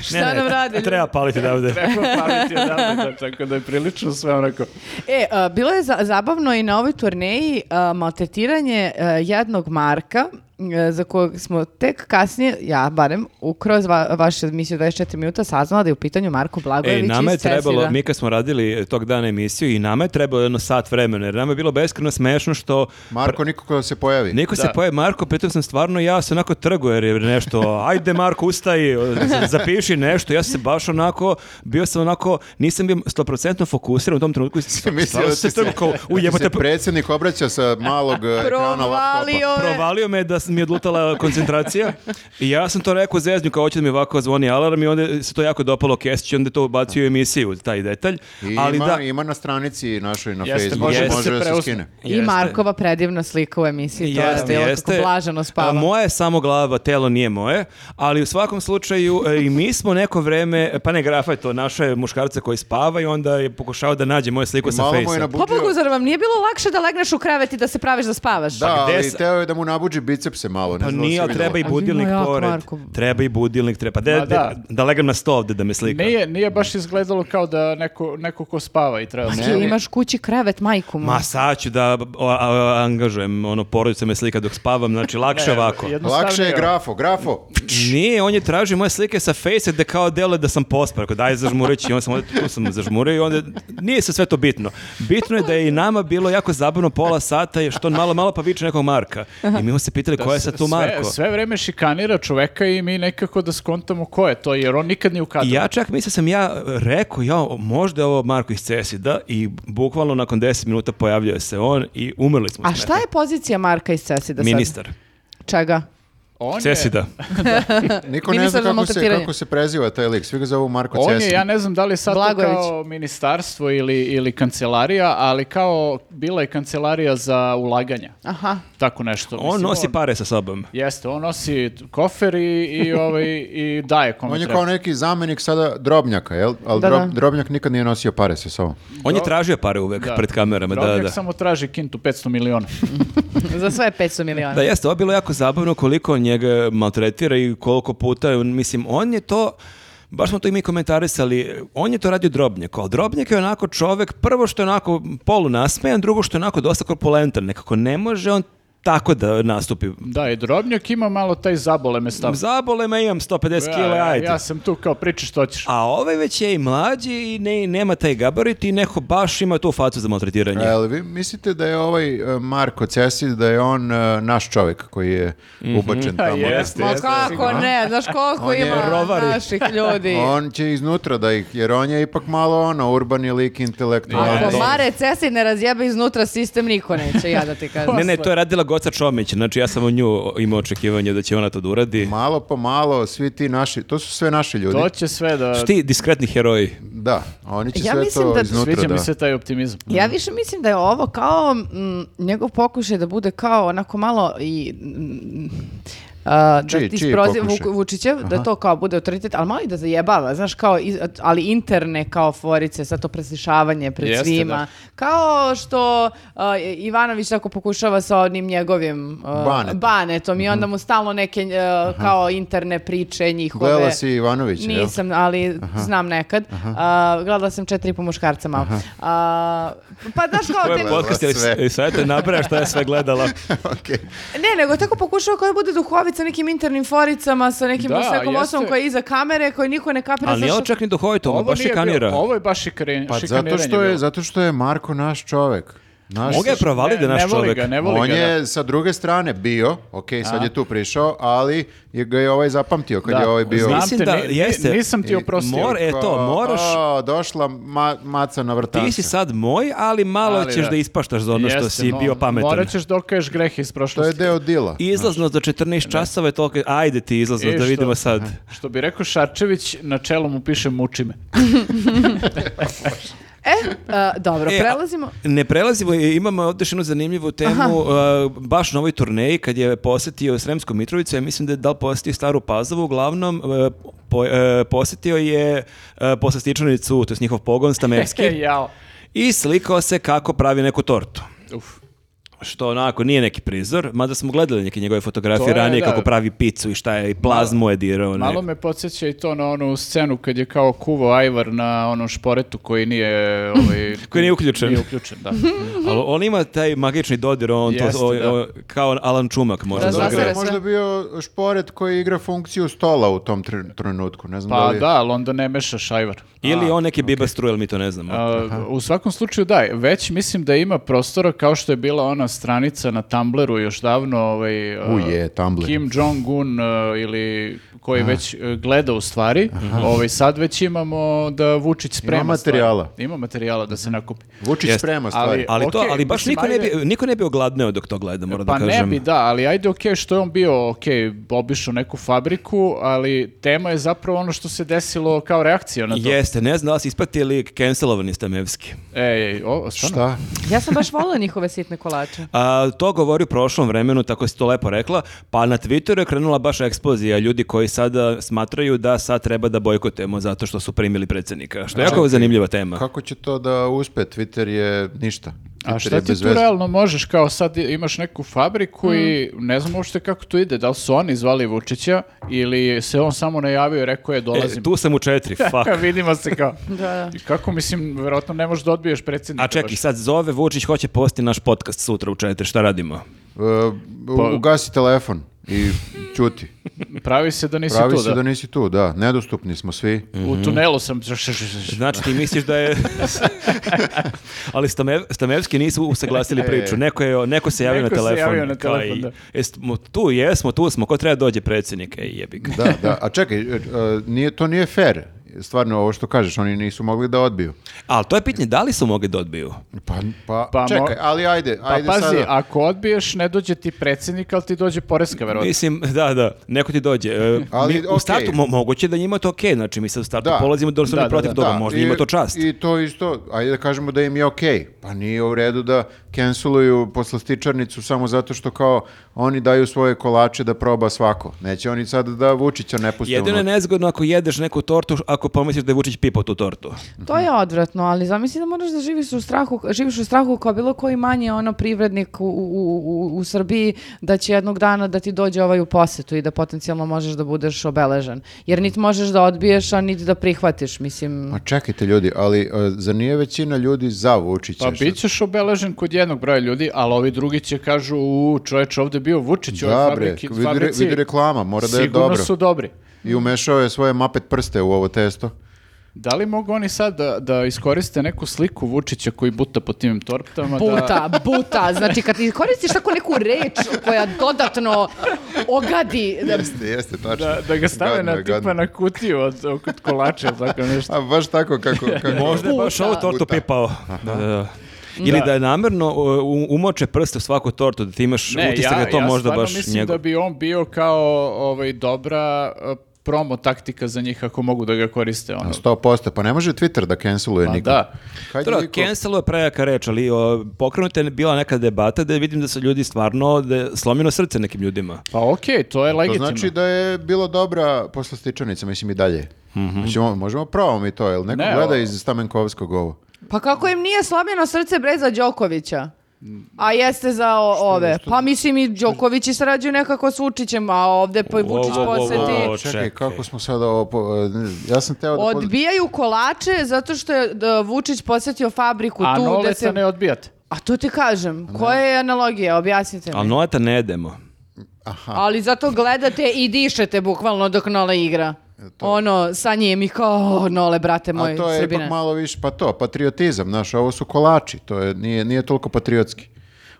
Speaker 1: Šta nam rade ljudi?
Speaker 3: E, Treba paliti davde.
Speaker 4: Treba paliti odavde, da, tako da je prilično sve onako.
Speaker 1: E, a, bilo je za- zabavno i na ovoj turneji a, maltretiranje a, jednog Marka e, za kojeg smo tek kasnije, ja barem, ukroz va, vašu emisiju 24 minuta saznala da je u pitanju Marko
Speaker 3: Ej,
Speaker 1: Blagojević
Speaker 3: E, nama je
Speaker 1: iz Cesira.
Speaker 3: trebalo, mi kad smo radili tog dana emisiju i nama je trebalo jedno sat vremena, jer nama je bilo beskreno smešno što
Speaker 2: Marko nikako da se pojavi.
Speaker 3: Neko se
Speaker 4: Da.
Speaker 3: pojavi Marko, pritom sam stvarno ja se onako trgo jer je nešto, ajde Marko ustaji, z- zapiši nešto, ja sam se baš onako, bio sam onako, nisam bio 100% fokusiran u tom trenutku,
Speaker 2: Mislio
Speaker 3: stvarno
Speaker 2: da
Speaker 3: sam
Speaker 2: ti
Speaker 3: se trgo kao, u
Speaker 2: da ti
Speaker 3: jebote,
Speaker 2: se predsjednik obraća sa malog eh, ekrana laptopa.
Speaker 1: Provalio me.
Speaker 3: provalio me da mi je odlutala koncentracija i ja sam to rekao zeznju kao hoće da mi ovako zvoni alarm i onda se to jako dopalo Kesiću, onda je to ubacio u emisiju, taj detalj,
Speaker 2: I
Speaker 3: ali
Speaker 2: ima,
Speaker 3: da,
Speaker 2: ima na stranici našoj na
Speaker 4: Jeste,
Speaker 2: Facebooku,
Speaker 3: može da se
Speaker 2: može da se
Speaker 4: preuzme.
Speaker 2: skine.
Speaker 1: I
Speaker 3: Jeste.
Speaker 1: Markova predivna slika u emisiji, to je bilo kako blaženo spava.
Speaker 3: A moja je samo glava, telo nije moje, ali u svakom slučaju e, i mi smo neko vreme, pa ne grafa je to, naše muškarce koji spava i onda je pokušao da nađe moju sliku
Speaker 2: I
Speaker 3: sa
Speaker 2: malo mu je
Speaker 3: Face-a.
Speaker 2: nabuđio.
Speaker 1: Pobogu, Pa, zar vam nije bilo lakše da legneš u krevet i da se praviš da spavaš?
Speaker 2: Da,
Speaker 3: Pa gde
Speaker 2: ali
Speaker 3: sa-
Speaker 2: teo je da mu nabuđi bicepse malo. Ne
Speaker 3: Pa
Speaker 2: znam da li si
Speaker 3: nije, ali
Speaker 2: videla.
Speaker 3: treba i
Speaker 1: A vi
Speaker 3: budilnik
Speaker 1: moj jak,
Speaker 3: pored.
Speaker 1: Marko.
Speaker 3: Treba i budilnik, treba. De,
Speaker 4: Ma
Speaker 3: de- da.
Speaker 4: da.
Speaker 3: legam na sto ovde da me slika.
Speaker 4: Nije, nije baš izgledalo kao da neko, neko ko spava i treba...
Speaker 1: Pa, Ti imaš kući krevet, majku mu.
Speaker 3: Ma sad ću da o, a- a- angažujem, ono, porodica me slika dok spavam, znači lakše ovako.
Speaker 4: Jednostavnije.
Speaker 2: Lakše je grafo, grafo.
Speaker 3: Nije, on je tražio moje slike sa face da kao delo da sam pospar. Rekao, daj zažmurit i onda sam, onda tu sam zažmurio i onda nije se sve to bitno. Bitno je da je i nama bilo jako zabavno pola sata je što on malo, malo pa viče nekog Marka. I mi smo se pitali ko je sad tu Marko.
Speaker 4: Sve, sve vreme šikanira čoveka i mi nekako da skontamo ko je to, jer on nikad nije u kadru.
Speaker 3: I ja čak mislim sam ja rekao, ja, možda je ovo Marko iz Cesida i bukvalno nakon 10 minuta pojavljuje se on i umrli smo.
Speaker 1: A
Speaker 3: s
Speaker 1: šta je pozicija Marka iz Cesida sad?
Speaker 3: Ministar.
Speaker 1: Čega?
Speaker 4: On je-
Speaker 3: Cesida.
Speaker 2: Niko ne
Speaker 1: Ministar
Speaker 2: zna
Speaker 1: za
Speaker 2: kako se,
Speaker 1: maltretiranje.
Speaker 2: kako se preziva taj lik. Svi ga zovu Marko
Speaker 4: On je,
Speaker 2: Cesnik.
Speaker 4: ja ne znam da li je sad to
Speaker 1: Blagojević.
Speaker 4: kao ministarstvo ili, ili kancelarija, ali kao bila je kancelarija za ulaganja.
Speaker 1: Aha.
Speaker 4: Tako nešto.
Speaker 3: On
Speaker 4: mislim,
Speaker 3: nosi pa- pare sa sobom.
Speaker 4: Jeste, on nosi kofer i, i, ovaj, i daje kome
Speaker 2: On je
Speaker 4: treba.
Speaker 2: kao neki zamjenik sada drobnjaka, jel? Ali
Speaker 1: Da,
Speaker 2: Drob-
Speaker 1: da.
Speaker 2: drobnjak nikad nije nosio pare sa sobom.
Speaker 3: On je tražio pare uvek
Speaker 4: Da.
Speaker 3: pred kamerama. Da,
Speaker 4: Drobnjak
Speaker 3: da.
Speaker 4: samo traži kintu 500 miliona.
Speaker 1: Za sve 500 miliona.
Speaker 3: Da, jeste, ovo je bilo jako zabavno koliko on njega maltretira i koliko puta, je on- mislim, on je to, baš smo to i mi komentarisali, on je to radio drobnjak, ali drobnjak je onako čovek, prvo što je onako polu nasmejan, drugo što je onako dosta korpulentan, nekako ne može on tako da nastupi.
Speaker 4: Da, i Drobnjak ima malo taj zaboleme stav.
Speaker 3: Zabole me, imam 150
Speaker 4: Ja,
Speaker 3: kila,
Speaker 4: ja,
Speaker 3: ajde.
Speaker 4: ja sam tu kao pričaš što ćeš.
Speaker 3: A ovaj već je i mlađi i ne, nema taj gabarit i neko baš ima tu facu za maltretiranje.
Speaker 2: Jel vi mislite da je ovaj e, Marko Cesid, da je on e, naš čovjek koji je
Speaker 3: Mhm.
Speaker 2: ubačen
Speaker 3: Pa
Speaker 2: tamo?
Speaker 4: Jeste,
Speaker 1: Ma
Speaker 4: jeste.
Speaker 1: kako ne, znaš koliko
Speaker 2: On je
Speaker 1: ima
Speaker 3: rovari.
Speaker 1: naših ljudi.
Speaker 2: On će iznutra da ih, jer on je ipak malo ono, urbani lik, intelektualni.
Speaker 1: Ako Mare Cesid ne razjebe iznutra sistem, niko neće, ja da ti kažem.
Speaker 3: Ne, ne, to je radila Goca Čomić, znači ja sam o nju imao očekivanje da će ona to da uradi.
Speaker 2: Malo po malo, svi ti naši, to su sve naši ljudi.
Speaker 4: To će sve da...
Speaker 3: Šti diskretni heroji.
Speaker 2: Da, oni će
Speaker 1: Ja
Speaker 2: sve
Speaker 1: mislim
Speaker 2: to
Speaker 1: da-
Speaker 2: iznutra
Speaker 4: Sviđa
Speaker 2: da...
Speaker 4: mi se taj optimizam.
Speaker 1: Ja
Speaker 2: Mhm.
Speaker 1: više mislim da je ovo kao mm, njegov pokušaj da bude kao onako malo i... mm, a, da
Speaker 2: Čiji-
Speaker 1: ti
Speaker 2: čiji
Speaker 1: isproziv
Speaker 2: pokušaj?
Speaker 1: Vuk- Vučićev, da to kao bude autoritet, ali malo i da zajebava, znaš, kao, iz- ali interne kao forice, sad to preslišavanje pred
Speaker 4: Jeste,
Speaker 1: svima.
Speaker 4: da.
Speaker 1: Kao što a, Ivanović tako pokušava sa onim njegovim a,
Speaker 2: Banetom. Mhm.
Speaker 1: banetom i onda mu stalno neke a, kao interne priče njihove.
Speaker 2: Gledala si Ivanović, jel?
Speaker 1: Nisam, ali znam nekad. A, gledala sam četiri i po muškarca malo. A, pa znaš kao...
Speaker 3: Ovo
Speaker 1: te-
Speaker 3: je podcast, jer
Speaker 2: Sve.
Speaker 3: s- e, sad te nabraja šta je sve gledala.
Speaker 2: Okej.
Speaker 1: Ne, nego tako pokušava kao da bude duhovit sa nekim internim foricama, sa nekim
Speaker 4: Da,
Speaker 1: da, nekom
Speaker 4: jeste.
Speaker 1: osobom koja je iza kamere, koju niko ne kapira.
Speaker 3: Ali nije
Speaker 1: zašto-
Speaker 3: ovo čak ni duhovito, ovo Ono baš
Speaker 4: nije
Speaker 3: je kanira.
Speaker 4: Bilo, ovo je baš šikare-
Speaker 2: Pa
Speaker 4: šikaniranje.
Speaker 2: zato što je,
Speaker 4: bilo.
Speaker 2: zato što je Marko naš čovjek. Naš
Speaker 3: Moga je provali da je
Speaker 4: Ne-
Speaker 3: naš
Speaker 4: ne voli
Speaker 3: čovjek.
Speaker 4: ga, ne voli
Speaker 2: on
Speaker 4: ga, da.
Speaker 2: je sa druge strane bio, ok, sad je tu prišao, ali je ga je ovaj zapamtio kad
Speaker 4: Da.
Speaker 2: je ovaj bio...
Speaker 4: Znam
Speaker 3: Mislim
Speaker 4: te,
Speaker 3: da
Speaker 4: ni- ni-
Speaker 3: jeste.
Speaker 4: Nisam ti
Speaker 2: I-
Speaker 4: oprostio.
Speaker 3: Mor- e, to, moraš-
Speaker 2: "O, došla ma- maca na vrtance.
Speaker 3: Ti si sad moj, ali malo
Speaker 4: Ali
Speaker 3: ćeš
Speaker 4: da.
Speaker 3: da ispaštaš za ono što
Speaker 4: Jeste,
Speaker 3: si
Speaker 4: mo-
Speaker 3: bio pametan.
Speaker 4: Morat ćeš da okaješ greh iz
Speaker 2: To je
Speaker 4: prošlosti.
Speaker 2: deo dila.
Speaker 3: Izlaznost do 14 časova je toliko... Ajde ti izlaznost,
Speaker 4: I
Speaker 3: da
Speaker 4: što?
Speaker 3: vidimo sad.
Speaker 4: Što bi rekao Šarčević, na čelu mu piše muči me.
Speaker 1: E, a, dobro,
Speaker 3: E, a-
Speaker 1: prelazimo.
Speaker 3: Ne prelazimo, i imamo ovdje još jednu zanimljivu temu, uh, baš na ovoj turneji kad je posjetio Sremsku Mitrovicu, ja mislim da je da li posjetio Staru Pazovu, uglavnom uh, po, uh, posjetio je uh, poslastičanicu, to je njihov pogon stamerski,
Speaker 4: Jao.
Speaker 3: i slikao se kako pravi neku tortu.
Speaker 4: Uf.
Speaker 3: što onako nije neki prizor, mada smo gledali neke njegove fotografije
Speaker 4: To je,
Speaker 3: ranije
Speaker 4: da.
Speaker 3: kako pravi picu i šta je, i plazmu je dirao.
Speaker 4: Malo me podsjeća i to na onu scenu kad je kao kuvao ajvar na onom šporetu koji nije... Ovaj,
Speaker 3: Koji nije uključen.
Speaker 4: Nije uključen, da.
Speaker 3: Ali on ima taj magični dodir, on
Speaker 4: Jeste,
Speaker 3: to, o-
Speaker 4: da.
Speaker 3: o- kao Alan Čumak možda.
Speaker 1: Da,
Speaker 3: da
Speaker 2: Da,
Speaker 1: Razazere
Speaker 2: da,
Speaker 3: igra.
Speaker 1: sve.
Speaker 2: možda bio šporet koji igra funkciju stola u tom tre- trenutku, ne znam da
Speaker 4: Pa
Speaker 2: li...
Speaker 4: da, ali onda ne mešaš ajvar.
Speaker 3: Ili on neki biba struja, ali mi to ne znamo.
Speaker 4: A, u svakom slučaju da, već mislim da ima prostora kao što je bila ona stranica na Tumblru još davno ovaj, a,
Speaker 2: U je, Tumblr.
Speaker 4: Kim Jong-un a, ili koji već a, gleda u stvari, ovaj, sad već imamo da Vučić sprema stvari.
Speaker 2: materijala.
Speaker 4: Ima materijala da se nakupi.
Speaker 2: Vučić
Speaker 3: Jeste.
Speaker 2: sprema stvari.
Speaker 3: Ali to,
Speaker 4: Okej,
Speaker 3: ali baš
Speaker 4: mislim,
Speaker 3: niko ne,
Speaker 4: ajde.
Speaker 3: bi, niko ne bi ogladneo dok to gleda, moram
Speaker 4: pa
Speaker 3: da kažem.
Speaker 4: ne bi, da, ali ajde okej što je on bio, okej, obišao neku fabriku, ali tema je zapravo ono što se desilo kao reakcija na to.
Speaker 3: Jeste, ne znam da li si ispati ili cancelovani ste Mevski.
Speaker 4: Ej, o, stvarno?
Speaker 2: Šta?
Speaker 1: Ja sam baš volila njihove sitne kolače.
Speaker 3: A, to govori u prošlom vremenu, tako si to lepo rekla, pa na Twitteru je krenula baš eksplozija ljudi koji sada smatraju da sad treba da bojkotujemo zato što su primili predsjednika. Što je jako zanimljiva tema.
Speaker 2: Kako će to da uspe? Twitter je ništa. Twitter
Speaker 4: A šta
Speaker 2: je
Speaker 4: ti
Speaker 2: bez
Speaker 4: tu
Speaker 2: veze.
Speaker 4: realno možeš, kao sad imaš neku fabriku
Speaker 1: Mm.
Speaker 4: i ne znam uopšte kako to ide, da li su oni zvali Vučića ili se on samo najavio i rekao je dolazim.
Speaker 3: E, tu sam u četiri, fuck.
Speaker 4: Vidimo se kao.
Speaker 1: da.
Speaker 4: I Kako mislim, verovatno ne možeš da odbiješ predsjednika.
Speaker 3: A čekaj,
Speaker 4: baš.
Speaker 3: sad zove Vučić, hoće posti naš podcast sutra u četiri, šta radimo?
Speaker 2: E, u-
Speaker 4: Pa-
Speaker 2: Ugasi telefon i ćuti.
Speaker 4: Pravi se da nisi
Speaker 2: Pravi
Speaker 4: tu,
Speaker 2: se
Speaker 4: da.
Speaker 2: da Mhm. nisi tu, da. Nedostupni smo svi.
Speaker 4: U tunelu sam.
Speaker 3: Znači ti misliš da je... Ali Stame- Stamevski nisu usaglasili priču. Neko, je, neko se javio
Speaker 4: E. Neko
Speaker 3: na
Speaker 4: se
Speaker 3: telefon.
Speaker 4: javio na
Speaker 3: Kao
Speaker 4: telefon,
Speaker 3: i-
Speaker 4: da.
Speaker 3: Jesmo tu, jesmo, tu smo. Ko treba dođe predsjednik? Ej, jebi ga.
Speaker 2: Da, da. A čekaj, e, e, nije, to nije fair. Stvarno, ovo što kažeš, oni nisu mogli da odbiju.
Speaker 3: Ali to je pitanje, da li su mogli da odbiju?
Speaker 2: Pa, pa,
Speaker 4: Pa mo-
Speaker 2: čekaj, ali ajde,
Speaker 4: Pa
Speaker 2: ajde
Speaker 4: pazi,
Speaker 2: sada.
Speaker 4: ako odbiješ, ne dođe ti predsjednik, ali ti dođe poreska, verovatno.
Speaker 3: Mislim, da, da, neko ti dođe. E,
Speaker 2: Ali,
Speaker 3: mi u
Speaker 2: okej.
Speaker 3: startu mo- moguće da njima je to okej, znači mi sad u startu
Speaker 2: Da.
Speaker 3: polazimo da su
Speaker 4: Da,
Speaker 3: oni
Speaker 4: da,
Speaker 3: protiv
Speaker 4: da.
Speaker 3: toga,
Speaker 2: Da,
Speaker 3: možda
Speaker 2: i-
Speaker 3: njima je to čast.
Speaker 2: I to isto, ajde da kažemo da im je okej. Pa nije u redu da canceluju poslastičarnicu samo zato što kao oni daju svoje kolače da proba svako. Neće oni sad da Vučića ne puste
Speaker 3: Jedino je
Speaker 2: unutra.
Speaker 3: nezgodno ako jedeš neku tortu, ako pomisliš da je Vučić pipao tu tortu.
Speaker 1: To je odvratno, ali zamisli da moraš da živiš u strahu, živiš u strahu kao bilo koji manji ono privrednik u, u, u, u Srbiji da će jednog dana da ti dođe ovaj u posetu i da potencijalno možeš da budeš obeležen. Jer niti možeš da odbiješ, a niti da prihvatiš, mislim.
Speaker 2: Ma čekajte ljudi, ali e, zar nije većina ljudi za Vučića?
Speaker 4: Pa
Speaker 2: Šta-
Speaker 4: bit ćeš obeležen kod jednog broja ljudi, ali ovi drugi će kažu, u čoveč, ovdje je bio Vučić, u ovoj
Speaker 2: Da bre,
Speaker 4: fabriki,
Speaker 2: vidi, re-
Speaker 4: fabrici
Speaker 2: vidi reklama, mora da je
Speaker 4: sigurno
Speaker 2: dobro.
Speaker 4: su dobri.
Speaker 2: I umešao je svoje mapet prste u ovo testo.
Speaker 4: Da li mogu oni sad da, da iskoriste neku sliku Vučića koji buta po tim tortama? Pa Da...
Speaker 1: Buta, buta, znači kad ti koristiš tako neku reč koja dodatno ogadi,
Speaker 2: Jeste, jeste, tačno.
Speaker 4: Da, da ga stave
Speaker 2: Gadno je,
Speaker 4: na tipa
Speaker 2: gadno.
Speaker 4: na kutiju od, od kolača, tako nešto.
Speaker 2: A baš tako kako... kako
Speaker 3: Možda je baš
Speaker 1: Puta.
Speaker 3: ovu tortu
Speaker 2: Puta.
Speaker 3: pipao. Da, da, da. Ili da je namerno u- umoče prste u svaku tortu, da ti imaš
Speaker 4: Ne,
Speaker 3: utisak
Speaker 4: ja,
Speaker 3: da je to
Speaker 4: ja
Speaker 3: možda
Speaker 4: stvarno
Speaker 3: baš
Speaker 4: mislim
Speaker 3: njegov.
Speaker 4: da bi on bio kao ovaj, dobra e, promo taktika za njih ako mogu da ga koriste. Ono.
Speaker 2: Na 100%, pa ne može Twitter da canceluje
Speaker 4: Pa
Speaker 2: nikog.
Speaker 4: da.
Speaker 2: Kad je
Speaker 3: Dobro,
Speaker 2: liko-
Speaker 3: cancelo je prejaka reč, ali o, pokrenuta je bila neka debata da vidim da su ljudi stvarno, da je slomljeno srce nekim ljudima.
Speaker 4: Pa okej, to je
Speaker 2: To
Speaker 4: legitimno.
Speaker 2: znači da je bilo dobra poslastičanica, mislim i dalje. Možemo, možemo probamo mi to, jel neko
Speaker 4: Mhm. Ne,
Speaker 2: gleda
Speaker 4: o-
Speaker 2: iz Stamenkovskog ovo?
Speaker 1: pa kako im nije slomljeno srce bre za Đokovića? A jeste za o- ove. Pa mislim i Đoković i sarađuju nekako s Vučićem, a ovde pa i Vučić
Speaker 3: Ovo, ovo, ovo,
Speaker 1: poseti.
Speaker 3: ovo. O, čekaj.
Speaker 2: Čekaj, kako smo sada ovo... po- e, ne- ja sam teo da... poz-
Speaker 1: Odbijaju kolače zato što je d- Vučić posjetio fabriku
Speaker 4: A
Speaker 1: tu gde
Speaker 4: Noleta
Speaker 1: se...
Speaker 4: ne odbijate.
Speaker 1: A to ti kažem, koja je analogija, objasnite mi.
Speaker 3: Ali noleta ne jedemo.
Speaker 1: Ali zato gledate i dišete bukvalno dok Nole igra. Ono, sa njim i kao, "O, Nole, brate moj,
Speaker 2: E, A to je
Speaker 1: Srbine.
Speaker 2: ipak malo više, pa to, patriotizam, znaš, ovo su kolači, to je, nije, nije toliko patriotski.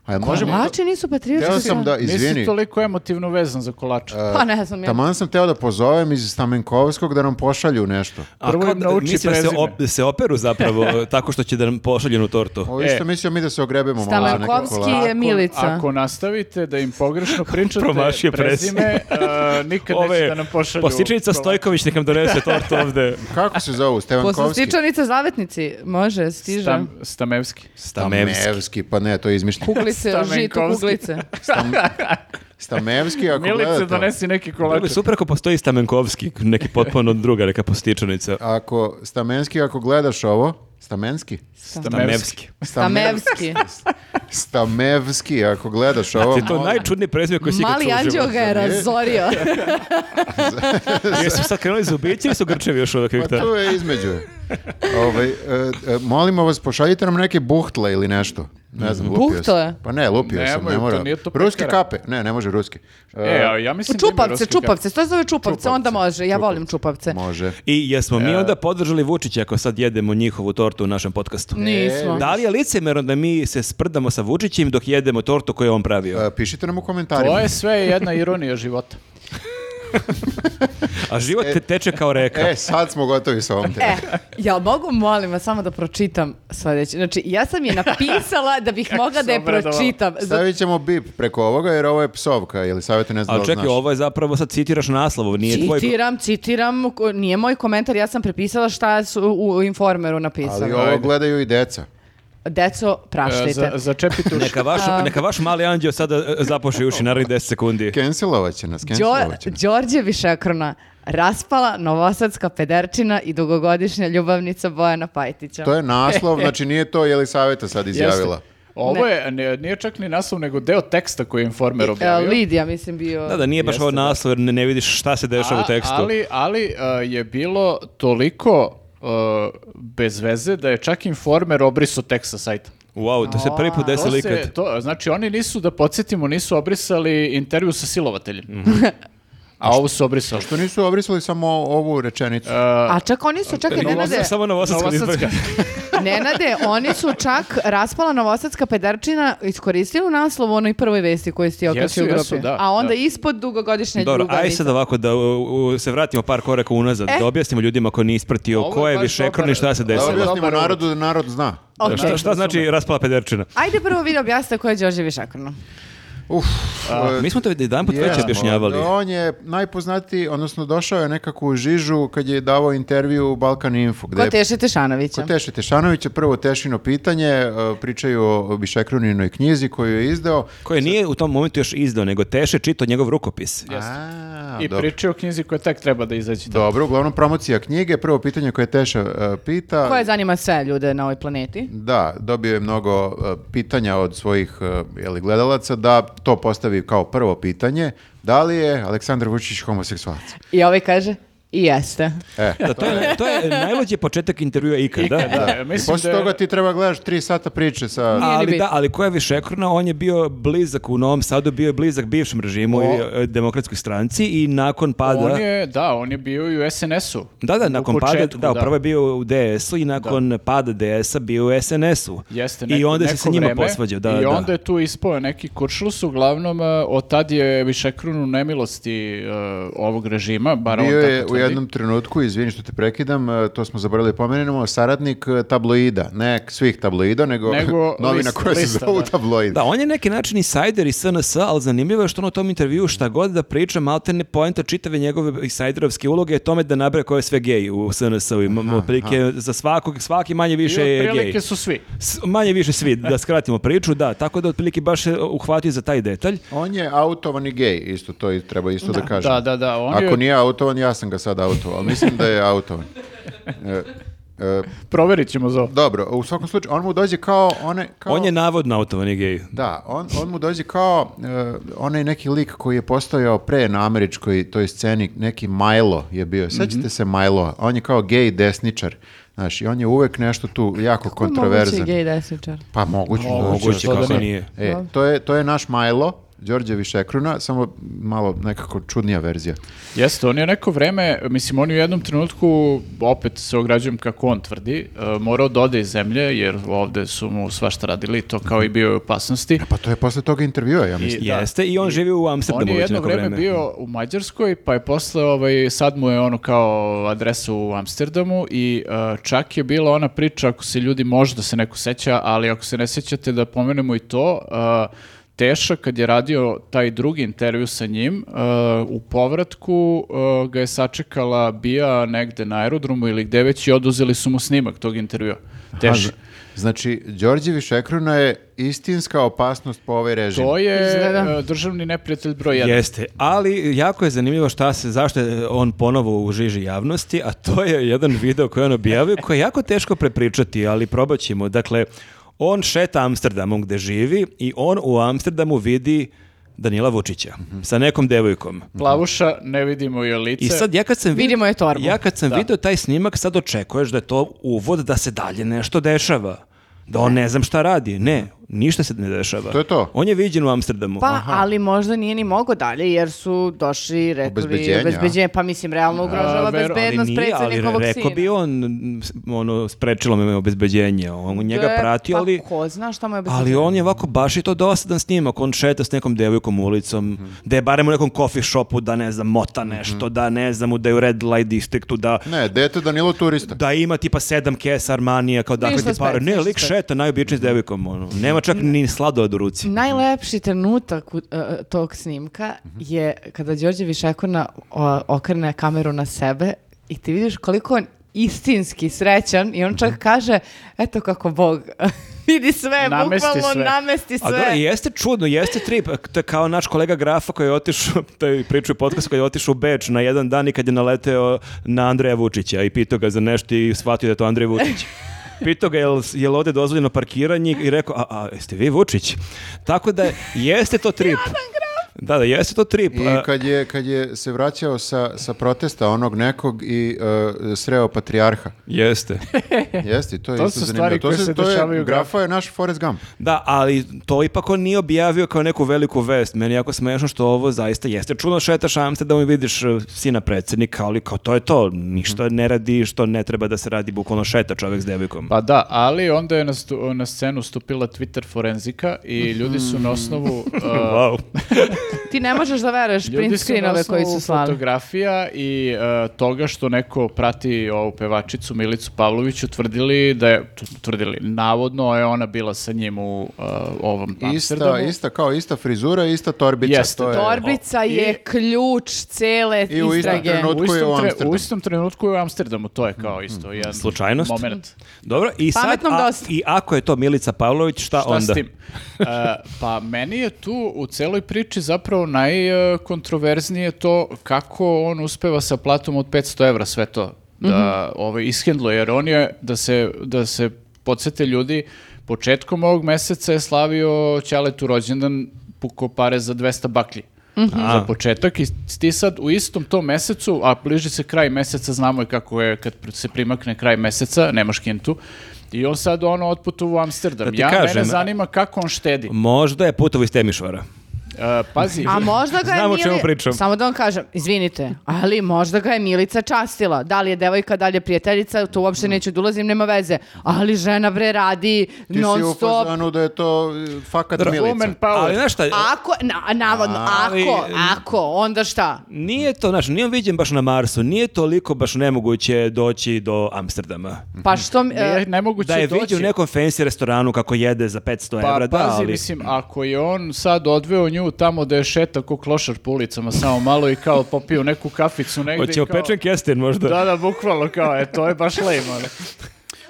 Speaker 2: A možemo...
Speaker 1: Kolači nisu patriotski.
Speaker 2: Teo sam da,
Speaker 4: Nisi
Speaker 2: izvini, Eh,
Speaker 4: toliko emotivno vezan za kolača.
Speaker 1: Pa ne znam ja.
Speaker 2: taman sam teo da pozovem iz Stamenkovskog da nam pošalju nešto.
Speaker 3: A
Speaker 4: Prvo
Speaker 3: kao
Speaker 4: im
Speaker 3: da-
Speaker 4: nauči
Speaker 3: mislim da se,
Speaker 4: prezime.
Speaker 3: op- da se operu zapravo tako što će da nam pošaljenu tortu.
Speaker 2: Ovo
Speaker 4: E.
Speaker 2: isto mislio mi da se ogrebemo malo za neke
Speaker 1: Stamenkovski
Speaker 2: kolače.
Speaker 1: je- Milica.
Speaker 4: Ako nastavite da im pogrešno pričate
Speaker 3: Promašio
Speaker 4: prezime, uh, nikad neće da nam pošalju.
Speaker 3: postičenica
Speaker 4: kolač.
Speaker 3: Stojković nek nam donese tortu ovde.
Speaker 2: Kako se zovu? Stevankovski?
Speaker 1: Poslastičanica zavetnici, može, stižem.
Speaker 4: Stam- Stamevski.
Speaker 3: Stamevski.
Speaker 2: Stamevski, pa ne, to je izmišljeno.
Speaker 1: Kuglice,
Speaker 4: Stamenkovski.
Speaker 1: žito kuglice.
Speaker 2: Stamevski, ako
Speaker 4: Milice,
Speaker 2: gledate...
Speaker 4: donesi neki
Speaker 3: Bilo bi
Speaker 4: kolač.
Speaker 3: super ako postoji Stamenkovski, neki potpuno druga neka postičanica.
Speaker 2: Ako, Stamenski, ako gledaš ovo, Stamenski?
Speaker 4: Stamevski.
Speaker 3: Stamenski.
Speaker 1: Stamevski.
Speaker 2: Stamevski, ako gledaš ovo...
Speaker 3: Ti je to
Speaker 2: molim-
Speaker 3: najčudniji prezime koji si ikad
Speaker 1: Mali
Speaker 3: čuo u
Speaker 1: anđeo
Speaker 3: životu.
Speaker 1: ga je razorio.
Speaker 3: Jesu sad krenuli zubići ili su grčevi još uvijek,
Speaker 2: Pa
Speaker 3: Viktor?
Speaker 2: to je između. Ovaj, e, e, molimo vas, pošaljite nam neke buhtle ili nešto. Ne znam, lupio
Speaker 1: Buhtle?
Speaker 2: sam. Pa ne, lupio sam,
Speaker 4: Nemoj,
Speaker 2: ne
Speaker 4: to
Speaker 2: mora.
Speaker 4: nije to
Speaker 2: Ruske
Speaker 4: pekara.
Speaker 2: kape. Ne, ne može ruski.
Speaker 4: E, a ja mislim da ima
Speaker 1: Pa čupavce,
Speaker 4: ruski
Speaker 1: čupavce, što se zove čupavce,
Speaker 2: Čupavce,
Speaker 1: onda može, ja volim čupavce.
Speaker 2: Može.
Speaker 3: I jesmo mi onda podržali Vučića ako sad jedemo njihovu tortu u našem podcastu?
Speaker 1: Nismo.
Speaker 3: Da li je licemerno da mi se sprrdamo sa Vučićem dok jedemo tortu koju je on pravio?
Speaker 2: E, pišite nam u
Speaker 4: kebab.
Speaker 2: komentarima.
Speaker 4: To je sve jedna ironija života.
Speaker 3: A
Speaker 4: e,
Speaker 3: život te teče kao reka.
Speaker 2: E, sad smo gotovi sa ovom temom.
Speaker 1: E, jel mogu, molim vas, samo da pročitam sljedeće. Znači, ja sam je napisala da bih mogla da
Speaker 4: sam
Speaker 1: je
Speaker 4: obradovala.
Speaker 1: pročitam. Zato-
Speaker 2: Stavit ćemo bip preko ovoga jer ovo je psovka ili savjeti ne znam da
Speaker 3: Ali
Speaker 2: li
Speaker 3: čekaj,
Speaker 2: znaš.
Speaker 3: ovo je zapravo sad citiraš naslov, nije tvoj...
Speaker 1: Citiram, citiram, ko- nije moj komentar, ja sam prepisala šta su u u Informeru napisali.
Speaker 2: Ali ovo
Speaker 4: Ajde.
Speaker 2: gledaju i deca.
Speaker 1: Deco,
Speaker 4: E,
Speaker 1: praštite.
Speaker 4: za, začepite uši.
Speaker 3: Neka vaš, neka vaš mali anđeo sada e, zapoši uši narednih 10 sekundi.
Speaker 2: Cancelovat će nas,
Speaker 1: Đor,
Speaker 2: cancelovat će nas.
Speaker 1: Đorđe Višekrona, raspala novosadska pederčina i dugogodišnja ljubavnica Bojana Pajtića.
Speaker 2: To je naslov, znači nije to Jelisaveta sad izjavila.
Speaker 4: Jeste. Ovo je, ne- nije čak ni naslov, nego deo teksta koji je informer
Speaker 1: E,
Speaker 4: objavio.
Speaker 1: Lidija, mislim, bio...
Speaker 3: Da, da, nije baš
Speaker 4: Jeste,
Speaker 3: ovo
Speaker 4: da.
Speaker 3: naslov jer ne, ne vidiš šta se dešava u
Speaker 4: A-
Speaker 3: tekstu.
Speaker 4: Ali, ali a, je bilo toliko a, bez veze da je čak informer obriso tekst sa sajta.
Speaker 3: Wow, to se prvi put
Speaker 4: To
Speaker 3: desilo
Speaker 4: se-
Speaker 3: ikad.
Speaker 4: to, znači oni nisu, da podsjetimo, nisu obrisali intervju sa silovateljem. A ovo su obrisali.
Speaker 2: To nisu obrisali samo ovu
Speaker 3: E,
Speaker 2: rečenicu.
Speaker 1: A čak oni su, čekaj,
Speaker 3: Ovo
Speaker 1: Nenade,
Speaker 3: sam samo novosadska
Speaker 4: Novosadska.
Speaker 1: Nenade, oni su čak raspala novosadska pederčina iskoristili u naslovu onoj prvoj vesti koju ste
Speaker 4: Jesu,
Speaker 1: okačili u
Speaker 4: jesu,
Speaker 1: grupi.
Speaker 4: da,
Speaker 1: A onda
Speaker 4: da.
Speaker 1: ispod dugogodišnja
Speaker 3: Dobro, aj
Speaker 1: ljubavnica.
Speaker 3: sad ovako da u- u- se vratimo par koraka unazad,
Speaker 1: Eh?
Speaker 3: da objasnimo ljudima ko nije ispratio
Speaker 4: Ovo je
Speaker 3: ko je
Speaker 4: baš
Speaker 3: više
Speaker 4: dobar-
Speaker 3: i šta se
Speaker 2: Da
Speaker 3: desilo.
Speaker 2: objasnimo narodu da narod zna.
Speaker 1: Ok.
Speaker 3: Šta, šta znači raspala pederčina?
Speaker 1: Ajde prvo vi da objasnite ko je Đorđe Višakrno.
Speaker 2: Uf, e,
Speaker 3: Mi smo to jedan put već
Speaker 2: jesmo.
Speaker 3: objašnjavali.
Speaker 2: On je najpoznatiji, odnosno došao je nekako u žižu kad je davao intervju u Balkan Info. Gde
Speaker 1: Ko
Speaker 2: je
Speaker 1: Teše Tešanovića.
Speaker 2: Kod Teše Tešanovića prvo Tešino pitanje, e, pričaju o Bišekruninoj knjizi koju je izdao.
Speaker 3: Koji nije u tom momentu još izdao, nego teše čito njegov rukopis.
Speaker 2: A,
Speaker 4: I
Speaker 2: dobro.
Speaker 4: pričaju o knjizi koja tek treba da izađe.
Speaker 2: Dobro, uglavnom promocija knjige, prvo pitanje koje Teša e, pita.
Speaker 1: Koje zanima sve ljude na ovoj planeti.
Speaker 2: Da, dobio je mnogo e, pitanja od svojih e, jeli, gledalaca da to postavi kao prvo pitanje. Da li je Aleksandar Vučić homoseksualac?
Speaker 1: I ovaj kaže, i jeste.
Speaker 2: E,
Speaker 3: Da, to, je, to je najluđi početak intervjua ikada.
Speaker 4: Ikada,
Speaker 3: Da.
Speaker 4: e,
Speaker 2: I
Speaker 4: mislim
Speaker 2: posle
Speaker 4: da je-
Speaker 2: toga ti treba gledaš tri sata priče sa...
Speaker 1: Nije ni
Speaker 3: Ali
Speaker 1: bit.
Speaker 3: da, ali ko je Višekrona, on je bio blizak u Novom Sadu, bio je blizak bivšem režimu i e, demokratskoj stranci i nakon pada...
Speaker 4: On je, da, on je bio i u SNS-u.
Speaker 3: Da, da,
Speaker 4: U
Speaker 3: nakon
Speaker 4: početku,
Speaker 3: pada, da, prvo je bio u DS-u i nakon pada DS-a bio u SNS-u.
Speaker 4: Jeste,
Speaker 3: I
Speaker 4: neko-
Speaker 3: onda se
Speaker 4: neko
Speaker 3: sa njima
Speaker 4: vreme,
Speaker 3: posvađao, da,
Speaker 4: I
Speaker 3: da.
Speaker 4: onda je tu ispao neki kuršlus, uglavnom e, od tad je Višekrun u nemilosti e, ovog režima, bar on
Speaker 2: Bio
Speaker 4: tako
Speaker 2: je u
Speaker 4: tvrdi.
Speaker 2: jednom trenutku, izvini što te prekidam, e, to smo zaboravili da pomenemo, saradnik e, tabloida, ne svih tabloida, nego,
Speaker 4: Nego
Speaker 2: novina
Speaker 4: list-
Speaker 2: koja se
Speaker 4: lista,
Speaker 2: zovu
Speaker 4: da.
Speaker 2: tabloid.
Speaker 3: Da, on je neki način insider i SNS, ali zanimljivo je što on u tom intervju šta god da priča, maltene poenta čitave njegove insajderovske uloge je tome da nabraje ko je sve gej u SNS-u. i Imamo prilike za svakog, svaki manje
Speaker 4: I
Speaker 3: više je
Speaker 4: otprilike
Speaker 3: gej.
Speaker 4: su svi.
Speaker 3: S- Manje više svi, da skratimo priču, da, tako da otprilike baš se uhvatio za taj detalj.
Speaker 2: On je autovani gej, isto to i treba isto da, kažem.
Speaker 4: Da, da, da, on
Speaker 2: Ako
Speaker 4: je,
Speaker 2: nije autovan, ja sam ga sad autovao, ali mislim da je autovan. E, e,
Speaker 4: proverit ćemo za ovo.
Speaker 2: dobro, u svakom slučaju, on mu dođe kao... One, kao
Speaker 3: On je navodno autovani gej.
Speaker 2: Da, on, on mu dođe kao e, onaj neki lik koji je postojao pre na američkoj toj sceni, neki Milo je bio.
Speaker 4: Mhm.
Speaker 2: Sećate se Milo, on je kao gej desničar. Znaš, i on je uvek nešto tu jako kontroverzan.
Speaker 1: Moguće gej desničar.
Speaker 2: Pa moguće.
Speaker 3: Moguće,
Speaker 4: što da
Speaker 3: kako
Speaker 4: ne.
Speaker 3: nije.
Speaker 2: E, to je, to je naš Milo, Đorđe Višekruna, samo malo nekako čudnija verzija.
Speaker 4: Jeste, on je neko vreme, mislim, on je u jednom trenutku, opet se ograđujem kako on tvrdi, e, morao da ode iz zemlje, jer ovde su mu svašta radili, to kao i bio je u opasnosti.
Speaker 2: Pa to je posle toga intervjua, ja mislim.
Speaker 4: I- da.
Speaker 3: Jeste, i on živi u
Speaker 4: On
Speaker 3: Amsterdamu
Speaker 4: je
Speaker 3: već
Speaker 4: jedno
Speaker 3: neko
Speaker 4: vreme
Speaker 3: vreme.
Speaker 4: bio u Mađarskoj, pa je posle, ovaj, sad mu je ono kao adresa u Amsterdamu i e, čak je bila ona priča, ako se ljudi možda se neko seća, ali ako se ne sećate da pomenemo i to, e, Teša kad je radio taj drugi intervju sa njim, e, u povratku e, ga je sačekala Bija negde na aerodromu ili gde već i oduzeli su mu snimak tog intervjua. Teša.
Speaker 2: Znači, Đorđe Višekruna je istinska opasnost po ovaj režim.
Speaker 4: To je
Speaker 1: Izgleda.
Speaker 4: e, državni neprijatelj broj 1.
Speaker 3: Jeste, ali jako je zanimljivo šta se, zašto je on ponovo u žiži javnosti, a to je jedan video koji je on objavio koji je jako teško prepričati, ali probat ćemo. Dakle, On šeta Amsterdamom gde živi i on u Amsterdamu vidi Danila Vučića sa nekom devojkom.
Speaker 4: Plavuša, ne vidimo joj lice.
Speaker 3: I sad ja kad sam vid-
Speaker 1: Vidimo je torbu.
Speaker 3: Ja kad sam vidio taj snimak, sad očekuješ da je to uvod da se dalje nešto dešava. Da on ne znam šta radi. Ne, ništa se ne dešava.
Speaker 2: To je to.
Speaker 3: On je viđen u Amsterdamu.
Speaker 1: Pa, ali možda nije ni mogao dalje, jer su došli rekli
Speaker 2: Obezbeđenja.
Speaker 1: obezbeđenje, pa mislim, realno ugrožava
Speaker 4: A, vero-
Speaker 1: bezbednost
Speaker 3: ali nije, ali
Speaker 1: predsjednikovog
Speaker 3: rekao
Speaker 1: sina.
Speaker 3: bi on, m, s- ono, sprečilo me obezbeđenje, ono, on njega
Speaker 1: E,
Speaker 3: prati, ali,
Speaker 1: Pa ko zna šta mu je
Speaker 3: ali
Speaker 1: obezbeđenje.
Speaker 3: on je ovako baš i to dosadan snimak, on šeta s nekom devojkom ulicom, da je barem u nekom coffee shopu, da ne znam, mota nešto, da ne znam, da je u red light districtu, da
Speaker 2: Ne, dete Danilo turista.
Speaker 3: da ima tipa sedam kesa Armanija, kao dakle
Speaker 1: Ništa
Speaker 3: ti pare. Ne,
Speaker 1: specijalno,
Speaker 3: lik
Speaker 1: ništa.
Speaker 3: šeta najobičniji s devojkom, ono. Nema čak ni sladoled u ruci.
Speaker 1: Najlepši trenutak u- e, tog snimka
Speaker 3: Mhm.
Speaker 1: je kada Đorđe Višekona o, okrene kameru na sebe i ti vidiš koliko je on istinski srećan i on
Speaker 3: Mhm.
Speaker 1: čak kaže eto kako Bog vidi sve,
Speaker 4: Namesti
Speaker 1: bukvalno
Speaker 4: sve.
Speaker 1: namesti
Speaker 3: A da,
Speaker 1: sve.
Speaker 3: jeste čudno, jeste trip. To je kao naš kolega Grafa koji je otišao, to je pričao u podcastu, koji je otišao u Beč na jedan dan i kad je naleteo na Andreja Vučića i pitao ga za nešto i shvatio da je to Andrej Vučić. Pitao ga je li je ovdje dozvoljeno parkiranje i rekao, a, a jeste vi Vučić? Tako da jeste to trip. Da, da, jeste to trip.
Speaker 2: I
Speaker 4: Pa-
Speaker 3: A-
Speaker 2: kad je, kad je se vraćao sa, sa protesta onog nekog i e, sreo patrijarha.
Speaker 3: Jeste.
Speaker 2: Jeste, to je
Speaker 4: To
Speaker 2: isto
Speaker 4: su
Speaker 2: zanimljivo.
Speaker 4: stvari koje se
Speaker 2: je-
Speaker 4: dešavaju u
Speaker 2: Grafa je naš Forrest Gump.
Speaker 3: Da, ali to ipak on nije objavio kao neku veliku vest. Meni je jako smešno što ovo zaista jeste čudno šetaš Amsterdam i vidiš eh, sina predsjednika, ali kao to je to. Ništa
Speaker 4: Mhm.
Speaker 3: ne radi što ne treba da se radi, bukvalno šeta čovjek s devojkom.
Speaker 4: Pa da, ali onda je na, stu- na scenu stupila Twitter forenzika i ljudi su na osnovu... uh,
Speaker 3: Wow.
Speaker 1: Ti ne možeš da veruješ
Speaker 4: Ljudi
Speaker 1: print
Speaker 4: su na
Speaker 1: screenove koji
Speaker 4: osnovu
Speaker 1: su slali.
Speaker 4: fotografija i e, toga što neko prati ovu pevačicu Milicu Pavlović utvrdili da je, t- tvrdili, navodno je ona bila sa njim u e, ovom
Speaker 2: Ista,
Speaker 4: Amsterdamu.
Speaker 2: ista, kao ista frizura, ista torbica.
Speaker 4: Jeste.
Speaker 2: to je-
Speaker 1: Torbica
Speaker 4: I-
Speaker 1: je ključ cele
Speaker 2: E, I u istom
Speaker 1: istrage.
Speaker 2: trenutku-
Speaker 4: U istom,
Speaker 2: je u
Speaker 4: tre-
Speaker 2: Amsterdamu. Mhm,
Speaker 4: u istom trenutku je u Amsterdamu, to je kao isto jedan
Speaker 3: Slučajnost?
Speaker 4: moment.
Speaker 3: Dobro, i sad,
Speaker 1: Pametnom
Speaker 3: a-
Speaker 1: dosta.
Speaker 3: i ako je to Milica Pavlović, šta,
Speaker 4: Pa Šta
Speaker 3: onda?
Speaker 4: s tim? E, pa meni je tu u celoj priči zapravo najkontroverznije to kako on uspeva sa platom od 500 evra sve to da ovaj, ishendluje, jer on je, da se, da se podsjete ljudi, početkom ovog meseca je slavio Ćaletu rođendan puko pare za 200 baklji. Za početak i ti sad u istom tom mesecu, a bliži se kraj meseca, znamo je kako je kad se primakne kraj meseca, nemaš kintu, i on sad ono otputovo u Amsterdam.
Speaker 3: Da ti
Speaker 4: ja,
Speaker 3: kažem,
Speaker 4: mene zanima kako on štedi.
Speaker 3: Možda je putovo iz Temišvara.
Speaker 4: E, pazi,
Speaker 1: A možda ga je
Speaker 3: Znam o čemu
Speaker 1: Mili-
Speaker 3: pričam.
Speaker 1: Samo da vam kažem, izvinite, ali možda ga je Milica častila. Da li je devojka, da li je prijateljica, to uopšte neću da ulazim, nema veze. Ali žena bre radi
Speaker 2: Ti si
Speaker 1: non
Speaker 2: u
Speaker 1: stop.
Speaker 2: fazonu da je to e, fakat Milica.
Speaker 4: woman power.
Speaker 3: Ali znaš šta,
Speaker 1: Ako, na, navodno,
Speaker 3: Ali-
Speaker 1: ako, ako, onda šta?
Speaker 3: nije to, znaš, nije on viđen baš na Marsu, nije toliko baš nemoguće doći do Amsterdama.
Speaker 1: Pa što... mi-
Speaker 4: Nije
Speaker 1: e,
Speaker 4: nemoguće
Speaker 3: Da je
Speaker 4: doći.
Speaker 3: vidio u nekom fancy restoranu kako jede za 500
Speaker 4: Pa
Speaker 3: evra, da,
Speaker 4: pazi,
Speaker 3: ali...
Speaker 4: mislim, ako je on sad odveo nju tamo da je šeta ko klošar po ulicama samo malo i kao popio neku kaficu negdje.
Speaker 3: Hoće
Speaker 4: i kao-
Speaker 3: opečen kestin možda?
Speaker 4: Da, da, bukvalno kao, e, to je baš lame, ono.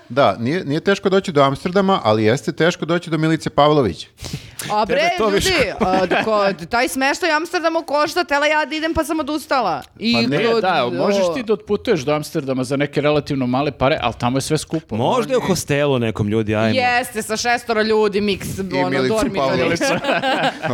Speaker 2: Da, nije, nije teško doći do Amsterdama, ali jeste teško doći do Milice Pavlović.
Speaker 1: a bre,
Speaker 3: tebe to
Speaker 1: ljudi,
Speaker 3: više.
Speaker 1: a, ko- taj smeštaj u Amsterdamu košta, tela ja da idem pa sam odustala. I,
Speaker 4: Ne,
Speaker 1: od-
Speaker 4: E, da, možeš
Speaker 1: o-
Speaker 4: ti da otputuješ do Amsterdama za neke relativno male pare, ali tamo je sve skupo.
Speaker 3: Možda je u hostelu nekom ljudi, ajmo.
Speaker 1: Jeste, sa šestoro ljudi, miks,
Speaker 2: I
Speaker 1: ono,
Speaker 2: Milicu
Speaker 1: dormitori.
Speaker 2: Pavlović.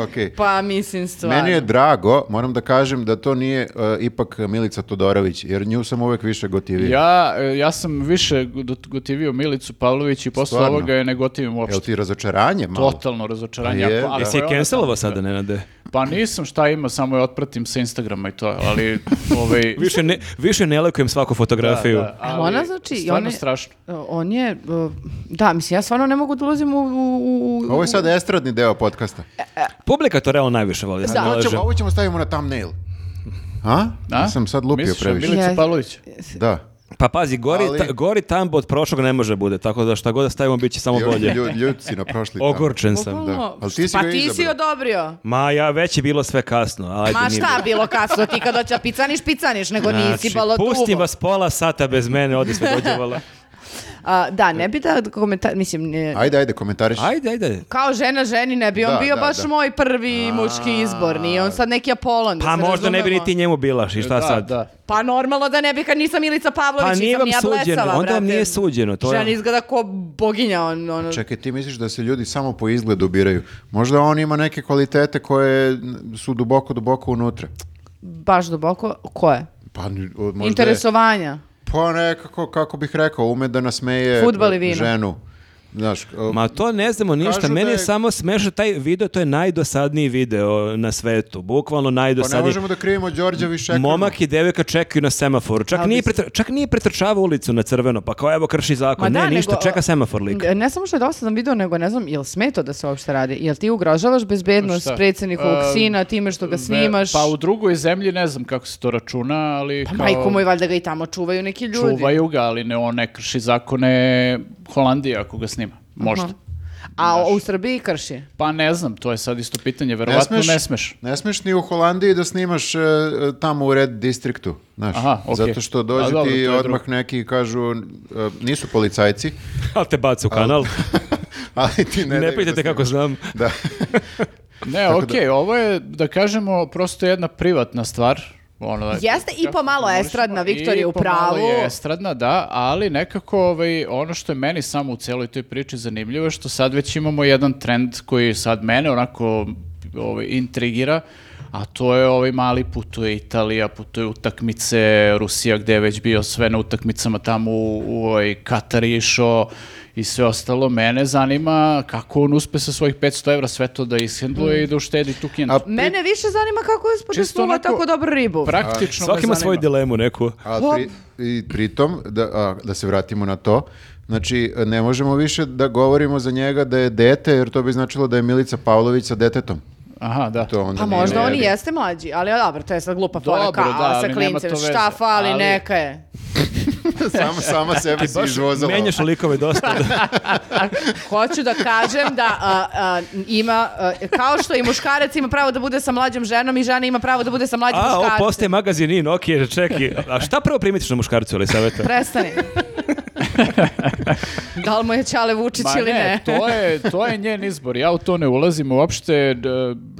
Speaker 2: Okej.
Speaker 1: Pa mislim stvarno.
Speaker 2: Meni je drago, moram da kažem da to nije e, ipak Milica Todorović, jer nju sam uvek više gotivio.
Speaker 4: Ja, e, ja sam više got- gotivio Milicu Pavlović i posle
Speaker 2: Stvarno?
Speaker 4: ovoga je ne gotivim uopšte.
Speaker 2: Jel ti razočaranje malo?
Speaker 4: Totalno razočaranje.
Speaker 2: Je, da.
Speaker 4: Ako- ako
Speaker 3: Jesi Pa je
Speaker 4: ona
Speaker 3: cancelovao
Speaker 4: tamo-
Speaker 3: sada, Nenade?
Speaker 4: Pa nisam šta ima, samo je otpratim sa Instagrama i to, ali... ovaj,
Speaker 3: Više ne, više ne lekujem svaku fotografiju.
Speaker 4: da, ali
Speaker 1: Ali ona znači, i
Speaker 4: Stvarno
Speaker 1: ona je-
Speaker 4: strašno.
Speaker 1: On je, uh, da, mislim, ja stvarno ne mogu da ulazim u... u, u-
Speaker 2: Ovo je sad estradni deo podcasta.
Speaker 3: Publika to realno najviše voli, da se
Speaker 1: E, Da.
Speaker 3: ne
Speaker 2: To
Speaker 3: lažem.
Speaker 2: ćemo, ovo ćemo stavimo na thumbnail. A?
Speaker 4: A?
Speaker 2: Ja sam sad lupio
Speaker 4: Misliš,
Speaker 2: previše.
Speaker 4: Milica
Speaker 1: Ja-
Speaker 4: Pavlović?
Speaker 2: Da.
Speaker 3: Pa pazi, gori,
Speaker 2: Ali-
Speaker 3: ta- gori tambo od prošlog ne može bude, tako da šta god da stavimo bit će samo bolje.
Speaker 2: Ljud, ljud si na prošli. tamo.
Speaker 3: Ogorčen sam.
Speaker 1: Bukvalno,
Speaker 2: da. Ali ti si
Speaker 1: pa
Speaker 2: ga
Speaker 1: ti si
Speaker 2: izabrao.
Speaker 1: odobrio.
Speaker 3: Ma ja, već je bilo sve kasno. Ajde,
Speaker 1: Ma
Speaker 3: nije
Speaker 1: šta bilo kasno, ti kad hoće picaniš, picaniš, nego
Speaker 3: bilo.
Speaker 1: nisi
Speaker 3: Znači,
Speaker 1: balo
Speaker 3: pustim vas pola sata bez mene, ovdje sve dođevala.
Speaker 1: A, da, ne bi da komentar... Mislim, ne-
Speaker 2: Ajde, ajde, komentariš.
Speaker 3: Ajde, ajde.
Speaker 1: kao žena ženi ne bi on
Speaker 2: Da,
Speaker 1: bio
Speaker 2: da,
Speaker 1: baš
Speaker 2: da.
Speaker 1: moj prvi muški izbor. Nije on sad neki Apolon. da
Speaker 3: Pa
Speaker 1: se
Speaker 3: možda ne bi ni
Speaker 1: razumemo.
Speaker 3: ti njemu bilaš i šta
Speaker 4: da,
Speaker 3: sad?
Speaker 4: Da.
Speaker 1: Pa normalno da ne bi kad nisam Milica Pavlović,
Speaker 3: Pa nije
Speaker 1: nisam
Speaker 3: vam
Speaker 1: ni ja blesava,
Speaker 3: suđeno, onda vam
Speaker 1: brate.
Speaker 3: nije suđeno, to je-
Speaker 1: Žena izgleda ko boginja, on, ono,
Speaker 2: Čekaj, ti misliš da se ljudi samo po izgledu biraju. Možda on ima neke kvalitete koje su duboko, duboko unutra.
Speaker 1: baš duboko. Ko je?
Speaker 2: Pa, n- o, možda je-
Speaker 1: Interesovanja.
Speaker 2: Pa nekako, kako bih rekao, ume da nasmeje
Speaker 1: Fudbal i vino.
Speaker 2: ženu. Znaš, o,
Speaker 3: Ma to ne znamo ništa,
Speaker 2: Kažu
Speaker 3: meni
Speaker 2: da
Speaker 3: je
Speaker 2: je-
Speaker 3: samo smešno taj video, to je najdosadniji video na svetu, bukvalno
Speaker 2: pa ne
Speaker 3: najdosadniji.
Speaker 2: možemo da krivimo Đorđa više.
Speaker 3: Momak i devojka čekaju na semaforu. Čak
Speaker 1: Ali
Speaker 3: nije,
Speaker 1: bi-
Speaker 3: pretr- čak nije pretrčavao ulicu na crveno, pa kao evo krši zakon.
Speaker 1: Ma
Speaker 3: ne,
Speaker 1: da,
Speaker 3: ništa,
Speaker 1: nego,
Speaker 3: čeka semafor lik.
Speaker 1: E, Ne samo što je dosadan video, nego ne znam, jel sme to da se uopšte radi? Jel ti ugrožavaš bezbednost
Speaker 4: Šta?
Speaker 1: predsjednikovog
Speaker 4: Em,
Speaker 1: sina time što ga
Speaker 4: Ve-
Speaker 1: snimaš?
Speaker 4: Pa u drugoj zemlji ne znam kako se to računa, ali
Speaker 1: Pa
Speaker 4: kao...
Speaker 1: majko moj, valjda ga i tamo čuvaju neki ljudi.
Speaker 4: Čuvaju ga, ali ne, on ne krši zakone Holandije ako ga snima. Možda.
Speaker 1: A u Srbiji krši.
Speaker 4: Pa ne znam, to je sad isto pitanje. Verovatno ne smeš.
Speaker 2: Ne smeš ni u Holandiji da snimaš e, e, tamo u red distriktu, znaš.
Speaker 4: Aha, okej.
Speaker 2: Zato što dođu
Speaker 4: A, dobro, to
Speaker 2: ti
Speaker 4: je drugo.
Speaker 2: odmah neki i kažu, e, nisu policajci,
Speaker 3: Ali te baca u kanal,
Speaker 2: ali ti ne...
Speaker 3: ne
Speaker 2: daju da
Speaker 3: pitajte kako
Speaker 2: snimaš.
Speaker 3: znam.
Speaker 2: Da.
Speaker 4: Ne, okej, ovo je, da kažemo, prosto jedna privatna stvar. Ono,
Speaker 1: Jeste i
Speaker 4: kako
Speaker 1: pomalo
Speaker 4: možemo,
Speaker 1: estradna, Viktor je u
Speaker 4: I pomalo
Speaker 1: pravu.
Speaker 4: je estradna, da, ali nekako ovaj, ono što je meni samo u celoj toj priči zanimljivo je što sad već imamo jedan trend koji sad mene onako ovaj, intrigira, a to je ovaj mali putuje Italija, putuje utakmice, Rusija gde je već bio sve na utakmicama tamo u, u ovaj, Katar je išao i sve ostalo. Mene zanima kako on uspe sa svojih 500 evra sve to da ishendluje i da uštedi tu kintu.
Speaker 2: A
Speaker 1: Mene više zanima kako je spotisnula
Speaker 4: onako-
Speaker 1: tako dobru ribu.
Speaker 4: Praktično me
Speaker 3: Svaki ima svoju
Speaker 4: zanima.
Speaker 3: dilemu neku.
Speaker 2: A pri, i pritom, da, a, da se vratimo na to, znači ne možemo više da govorimo za njega da je dete, jer to bi značilo da je Milica Pavlović sa detetom.
Speaker 4: Aha, da.
Speaker 2: To onda
Speaker 1: Pa
Speaker 2: nije
Speaker 1: možda
Speaker 2: u
Speaker 1: on i
Speaker 2: redu.
Speaker 1: jeste mlađi, ali dobro, to je sad glupa fora
Speaker 4: Dobro,
Speaker 1: kao
Speaker 4: da, ali
Speaker 1: sa
Speaker 4: nema
Speaker 1: klincem,
Speaker 4: to veze,
Speaker 1: šta fali,
Speaker 4: ali-
Speaker 1: neka je.
Speaker 2: sama, sama sebi si izvozala.
Speaker 3: Menjaš likove dosta.
Speaker 1: Hoću da kažem da a, a, ima, a, kao što i muškarac ima pravo da bude sa mlađom ženom i žena ima pravo da bude sa mlađim
Speaker 3: A, ovo
Speaker 1: muškarcem.
Speaker 3: postaje magazin in, ok, čeki. A šta prvo primitiš na muškarcu ili savjeta?
Speaker 1: Prestani. da li mu je Ćale Vučić
Speaker 4: Ma
Speaker 1: ili ne?
Speaker 4: to, je, to je njen izbor. Ja u to ne ulazim uopšte. D-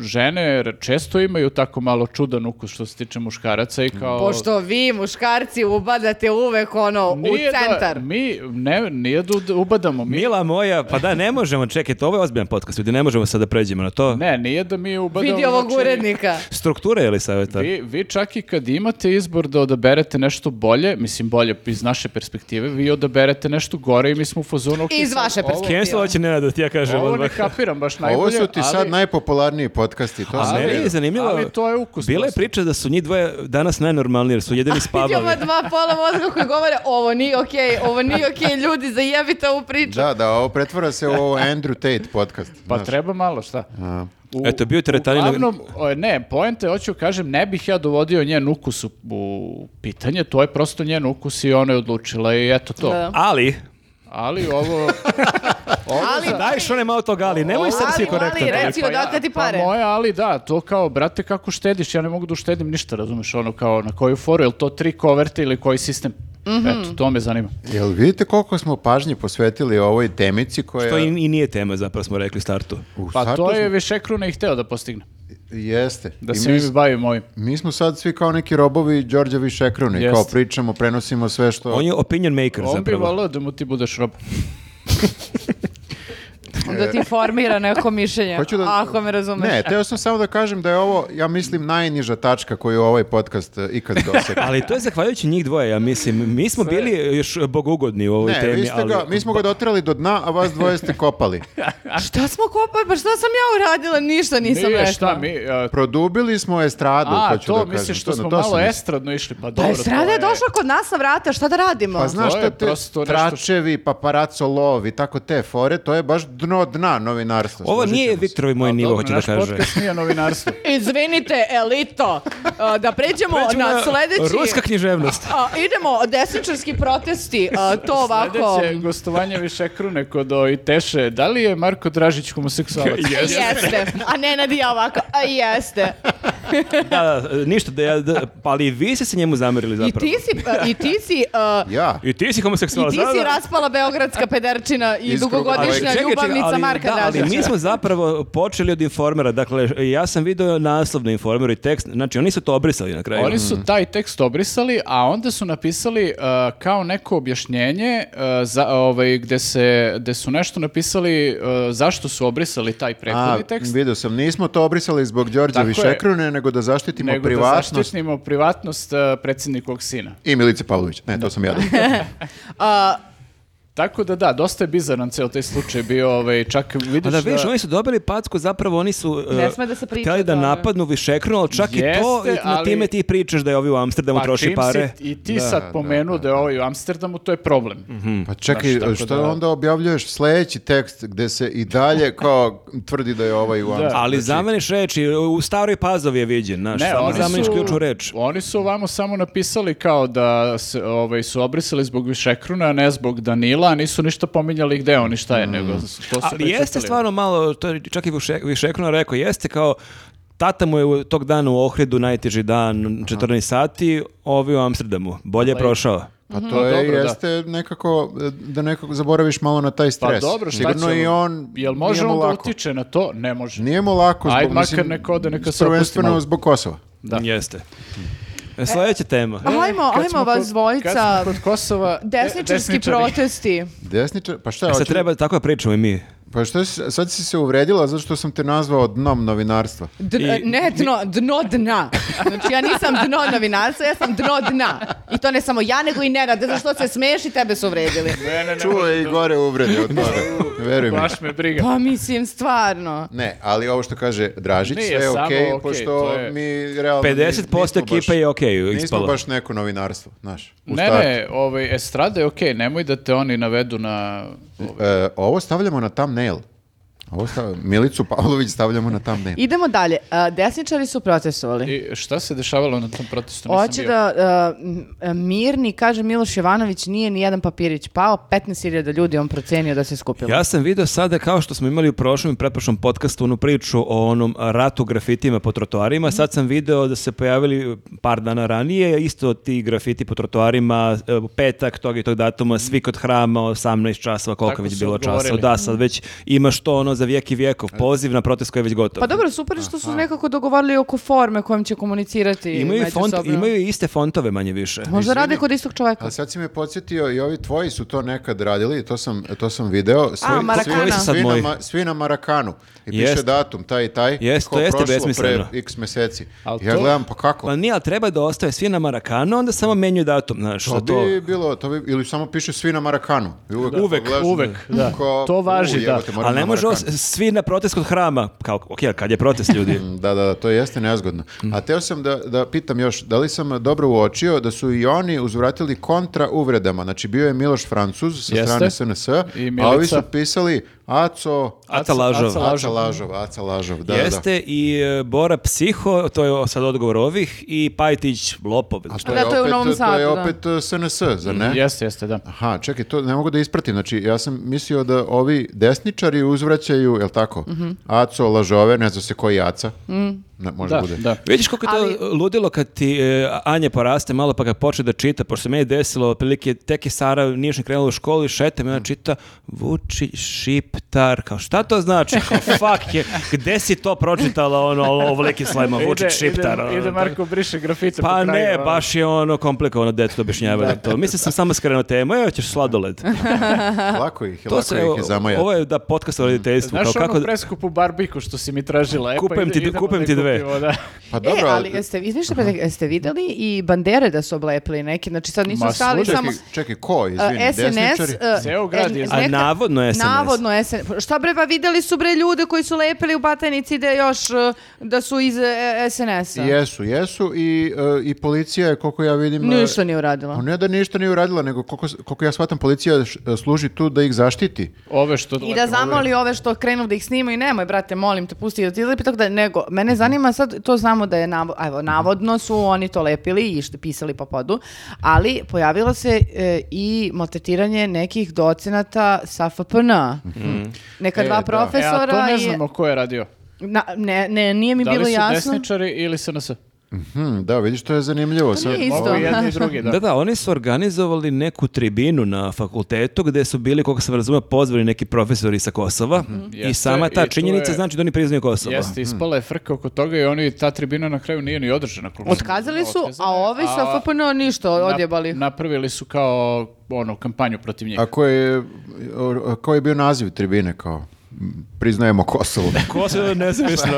Speaker 4: Žene često imaju tako malo čudan ukus što se tiče muškaraca i kao...
Speaker 1: Pošto vi muškarci ubadate uvek ono
Speaker 4: Nije
Speaker 1: u centar.
Speaker 4: Da, mi, ne, nije da ud- ubadamo. Mi,
Speaker 3: Mila moja, pa da, ne možemo, čekaj, to ovo je ozbiljan podcast, ljudi, ne možemo sad da pređemo na to.
Speaker 4: ne, nije da mi ubadamo.
Speaker 1: Vidi ovog
Speaker 4: znači,
Speaker 1: urednika.
Speaker 3: Struktura je li savjeta?
Speaker 4: Vi, vi čak i kad imate izbor da odaberete nešto bolje, mislim bolje iz naše perspektive, vi odaberete nešto gore i mi smo u fazonu... ok,
Speaker 1: Iz
Speaker 4: sad
Speaker 1: vaše
Speaker 4: ovo-
Speaker 3: Cancel će Nenad, da ti ja kažem.
Speaker 4: Ovo ne
Speaker 3: odmah.
Speaker 4: kapiram baš najbolje.
Speaker 2: Ovo su ti sad
Speaker 4: ali-
Speaker 2: najpopularniji podcasti. To
Speaker 3: A
Speaker 2: sam
Speaker 3: meni
Speaker 2: vidio.
Speaker 3: je zanimljivo.
Speaker 4: ali to je ukus
Speaker 3: Bila je
Speaker 4: prosto.
Speaker 3: priča da su njih dvoje danas najnormalniji jer su jedini
Speaker 1: Vidi
Speaker 3: spavali.
Speaker 1: ova dva pola mozga koji govore ovo nije okej, ovo nije okej, ljudi zajebite ovu priču.
Speaker 2: Da, da, ovo pretvara se u ovo Andrew Tate podcast.
Speaker 4: Pa
Speaker 2: znaš.
Speaker 4: treba malo, šta? U-
Speaker 3: Eto, bio je teretanina-
Speaker 4: Uglavnom, o, ne, poenta je, hoću kažem, ne bih ja dovodio njen ukus u, u pitanje, to je prosto njen ukus i ona je odlučila i eto to.
Speaker 1: Da.
Speaker 3: Ali,
Speaker 4: Ali ovo... ovo
Speaker 1: Ali-
Speaker 4: za-
Speaker 3: daj što ne malo toga, ali nemoj sad
Speaker 1: Ali,
Speaker 3: si
Speaker 1: ali,
Speaker 3: korektan.
Speaker 1: reci-
Speaker 3: toliko.
Speaker 1: Ti odakle ti pare?
Speaker 4: Pa moje, ali da, to kao, brate, kako štediš, ja ne mogu da uštedim ništa, razumeš, ono kao na koju foru, je li to tri koverte ili koji sistem?
Speaker 1: Mhm.
Speaker 4: Eto, to me zanima.
Speaker 2: Jel vidite koliko smo pažnje posvetili ovoj temici koja...
Speaker 3: To i, i nije tema, zapravo smo rekli u startu.
Speaker 2: U
Speaker 4: Pa
Speaker 2: startu
Speaker 4: to je
Speaker 2: smo-
Speaker 4: više kruna i hteo da postigne.
Speaker 2: Jeste.
Speaker 4: Da
Speaker 2: I
Speaker 4: se
Speaker 2: mi,
Speaker 4: mi bavimo ovim.
Speaker 2: mi smo sad svi kao neki robovi Đorđa Višekrune.
Speaker 4: Jeste.
Speaker 2: Kao pričamo, prenosimo sve što...
Speaker 3: On je opinion maker
Speaker 4: On bi
Speaker 3: zapravo.
Speaker 4: volao da mu ti budeš rob.
Speaker 1: Da ti formira neko mišljenje,
Speaker 2: Hoću da-
Speaker 1: ako me razumeš.
Speaker 2: Ne, teo sam samo da kažem da je ovo, ja mislim, najniža tačka koju ovaj podcast e, ikad dosega.
Speaker 3: Ali to je zahvaljujući njih dvoje, ja mislim. Mi smo bili još bogugodni u ovoj
Speaker 2: Ne,
Speaker 3: temi,
Speaker 2: vi ste
Speaker 3: ali...
Speaker 2: ga, mi smo ga dotirali do dna, a vas dvoje ste kopali.
Speaker 1: Šta smo kopali, pa šta sam ja uradila, ništa nisam
Speaker 4: Nije,
Speaker 1: rekla.
Speaker 4: šta mi, a,
Speaker 2: Produbili smo estradu,
Speaker 4: A,
Speaker 2: hoću
Speaker 4: to
Speaker 2: da kažem.
Speaker 4: misliš što
Speaker 2: To-
Speaker 4: smo
Speaker 2: to sam
Speaker 4: malo
Speaker 2: mislio.
Speaker 4: estradno išli, pa dobro.
Speaker 1: Pa
Speaker 4: to
Speaker 1: Estrada je
Speaker 4: je-
Speaker 1: došla kod nas na vrata, šta da radimo?
Speaker 2: Pa znaš
Speaker 4: To je
Speaker 2: šta te
Speaker 4: prosto nešto što-
Speaker 2: tračevi, paparaco lov i tako te fore, to je baš dno ono dna novinarstva.
Speaker 3: Ovo
Speaker 2: složit
Speaker 3: nije
Speaker 2: ćemo se.
Speaker 3: Viktorovi moj nivo, hoću da
Speaker 4: naš
Speaker 3: kaže.
Speaker 4: podcast nije novinarstvo.
Speaker 1: Izvinite, elito, a, da pređemo, na sledeći...
Speaker 3: Ruska književnost.
Speaker 1: A, idemo, desničarski protesti, a, to ovako...
Speaker 4: Sljedeće gostovanje više krune kod o Iteše. Da li je Marko Dražić homoseksualac?
Speaker 1: Jeste. A Nenad i ja ovako, a jeste.
Speaker 3: Da, da, e, ništa, da, ja- da, pa ali vi ste se njemu zamerili
Speaker 1: I
Speaker 3: zapravo.
Speaker 1: ti si, a, i ti si, a,
Speaker 2: Ja.
Speaker 3: I ti si homoseksualac.
Speaker 1: i ti
Speaker 3: da,
Speaker 1: si
Speaker 3: da.
Speaker 1: raspala beogradska pederčina i
Speaker 2: Iz kruga
Speaker 1: dugogodišnja
Speaker 2: Čekaj,
Speaker 1: ljubavnica
Speaker 3: ali,
Speaker 1: Marka
Speaker 3: da, ali
Speaker 1: Dražića.
Speaker 3: mi smo zapravo počeli od informera. Dakle, ja sam video naslov na informeru i tekst. Znači, oni su to obrisali na kraju.
Speaker 4: Oni su taj tekst obrisali, a onda su napisali uh, kao neko objašnjenje uh, za, ovaj, gde, se, gde su nešto napisali uh, zašto su obrisali taj
Speaker 2: A,
Speaker 4: prethodni tekst.
Speaker 2: vidio sam, nismo to obrisali zbog Đorđevi
Speaker 4: Tako je.
Speaker 2: Šekrune, nego da zaštitimo
Speaker 4: Nego
Speaker 2: privatnost
Speaker 4: da zaštitimo privatnost uh, predsjednikovog sina.
Speaker 2: i Milice Pavlović. Ne, to sam ja.
Speaker 1: A,
Speaker 4: Tako da da, dosta je bizaran ceo taj slučaj bio, ovaj, čak vidiš
Speaker 3: A da vidiš, oni su dobili packu, zapravo oni su
Speaker 1: Ne
Speaker 3: uh,
Speaker 1: sme da se priča
Speaker 3: hteli da
Speaker 1: o tome.
Speaker 3: napadnu Višekrunu, ali čak i to,
Speaker 4: Jeste,
Speaker 3: i na
Speaker 4: ali-
Speaker 3: time ti pričaš da je ovi u Amsterdamu
Speaker 4: Pa
Speaker 3: troši
Speaker 4: čim
Speaker 3: pare.
Speaker 4: si i ti sad pomenuo da, je ovaj u Amsterdamu, to je problem.
Speaker 3: Mm.
Speaker 2: Pa čekaj,
Speaker 4: Znaš, tako
Speaker 2: što
Speaker 4: da-
Speaker 2: onda objavljuješ sledeći tekst gde se i dalje kao tvrdi da je ovaj u Amsterdamu?
Speaker 1: znači-
Speaker 3: Ali zameniš reči, u staroj pazovi je viđen, znaš, samo
Speaker 4: oni
Speaker 3: zameniš
Speaker 4: su-
Speaker 3: ključnu reč.
Speaker 4: Oni su ovamo samo napisali kao da se, ovaj, su obrisali zbog Višekruna, a ne zbog Danila, a nisu ništa pominjali gde oni šta je, nego
Speaker 3: Hmm.
Speaker 4: su- to su
Speaker 3: Ali jeste
Speaker 4: prečutali.
Speaker 3: stvarno malo, to je čak i Više- Višekruna rekao, jeste kao Tata mu je u- tog dana u Ohridu najteži dan, 14 sati, ovi u Amsterdamu. Bolje je prošao.
Speaker 2: Pa to je,
Speaker 4: dobro, da.
Speaker 2: jeste nekako, e, da nekako zaboraviš malo na taj
Speaker 4: Pa
Speaker 2: stres.
Speaker 4: dobro, šta
Speaker 2: Sigurno
Speaker 4: će
Speaker 2: i on,
Speaker 4: Jel
Speaker 2: nije
Speaker 4: može
Speaker 2: mu
Speaker 4: on da
Speaker 2: lako.
Speaker 4: utiče na to? Ne može.
Speaker 2: Nije mu lako zbog,
Speaker 4: Ajde, makar
Speaker 2: mislim,
Speaker 4: neka ode, neka se opusti
Speaker 2: prvenstveno
Speaker 4: malo.
Speaker 2: zbog Kosova.
Speaker 4: Da.
Speaker 3: Jeste. E, Sljedeća tema.
Speaker 1: a hajmo,
Speaker 4: Kad
Speaker 1: hajmo
Speaker 4: smo
Speaker 1: vas
Speaker 4: kod- Kad
Speaker 1: dvojica.
Speaker 4: smo kod Kosova... de-
Speaker 1: Desničarski
Speaker 4: desničari.
Speaker 1: protesti.
Speaker 2: Desničar, pa šta,
Speaker 3: E, Sad
Speaker 2: hoće-
Speaker 3: treba tako da pričamo i mi.
Speaker 2: pa šta, si- sad si se uvredila zato što sam te nazvao dnom novinarstva.
Speaker 1: D- e,
Speaker 3: I-
Speaker 1: ne dno, dno dna. Znači ja nisam dno novinarstva, ja sam dno dna. I to ne samo ja, nego i Nenad. Zašto se smeješ i tebe su uvredili?
Speaker 4: Ne, ne, ne,
Speaker 2: Čuo
Speaker 4: može
Speaker 2: je i
Speaker 4: to.
Speaker 2: gore uvrede od toga, veruj mi.
Speaker 4: Baš me briga.
Speaker 1: Pa mislim, stvarno.
Speaker 2: Ne, ali ovo što kaže Dražić,
Speaker 4: Nije,
Speaker 2: sve je
Speaker 4: samo
Speaker 2: okej,
Speaker 4: okej,
Speaker 2: pošto
Speaker 4: to je-
Speaker 2: mi realno... nis-
Speaker 3: 50%
Speaker 2: nismo baš-
Speaker 3: ekipe je okej
Speaker 2: Nismo
Speaker 3: ispalo.
Speaker 2: baš neko novinarstvo, znaš. u
Speaker 4: Ne,
Speaker 2: startu.
Speaker 4: ne, ovaj, estrada je okej, nemoj da te oni navedu na...
Speaker 2: E, ovo stavljamo na thumbnail. Ovo stav- Milicu Pavlović stavljamo na thumbnail.
Speaker 1: Idemo dalje. A, Desničari su protestovali.
Speaker 4: I šta se dešavalo na tom protestu? Nisam
Speaker 1: Hoće
Speaker 4: bio.
Speaker 1: da uh, m- mirni, kaže Miloš Jovanović, nije ni jedan papirić pao, 15.000 ljudi on procenio da se skupilo.
Speaker 3: Ja sam vidio sada kao što smo imali u prošlom i pretprošlom podcastu onu priču o onom ratu grafitima po trotoarima, sad sam video da se pojavili par dana ranije isto ti grafiti po trotoarima, e, u petak tog i tog datuma, svi kod hrama, 18 časova, koliko
Speaker 4: Tako
Speaker 3: je već
Speaker 4: su
Speaker 3: bilo časova.
Speaker 4: odgovorili.
Speaker 3: Da, sad već imaš to ono za vijek i vijekov, poziv na protest koji je već gotov.
Speaker 1: Pa dobro, super je što su nekako dogovorili oko forme kojom će komunicirati
Speaker 3: imaju, i font,
Speaker 1: međusobno.
Speaker 3: imaju i iste fontove manje više.
Speaker 1: Možda
Speaker 2: Izvini.
Speaker 1: rade kod istog čoveka.
Speaker 2: Ali sad si me podsjetio i ovi tvoji su to nekad radili, to sam, to sam video. Svi,
Speaker 1: Marakana. Koji su
Speaker 3: sad
Speaker 2: svi, na,
Speaker 3: moji?
Speaker 2: ma- svi na Marakanu. I piše
Speaker 3: Jeste.
Speaker 2: datum, taj i taj.
Speaker 3: Jeste,
Speaker 2: kao
Speaker 3: to jeste
Speaker 2: prošlo
Speaker 3: besmisleno.
Speaker 2: Pre x meseci.
Speaker 4: Ali
Speaker 2: ja
Speaker 4: to-
Speaker 2: gledam, pa kako?
Speaker 3: Pa nije, ali treba da ostave svi na Marakanu, onda samo menju datum, znaš,
Speaker 2: to
Speaker 3: za to.
Speaker 2: bi bilo, to bi, ili samo piše svi na Marakanu. I uvek,
Speaker 3: Uvek,
Speaker 2: pogledaš,
Speaker 4: uvek, da.
Speaker 2: kao,
Speaker 4: To važi,
Speaker 2: u,
Speaker 4: da.
Speaker 2: jebote, moram
Speaker 3: Ali ne
Speaker 2: na
Speaker 3: može
Speaker 2: Marakanu.
Speaker 3: os- svi na protest kod hrama. Kao, ok, ali kad je protest ljudi?
Speaker 2: Da, da, da, to jeste nezgodno. A teo sam da, da pitam još, da li sam dobro uočio da su i oni uzvratili kontra uvredama. Znači, bio je Miloš Francuz sa
Speaker 4: Jeste.
Speaker 2: strane SNS,
Speaker 4: I
Speaker 2: a ovi
Speaker 4: Milica.
Speaker 2: su pisali Aco...
Speaker 3: Aca Lažov.
Speaker 4: Aca
Speaker 2: Aca
Speaker 4: Lažov.
Speaker 2: Lažov, Aca Lažov, da, da.
Speaker 3: Jeste i e, Bora Psiho, to je sad odgovor ovih, i Pajtić Lopov.
Speaker 2: A
Speaker 1: Da, to je u Novom
Speaker 2: To je
Speaker 1: Sadu, da.
Speaker 2: opet eh, SNS, zar ne?
Speaker 4: Jeste, jeste, da.
Speaker 2: Aha, čekaj, to ne mogu da ispratim. Znači, ja sam mislio da ovi desničari uzvraćaju, jel tako?
Speaker 1: Mhm.
Speaker 2: Aco, lažove, ne zna se koji Aca.
Speaker 1: Mm.
Speaker 2: Ne, može
Speaker 4: Da,
Speaker 2: bude.
Speaker 4: da.
Speaker 3: Vidiš koliko je to
Speaker 1: Ali-
Speaker 3: ludilo kad ti e, Anja poraste malo pa kad počne da čita, pošto se meni desilo otprilike tek je Sara nije još ni krenula u školu i šetam i ona čita Vuči Šiptar, kao šta to znači? Kao fuck je, gde si to pročitala ono ovo veliki slajma Vuči Šiptar?
Speaker 4: Ide,
Speaker 3: ono,
Speaker 4: ide
Speaker 3: to-
Speaker 4: Marko briše grafite
Speaker 3: Pa
Speaker 4: po kraju.
Speaker 3: ne,
Speaker 4: a-
Speaker 3: baš je ono komplikovano deto da objašnjava da. to. Mislim sam samo skrenuo temu, evo ćeš sladoled.
Speaker 2: Lako ih,
Speaker 3: To
Speaker 2: lako
Speaker 3: se,
Speaker 2: ih
Speaker 3: evo,
Speaker 2: je zamajati.
Speaker 3: ovo je da podcast o roditeljstvu.
Speaker 4: Znaš ono,
Speaker 3: kao
Speaker 4: onu
Speaker 3: kako,
Speaker 4: preskupu barbiku što si mi tražila? E, pa
Speaker 3: Kupujem
Speaker 4: ide-
Speaker 3: ti-
Speaker 4: idemo
Speaker 3: kupujem
Speaker 4: da je
Speaker 3: ti dve. sve.
Speaker 4: Prihvatimo, da.
Speaker 2: Pa dobro,
Speaker 1: e, ali jeste, izmišljate, pa jeste videli i bandere da su oblepili neki, znači sad nisu
Speaker 4: Ma,
Speaker 1: stali
Speaker 4: slušaj,
Speaker 1: samo...
Speaker 2: čekaj, čekaj, ko,
Speaker 1: Uh,
Speaker 2: izvini,
Speaker 1: SNS...
Speaker 2: desničari?
Speaker 1: uh,
Speaker 4: Ceo grad je
Speaker 1: eh,
Speaker 4: za-
Speaker 3: A navodno SNS.
Speaker 1: Navodno SNS. Šta bre, pa videli su bre ljude koji su lepili u Batajnici da još uh, da su iz eh, SNS-a.
Speaker 2: Jesu, jesu i, e, i policija je, koliko ja vidim... e,
Speaker 1: Ništa nije uradila.
Speaker 2: Pa ne da ništa nije uradila, nego koliko, koliko ja shvatam, policija š- e, služi tu da ih zaštiti.
Speaker 4: Ove što
Speaker 1: I da zamoli ove što krenu da ih snimaju, nemoj brate, molim te, pusti da ti lepi, tako da nego, mene zanima sad, to znamo da je, navo- evo, navodno su oni to lepili i što pisali po podu, ali pojavilo se e, i maltretiranje nekih docenata sa FPN. Neka
Speaker 2: E, da.
Speaker 4: Mhm. E,
Speaker 1: dva
Speaker 4: a
Speaker 1: profesora
Speaker 4: to ne
Speaker 1: i-
Speaker 4: znamo ko je radio.
Speaker 1: Na- ne, ne, nije mi
Speaker 4: Da
Speaker 1: bilo
Speaker 4: li su
Speaker 1: jasno.
Speaker 4: desničari ili SNS?
Speaker 2: Hm, da, vidiš, to je zanimljivo.
Speaker 1: To
Speaker 2: Sad-
Speaker 1: Pa nije
Speaker 4: Mogu
Speaker 1: Isto.
Speaker 4: i jedni i drugi, da.
Speaker 3: Da, da, oni su organizovali neku tribinu na fakultetu gdje su bili, koliko sam razumio, pozvani neki profesori sa Kosova i
Speaker 4: Mhm. Jeste,
Speaker 3: sama ta
Speaker 4: i tu
Speaker 3: činjenica
Speaker 4: je-
Speaker 3: znači da oni priznaju Kosovo.
Speaker 4: Jeste, ispala je frka oko toga i oni, ta tribina na kraju nije ni održana. koliko sam
Speaker 1: Otkazali su,
Speaker 4: otkazana
Speaker 1: a
Speaker 4: je,
Speaker 1: ovi sa
Speaker 4: a
Speaker 1: FPN ništa
Speaker 4: nap-
Speaker 1: odjebali.
Speaker 4: Napravili su kao ono, kampanju protiv njih.
Speaker 2: A koji je, o- koji je bio naziv tribine kao m, priznajemo Kosovo?
Speaker 3: Kosovo je nezavisno.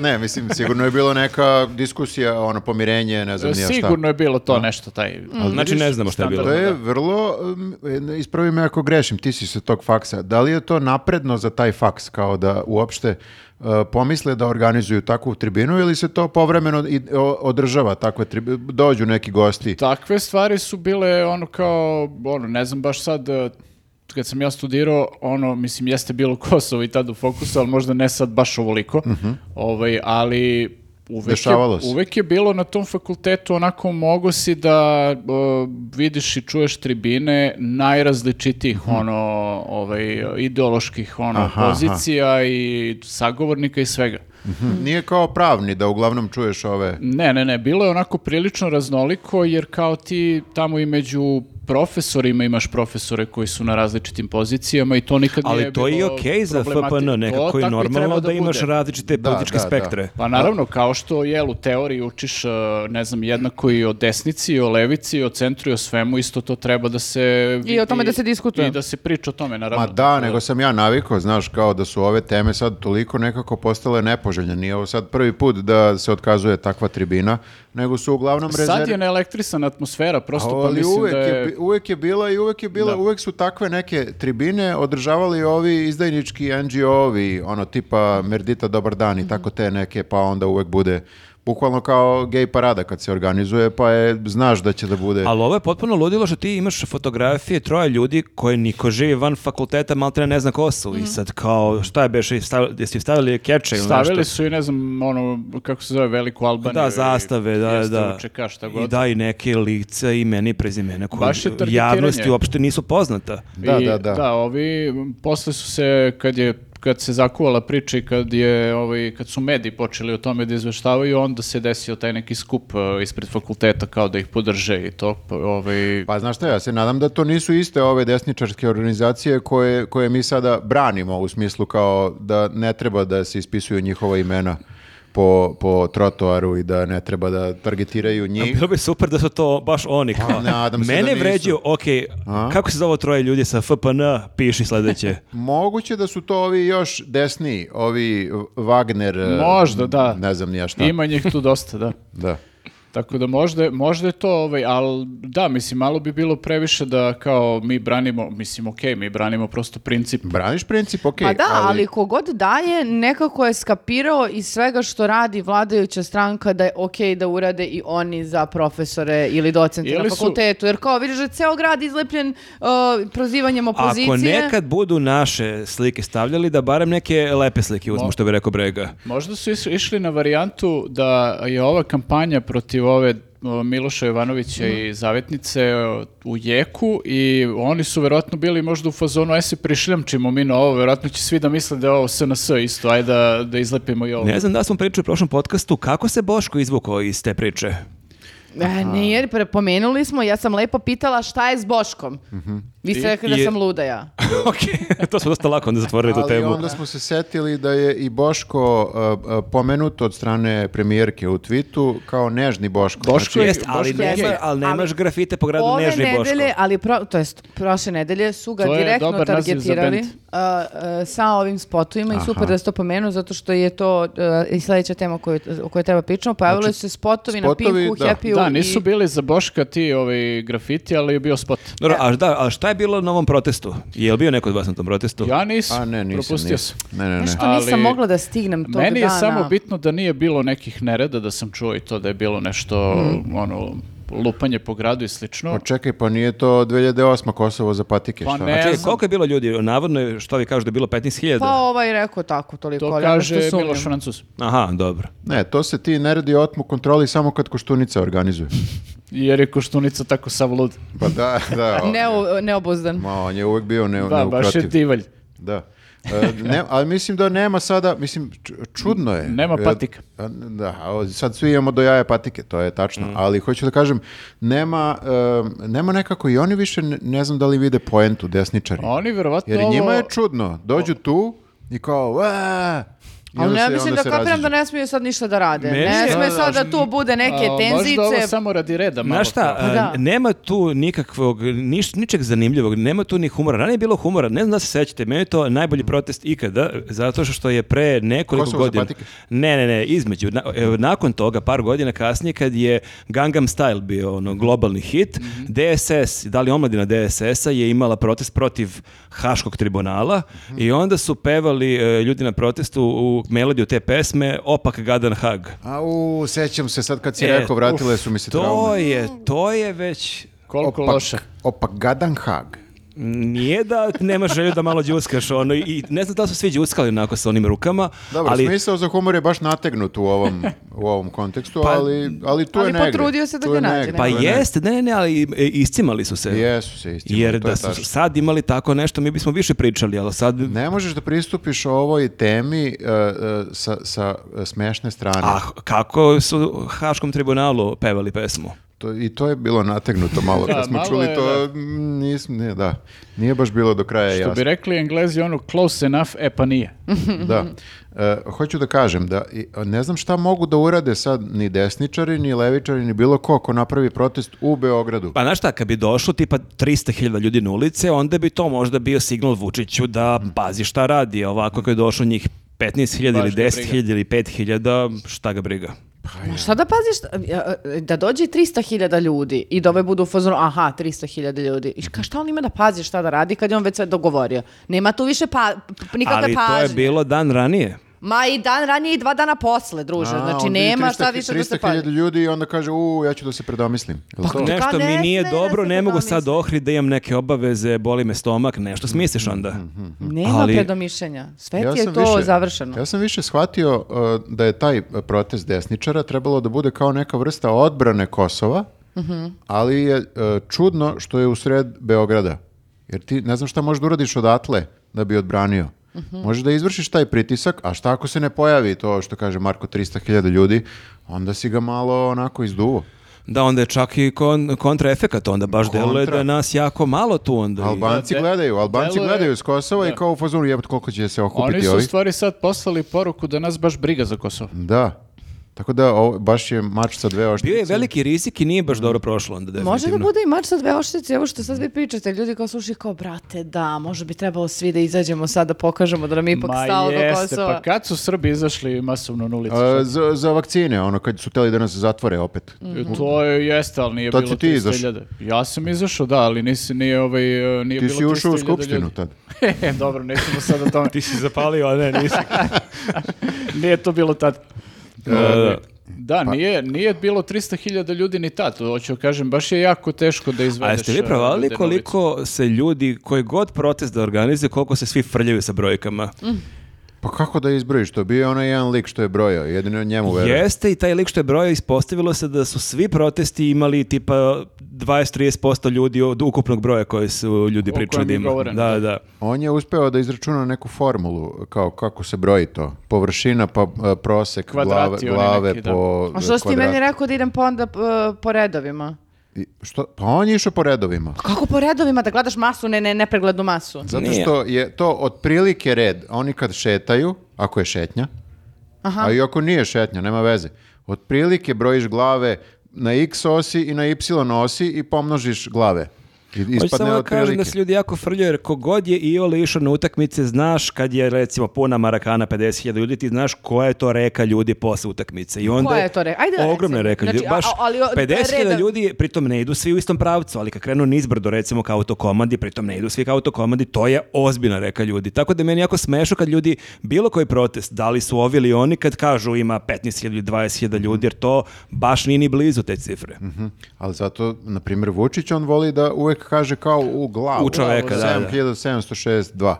Speaker 2: ne, mislim, sigurno je bilo neka diskusija, ono, pomirenje, ne znam, nije šta.
Speaker 4: Sigurno je bilo to nešto, taj...
Speaker 3: znači ne znamo što je bilo.
Speaker 2: To je vrlo, um, ispravi me ako grešim, ti si se tog faksa. Da li je to napredno za taj faks, kao da uopšte uh, pomisle da organizuju takvu tribinu ili se to povremeno i, o- održava takve tribi- dođu neki gosti?
Speaker 4: Takve stvari su bile ono kao, ono, ne znam baš sad, eh, kad sam ja studirao, ono, mislim, jeste bilo Kosovo i tad u fokusu, ali možda ne sad baš ovoliko, ovaj, ali uvek
Speaker 2: Mhm.
Speaker 4: je,
Speaker 2: Dešavalo se.
Speaker 4: uvek je bilo na tom fakultetu onako mogo si da eh, vidiš i čuješ tribine najrazličitijih, ono, ovaj, ideoloških, ono,
Speaker 2: Mhm. Aha,
Speaker 4: pozicija i sagovornika i svega.
Speaker 2: Mhm. Nije kao pravni da uglavnom čuješ ove...
Speaker 4: Ne, ne, ne, bilo je onako prilično raznoliko jer kao ti tamo i među profesorima imaš profesore koji su na različitim pozicijama i to nikad nije
Speaker 3: Ali to je i
Speaker 4: bilo
Speaker 3: okej za
Speaker 4: problemati-
Speaker 3: FPN
Speaker 4: To
Speaker 3: nekako i
Speaker 4: tako i
Speaker 3: normalno
Speaker 4: treba
Speaker 3: da, imaš
Speaker 4: bude.
Speaker 3: različite
Speaker 2: Da,
Speaker 3: političke
Speaker 2: da, da.
Speaker 3: spektre.
Speaker 4: Pa naravno, kao što jel, u teoriji učiš, eh, ne znam, jednako i o desnici, i o levici, i o centru, i o svemu, isto to treba da se...
Speaker 1: I o tome da se diskutuje.
Speaker 4: I da se priča o tome, naravno.
Speaker 2: Ma da, nego sam ja navikao, znaš, kao da su ove teme sad toliko nekako postale nepoželjne. Nije ovo sad prvi put da se otkazuje takva tribina, nego su uglavnom
Speaker 4: Sad
Speaker 2: rezervi-
Speaker 4: je neelektrisana atmosfera, prosto pa
Speaker 2: Ali
Speaker 4: mislim
Speaker 2: uvek,
Speaker 4: da
Speaker 2: je...
Speaker 4: je...
Speaker 2: bi- uvek je bila i uvek je bila,
Speaker 4: Da.
Speaker 2: uvek su takve neke tribine održavali ovi izdajnički NGO-ovi, ono tipa Merdita dobar dan
Speaker 4: Mhm.
Speaker 2: i tako te neke, pa onda uvek bude bukvalno kao gej parada kad se organizuje, pa je, znaš da će da bude.
Speaker 3: Ali ovo je potpuno ludilo što ti imaš fotografije troje ljudi koje niko živi van fakulteta, maltene ne zna ko su.
Speaker 4: Mhm.
Speaker 3: I sad kao, šta je beš, jesi stavili keče ili
Speaker 4: Stavili
Speaker 3: nešto?
Speaker 4: su i ne znam, ono, kako se zove, veliku Albaniju.
Speaker 3: Da,
Speaker 4: i-
Speaker 3: zastave, da,
Speaker 4: Pa jeste,
Speaker 3: da.
Speaker 4: UČK, šta
Speaker 3: I
Speaker 4: god.
Speaker 3: da, i neke lica, imena i prezimena koje
Speaker 4: Baš je
Speaker 3: u
Speaker 4: targetiranje.
Speaker 3: javnosti uopšte nisu poznata.
Speaker 2: Da,
Speaker 4: I,
Speaker 2: da, da.
Speaker 4: ovi m, posle su se kad je kad se zakuvala priča i kad je ovaj kad su mediji počeli o tome da izveštavaju, onda se desio taj neki skup e, ispred fakulteta kao da ih podrže i to pa, ovaj
Speaker 2: Pa znaš šta, ja se nadam da to nisu iste ove desničarske organizacije koje, koje mi sada branimo u smislu kao da ne treba da se ispisuju njihova imena po, po trotoaru i da ne treba da targetiraju njih.
Speaker 3: Bilo bi super da su to baš oni. Kao.
Speaker 2: Pa, nadam se da
Speaker 3: Mene
Speaker 2: nisu.
Speaker 3: vređaju, ok, kako se zove troje ljudi sa FPN, piši sledeće.
Speaker 2: Moguće da su to ovi još desniji, ovi Wagner... e,
Speaker 4: Možda, da.
Speaker 2: Ne znam ni ja šta.
Speaker 4: ima njih tu dosta, da.
Speaker 2: Da.
Speaker 4: Tako da možda, možda je to ovaj, ali da, mislim, malo bi bilo previše da kao mi branimo, mislim, okej, mi branimo prosto princip
Speaker 2: Braniš princip, okej.
Speaker 1: Pa da, ali... kogod daje, nekako je skapirao iz svega što radi vladajuća stranka da je okej da urade i oni za profesore ili docente
Speaker 4: Ili
Speaker 1: na
Speaker 4: su-
Speaker 1: fakultetu. Jer kao vidiš da je ceo grad izlepljen uh, prozivanjem opozicije.
Speaker 3: Ako nekad budu naše slike stavljali, da barem neke lepe slike uzmu, što bi rekao Brega.
Speaker 4: Možda su is- išli na varijantu da je ova kampanja protiv ove o, Miloša Jovanovića
Speaker 1: Mhm.
Speaker 4: i Zavetnice o, u jeku i oni su verovatno bili možda u fazonu aj se prišljamčimo mi na ovo, verovatno će svi da misle da je ovo SNS isto, aj da, da izlepimo i ovo.
Speaker 3: Ne znam da li smo pričali u prošlom podcastu kako se Boško izvukao iz te priče.
Speaker 1: E, nije, prepomenuli smo, ja sam lepo pitala šta je s Boškom. Vi ste rekli da
Speaker 3: je-
Speaker 1: sam luda ja.
Speaker 3: ok, to smo dosta lako onda zatvorili tu
Speaker 2: Ali
Speaker 3: temu.
Speaker 2: onda smo se setili da je i Boško uh, uh, pomenut od strane premijerke u twitu kao nežni Boško.
Speaker 3: Boško
Speaker 2: Znači,
Speaker 3: jest, ali,
Speaker 4: Boško je
Speaker 3: nema,
Speaker 1: gej.
Speaker 3: ali nemaš grafite po gradu
Speaker 1: Ove
Speaker 3: Nežni Boško.
Speaker 1: nedelje, ali pro, to jest prošle nedelje su ga
Speaker 4: To je
Speaker 1: direktno
Speaker 4: dobar naziv za
Speaker 1: targetirali
Speaker 4: bend.
Speaker 1: a, a, sa ovim spotovima i super da se to pomenu zato što je to a, i sledeća tema koju, o kojoj treba pričamo. Pojavili su se spotovi,
Speaker 2: spotovi,
Speaker 1: na Pinku,
Speaker 2: da.
Speaker 4: Znači,
Speaker 1: Happy-u
Speaker 4: Da, nisu
Speaker 1: i...
Speaker 4: bili za Boška ti ovi grafiti, ali je bio spot.
Speaker 3: Dobro, a, da, a šta je bilo na ovom protestu? Je li bio neko od vas na tom protestu?
Speaker 4: Ja nisam,
Speaker 2: Znači, A ne, nisam,
Speaker 4: propustio
Speaker 2: nisam.
Speaker 4: sam.
Speaker 2: Ne, ne, ne.
Speaker 1: Nešto nisam
Speaker 4: Ali-
Speaker 1: mogla da stignem tog
Speaker 4: Meni je
Speaker 1: dana.
Speaker 4: samo bitno da nije bilo nekih nereda, da sam čuo i to da je bilo nešto,
Speaker 1: Mhm.
Speaker 4: ono, lupanje po gradu i slično.
Speaker 2: Pa čekaj, pa nije to 2008. Kosovo za patike,
Speaker 4: Pa
Speaker 2: šta?
Speaker 4: ne.
Speaker 3: Čekaj,
Speaker 4: znam.
Speaker 3: koliko je bilo ljudi? Navodno, je, što vi kažu da je bilo 15.000?
Speaker 1: Pa ovaj rekao tako, toliko.
Speaker 4: To
Speaker 1: ali ja
Speaker 4: kaže
Speaker 1: nešto sumnjam.
Speaker 4: Miloš Francus.
Speaker 3: Aha, dobro.
Speaker 2: Ne, to se ti neredi otmu kontroli samo kad koštunica organizuje.
Speaker 4: Jer je Koštunica tako sav lud.
Speaker 2: Pa da, da. on-
Speaker 1: Neo- neobuzdan.
Speaker 2: Ma, on je uvek bio ne,
Speaker 4: Da, baš je
Speaker 2: neukrotiv.
Speaker 4: divalj.
Speaker 2: Da. E, ne, ali mislim da nema sada, mislim, č- čudno je.
Speaker 4: Nema
Speaker 2: E,
Speaker 4: patika.
Speaker 2: a, Da, a o- sad svi imamo do jaja patike, to je tačno, ali hoću da kažem, nema, e, nema nekako i oni više, ne, ne znam da li vide poentu desničari.
Speaker 4: A Oni verovatno
Speaker 2: Jer i
Speaker 4: ovo-
Speaker 2: njima je čudno, dođu tu i kao, "Ua!" I
Speaker 1: Ali
Speaker 2: onda
Speaker 1: ne
Speaker 2: se-
Speaker 1: mislim
Speaker 2: onda
Speaker 1: da
Speaker 2: se
Speaker 1: kapiram
Speaker 2: raziđu.
Speaker 1: da ne smiju sad ništa da rade.
Speaker 3: Meni
Speaker 1: ne
Speaker 3: je-
Speaker 1: sme sad da tu bude
Speaker 4: A,
Speaker 1: neke
Speaker 4: Možda ovo
Speaker 1: tenzice.
Speaker 4: samo radi reda malo.
Speaker 3: Znaš šta,
Speaker 1: Pa
Speaker 3: a,
Speaker 1: da.
Speaker 3: nema tu nikakvog, niš, ničeg zanimljivog, nema tu ni humora. Ranije je bilo humora, ne znam da se sećate, meni je to najbolji protest ikada, zato što je pre nekoliko
Speaker 2: Kosovo za
Speaker 3: godina...
Speaker 2: patike?
Speaker 3: Ne, ne, ne, između. na- e, nakon toga, par godina kasnije, kad je Gangnam Style bio ono, globalni hit,
Speaker 2: Mhm.
Speaker 3: DSS, da li omladina DSS-a je imala protest protiv Haškog tribunala
Speaker 2: Mhm.
Speaker 3: i onda su pevali e, ljudi na protestu u melodiju te pesme Opak Gadan Hag.
Speaker 2: Au, sećam se sad kad si
Speaker 3: E,
Speaker 2: rekao, vratile su mi se
Speaker 3: To
Speaker 2: traume.
Speaker 3: je, to je već...
Speaker 4: Koliko
Speaker 2: Opak-
Speaker 4: loše.
Speaker 2: Opak gadan hag.
Speaker 3: Nije da nema želju da malo đuskaš ono i ne znam da li su svi đuskali onako sa onim rukama,
Speaker 2: Dobro,
Speaker 3: ali
Speaker 2: smisao za humor je baš nategnut u ovom, u ovom kontekstu, ali, ali tu
Speaker 1: ali
Speaker 2: je negde.
Speaker 1: potrudio se da
Speaker 2: Tu
Speaker 1: ga
Speaker 2: je
Speaker 1: nađe,
Speaker 2: negde,
Speaker 1: ne?
Speaker 3: pa
Speaker 2: tu je negde.
Speaker 3: jeste, ne, ne, ne, ali e, iscimali su se.
Speaker 2: Jesu se istimo,
Speaker 3: Jer
Speaker 2: to je
Speaker 3: da su
Speaker 2: tačno.
Speaker 3: sad imali tako nešto, mi bismo više pričali, ali sad...
Speaker 2: Ne možeš da pristupiš ovoj temi e, e, sa, sa e, smešne strane.
Speaker 3: A h- kako su Haškom tribunalu pevali pesmu?
Speaker 2: To, I to je bilo nategnuto malo.
Speaker 4: Da,
Speaker 2: Kad smo
Speaker 4: malo
Speaker 2: čuli
Speaker 4: je,
Speaker 2: to, mm, nisam, ne, da. Nije baš bilo do kraja
Speaker 4: Što
Speaker 2: jasno.
Speaker 4: bi rekli englezi ono close enough, e pa nije.
Speaker 2: Da. E, hoću da kažem da i- ne znam šta mogu da urade sad ni desničari, ni levičari, ni bilo ko ko napravi protest u Beogradu.
Speaker 3: Pa znaš šta, kad bi došlo tipa 300.000 ljudi na ulice, onda bi to možda bio signal Vučiću da pazi šta radi, a ovako kad je došlo njih 15.000 ili
Speaker 4: Baš ga briga.
Speaker 3: 10.000 ili 5.000, šta ga briga.
Speaker 1: Ma šta da paziš, e, da dođe 300.000 ljudi i da ove budu u fazonu, aha, 300.000 ljudi. I
Speaker 3: Mhm.
Speaker 1: ka, šta on ima da pazi šta da radi kad je on već sve dogovorio? Nema tu više pa, p- nikakve
Speaker 3: Ali to je
Speaker 1: pažnje.
Speaker 3: bilo dan ranije.
Speaker 1: Ma i dan ranije i dva dana posle, druže.
Speaker 2: A,
Speaker 1: znači,
Speaker 2: onda
Speaker 1: nema
Speaker 2: vidi
Speaker 1: šta više da se
Speaker 2: 300.000
Speaker 1: pazi.
Speaker 2: ljudi i onda kaže, u, ja ću da se predomislim. Jel to?
Speaker 1: to-
Speaker 3: Nešto
Speaker 1: Pa ne
Speaker 3: mi nije
Speaker 1: sme da
Speaker 3: dobro,
Speaker 1: se
Speaker 3: ne mogu
Speaker 1: predomisli.
Speaker 3: sad ohri da imam neke obaveze, boli me stomak, nešto smisliš onda.
Speaker 1: Nema
Speaker 3: Ali-
Speaker 1: predomišljenja. Sve ti je to završeno.
Speaker 2: Ja sam više shvatio uh, da je taj uh, protest desničara trebalo da bude kao neka vrsta odbrane Kosova,
Speaker 1: Mhm.
Speaker 2: ali je uh, čudno što je u sred Beograda. Jer ti ne znam šta možeš da uradiš odatle da bi odbranio.
Speaker 1: Mhm.
Speaker 2: Možeš da izvršiš taj pritisak, a šta ako se ne pojavi to što kaže Marko 300.000 ljudi, onda si ga malo onako izduvo.
Speaker 3: Da, onda je čak i kon, kontraefekat, onda baš
Speaker 2: Kontra.
Speaker 3: deluje da je nas jako malo tu onda. i-
Speaker 2: Albanci
Speaker 4: Da, de-
Speaker 2: gledaju, Albanci
Speaker 4: delo je-
Speaker 2: gledaju iz Kosova i kao u fazonu jebote koliko će se okupiti
Speaker 4: Oni su u
Speaker 2: ovi.
Speaker 4: stvari sad poslali poruku da nas baš briga za Kosovo.
Speaker 2: Da. Tako da ovo, baš je mač sa dve oštrice.
Speaker 3: Bio je veliki rizik i nije baš dobro prošlo onda definitivno.
Speaker 1: Može da bude i mač sa dve oštrice, evo što sad vi pričate, ljudi kao slušaju kao, brate, da, može bi trebalo svi da izađemo sad da pokažemo da nam je ipak stalo do Kosova.
Speaker 4: pa kad su Srbi izašli masovno na ulicu?
Speaker 2: A, za, za vakcine, ono, kad su teli da nas zatvore opet.
Speaker 4: To je, jeste, ali nije
Speaker 2: Tad
Speaker 4: bilo
Speaker 2: si ti izašao.
Speaker 4: 300.000. Ja sam izašao, da, ali nisi, nije, ovaj, e, nije
Speaker 2: Ti
Speaker 4: bilo
Speaker 2: si ušao u
Speaker 4: 300.000
Speaker 2: skupštinu
Speaker 4: ljudi.
Speaker 2: tad.
Speaker 4: E, Dobro, nećemo sad o tome.
Speaker 3: Ti si zapalio, a ne, nisi.
Speaker 4: Nije to bilo tad.
Speaker 3: E,
Speaker 4: Da, nije, nije bilo 300.000 ljudi ni tad, to hoću kažem, baš je jako teško da
Speaker 3: a
Speaker 4: izvedeš.
Speaker 3: jeste vi
Speaker 4: e,
Speaker 3: provalili
Speaker 4: ljude na ulicu.
Speaker 3: koliko se ljudi, koji god protest da organizuje, koliko se svi frljaju sa brojkama?
Speaker 2: Pa kako da izbrojiš to? Bio je onaj jedan lik što je brojao, jedino njemu veruje.
Speaker 3: Jeste i taj lik što je brojao ispostavilo se da su svi protesti imali tipa 20-30% ljudi od ukupnog broja koje su ljudi
Speaker 4: O
Speaker 3: pričali
Speaker 4: kojem
Speaker 3: da
Speaker 4: je
Speaker 3: ima.
Speaker 4: govoreno,
Speaker 3: Da,
Speaker 4: da.
Speaker 3: da.
Speaker 2: On je uspeo da izračuna neku formulu, kao kako se broji to. Površina, pa e, prosek,
Speaker 4: Kvadrati
Speaker 2: glave,
Speaker 4: oni
Speaker 2: glave
Speaker 4: neki, da.
Speaker 2: po
Speaker 1: A što si ti
Speaker 2: kvadratu.
Speaker 1: pa meni rekao da idem po onda e, po redovima?
Speaker 2: I Što? Pa on je išao po redovima.
Speaker 1: Kako po redovima da gledaš masu, ne, ne, nepreglednu masu?
Speaker 2: Zato
Speaker 3: Nije.
Speaker 2: što je to otprilike red. Oni kad šetaju, ako je šetnja, a i ako nije šetnja, nema veze. Otprilike brojiš glave na x osi i na y osi i pomnožiš glave. I
Speaker 3: Hoću
Speaker 2: ispadne
Speaker 3: samo da kažem
Speaker 2: otprilike.
Speaker 3: da se ljudi jako frljaju, jer kogod je Iole išao na utakmice, znaš kad je recimo puna Marakana 50.000 ljudi, ti znaš koja je to reka ljudi posle utakmice. I onda
Speaker 1: Koja je to reka? Ajde da
Speaker 3: ogromna
Speaker 1: reci.
Speaker 3: reka ljudi.
Speaker 1: Znači, a-
Speaker 3: Baš
Speaker 1: a- ali o-
Speaker 3: 50.000
Speaker 1: reda-
Speaker 3: ljudi, pritom ne idu svi u istom pravcu, ali kad krenu nizbrdo recimo ka autokomandi, pritom ne idu svi ka autokomandi, to je ozbiljna reka ljudi. Tako da meni jako smešno kad ljudi bilo koji protest, da li su ovi ili oni, kad kažu ima 15.000 ili 20.000 ljudi, jer to baš nije ni blizu te cifre.
Speaker 2: Mhm. Ali zato, na primjer, Vučić, on voli da uvek kaže kao u glavu.
Speaker 3: U čoveka, da, da.
Speaker 2: 7762.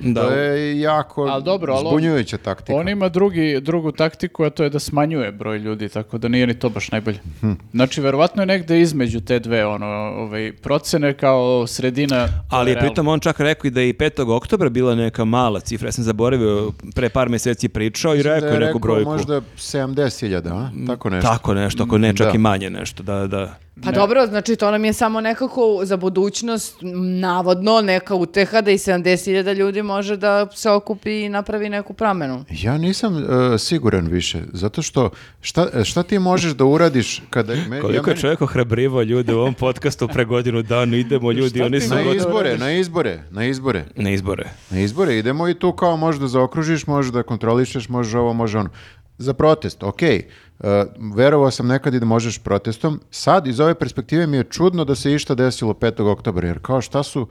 Speaker 3: Da.
Speaker 2: To je jako
Speaker 4: Ali dobro, ali on-
Speaker 2: zbunjujuća taktika.
Speaker 4: On ima drugi, drugu taktiku, a to je da smanjuje broj ljudi, tako da nije ni to baš najbolje.
Speaker 3: Hm.
Speaker 4: Znači, verovatno je negde između te dve ono, ovaj, procene kao sredina.
Speaker 3: Ali je
Speaker 4: realno.
Speaker 3: pritom on čak rekao i da je i 5. oktobra bila neka mala cifra, ja sam zaboravio, pre par mjeseci pričao i
Speaker 2: Da
Speaker 3: rekao
Speaker 2: je
Speaker 3: je
Speaker 2: rekao
Speaker 3: neku brojku. Mm,
Speaker 2: možda 70.000, a? Tako nešto.
Speaker 3: Tako nešto, ako ne, čak
Speaker 2: Da. E,
Speaker 3: i manje nešto, da, da.
Speaker 1: Pa dobro, znači to nam je samo nekako za budućnost, m, navodno, neka uteha da i 70.000 ljudi može da se okupi i napravi neku promenu.
Speaker 2: Ja nisam e, siguran više, zato što šta, šta ti možeš da uradiš kada... Me, ja
Speaker 3: Koliko je
Speaker 2: meni-
Speaker 3: čovjek ohrabrivao ljude u ovom podcastu pre godinu dana, idemo ljudi, oni su
Speaker 2: Na
Speaker 3: gotovi.
Speaker 2: izbore, na izbore, na izbore.
Speaker 3: Na izbore.
Speaker 2: Na izbore idemo i tu kao možeš da zaokružiš, možeš da kontrolišeš, možeš ovo, može ono. Za protest, okej, e, verovao sam nekad i da možeš protestom. Sad, iz ove perspektive mi je čudno da se išta desilo 5. oktobra, jer kao šta su,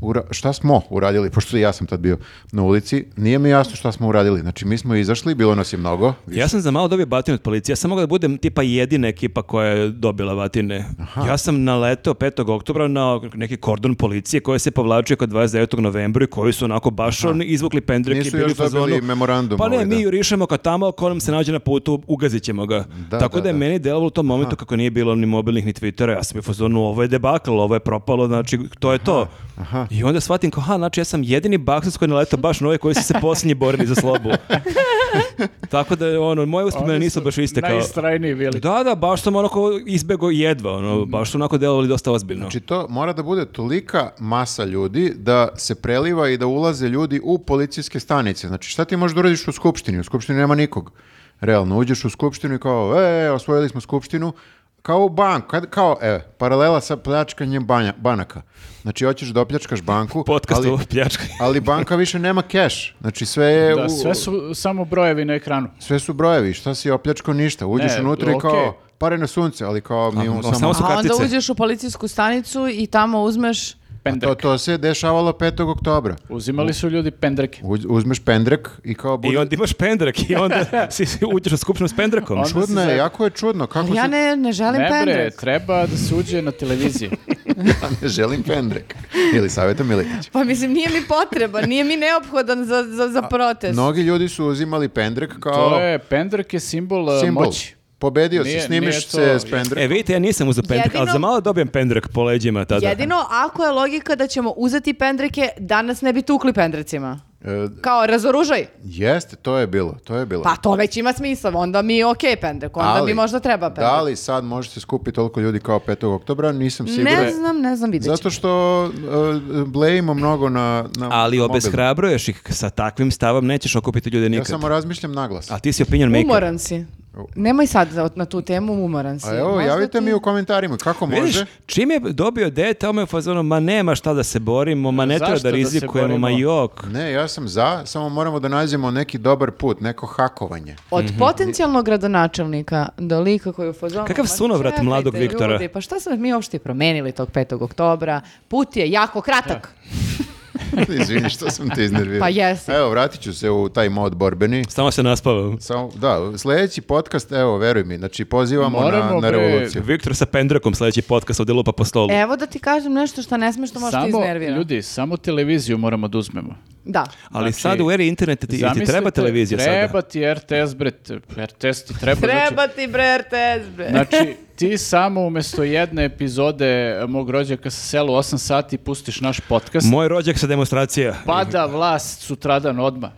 Speaker 2: ura- šta smo uradili, pošto ja sam tad bio na ulici, nije mi jasno šta smo uradili. Znači, mi smo izašli, bilo nas je mnogo.
Speaker 3: Ja sam za malo dobio batine od policije. Ja sam mogao da budem tipa jedina ekipa koja je dobila batine. Ja sam naletao 5. oktobra na neki kordon policije koji se povlačio kod 29. novembra i koji su onako baš on izvukli pendrek i
Speaker 2: Nisu
Speaker 3: bili
Speaker 2: još
Speaker 3: u fazonu,
Speaker 2: dobili memorandum
Speaker 3: Pa ne,
Speaker 2: ovaj, da."
Speaker 3: mi jurišemo ka tamo, ako nam se nađe na putu, ugazit ćemo ga.
Speaker 2: Da,
Speaker 3: Tako
Speaker 2: da,
Speaker 3: da, je
Speaker 2: da.
Speaker 3: meni delovalo u tom momentu kako nije bilo ni mobilnih ni Twittera. Ja sam bio u fazonu, ovo je debakl, ovo je propalo, znači to je to. I onda shvatim kao, ha, znači ja sam jedini baksas koji je naletao baš na ove koji su se posljednji borili za slobu. Tako da, ono, moje uspomene
Speaker 4: Oni
Speaker 3: nisu
Speaker 4: su
Speaker 3: baš iste kao...
Speaker 4: Najistrajniji bili.
Speaker 3: Da, da, baš sam onako izbego jedva, ono,
Speaker 4: Mhm.
Speaker 3: baš su onako delovali dosta ozbiljno.
Speaker 2: Znači to mora da bude tolika masa ljudi da se preliva i da ulaze ljudi u policijske stanice. Znači šta ti možeš da uradiš u skupštini? U skupštini nema nikog. Realno, uđeš u skupštinu i kao, e, osvojili smo skupštinu, kao u banku, kad, kao, e, paralela sa pljačkanjem banja, banaka. Znači, hoćeš da opljačkaš banku,
Speaker 3: Podcast
Speaker 2: ali,
Speaker 3: o pljačkanju.
Speaker 2: ali banka više nema keš. Znači, sve je
Speaker 4: Da,
Speaker 2: u-
Speaker 4: sve su samo brojevi na ekranu.
Speaker 2: sve su brojevi, šta si opljačkao ništa. Uđeš
Speaker 4: Ne,
Speaker 2: unutra i
Speaker 4: okej.
Speaker 2: kao, pare na sunce, ali kao, mi imamo
Speaker 3: o, samo
Speaker 2: samo...
Speaker 3: su
Speaker 1: A onda
Speaker 3: kartice.
Speaker 1: uđeš u policijsku stanicu i tamo uzmeš...
Speaker 2: A To,
Speaker 4: Pendrek.
Speaker 2: to se dešavalo 5. oktobra.
Speaker 4: Uzimali su ljudi pendreke.
Speaker 2: Uz- uzmeš pendrek i kao bude...
Speaker 3: I onda imaš pendrek i onda si, si uđeš u skupštinu s pendrekom.
Speaker 4: Onda-
Speaker 2: Čudno
Speaker 4: se
Speaker 2: je,
Speaker 4: za-
Speaker 2: jako je čudno. Kako
Speaker 1: Ja
Speaker 2: se...
Speaker 1: ne, ne želim
Speaker 4: Ne bre,
Speaker 1: pendrek.
Speaker 4: treba da se uđe na televiziji.
Speaker 2: Ja ne želim pendrek. Ili savjeta Miletić.
Speaker 1: Pa mislim, nije mi potreban, nije mi neophodan za, za, za protest.
Speaker 2: Mnogi ljudi su uzimali pendrek kao
Speaker 4: To je, pendrek je simbol, e,
Speaker 2: simbol.
Speaker 4: moći.
Speaker 2: Pobedio si,
Speaker 4: Nije-
Speaker 2: snimiš
Speaker 4: nije to-
Speaker 2: se s pendrek.
Speaker 3: E, vidite, ja nisam uzeo pendrek, ali
Speaker 1: Jedino-
Speaker 3: za malo dobijem pendrek po leđima tada.
Speaker 1: Jedino ako je logika da ćemo uzeti pendreke, danas ne bi tukli pendrecima.
Speaker 2: E,
Speaker 1: Kao, razoružaj.
Speaker 2: jeste, to je bilo, to je bilo.
Speaker 1: Pa to već ima smisla, onda mi je okej pendrek, onda mi možda treba pendrek.
Speaker 2: Da li sad može se skupiti toliko ljudi kao 5. oktobra, nisam siguran.
Speaker 1: Ne znam, ne znam, vidjet ćemo.
Speaker 2: Zato što e, blejimo mnogo na, na
Speaker 3: Ali
Speaker 2: mobilno.
Speaker 3: obeshrabruješ ih sa takvim stavom, nećeš okupiti ljude
Speaker 2: Ja
Speaker 3: nikad.
Speaker 2: samo razmišljam naglas.
Speaker 3: A ti si opinion maker.
Speaker 1: Umoran si. Nemoj sad za- na tu temu, umoran si.
Speaker 2: A evo,
Speaker 1: Možda
Speaker 2: javite
Speaker 1: ti-
Speaker 2: mi u komentarima kako
Speaker 3: Vidiš,
Speaker 2: može.
Speaker 3: čim je dobio dete, on je u fazonu, ma nema šta da se borimo, ma ne treba
Speaker 4: Zašto
Speaker 3: da
Speaker 4: da se
Speaker 3: rizikujemo, ma
Speaker 4: borimo?"
Speaker 3: jok.
Speaker 2: Ne, ja sam za, samo moramo da nađemo neki dobar put, neko hakovanje.
Speaker 1: Od potencijalnog gradonačelnika do lika koji je u fazonu,
Speaker 3: Kakav
Speaker 1: "Ma
Speaker 3: sunovrat
Speaker 1: čekajte,
Speaker 3: mladog Viktora."
Speaker 1: ljudi, pa šta smo mi uopšte promenili tog 5. oktobra? Put je jako kratak.
Speaker 2: Izvini što sam te iznervirao.
Speaker 1: Pa jesi.
Speaker 2: Evo, vratit ću se u taj mod borbeni.
Speaker 3: Samo se naspavam.
Speaker 2: Samo, da, sljedeći podcast, evo, veruj mi, znači pozivamo na,
Speaker 4: Moramo,
Speaker 2: na
Speaker 4: bre.
Speaker 2: revoluciju.
Speaker 3: Viktor sa pendrekom sljedeći podcast ovdje lupa po stolu.
Speaker 1: Evo da ti kažem nešto što ne smeš, što možda
Speaker 4: Samo,
Speaker 1: iznervira.
Speaker 4: ljudi, samo televiziju moramo da uzmemo.
Speaker 1: Da.
Speaker 2: Pa
Speaker 3: Ali
Speaker 4: Znači,
Speaker 3: sad u eri interneta ti, ti treba
Speaker 4: Zamislite,
Speaker 3: televizija
Speaker 4: Treba
Speaker 3: sada.
Speaker 4: ti RTS, bre, te- RTS ti treba.
Speaker 1: Treba ti bre RTS, bre.
Speaker 4: Znači, znači, ti samo umjesto jedne epizode eh, mog rođaka sa selu 8 sati pustiš naš podcast, Pa
Speaker 3: Moj rođak sa demonstracija.
Speaker 4: pada vlast sutradan odmah.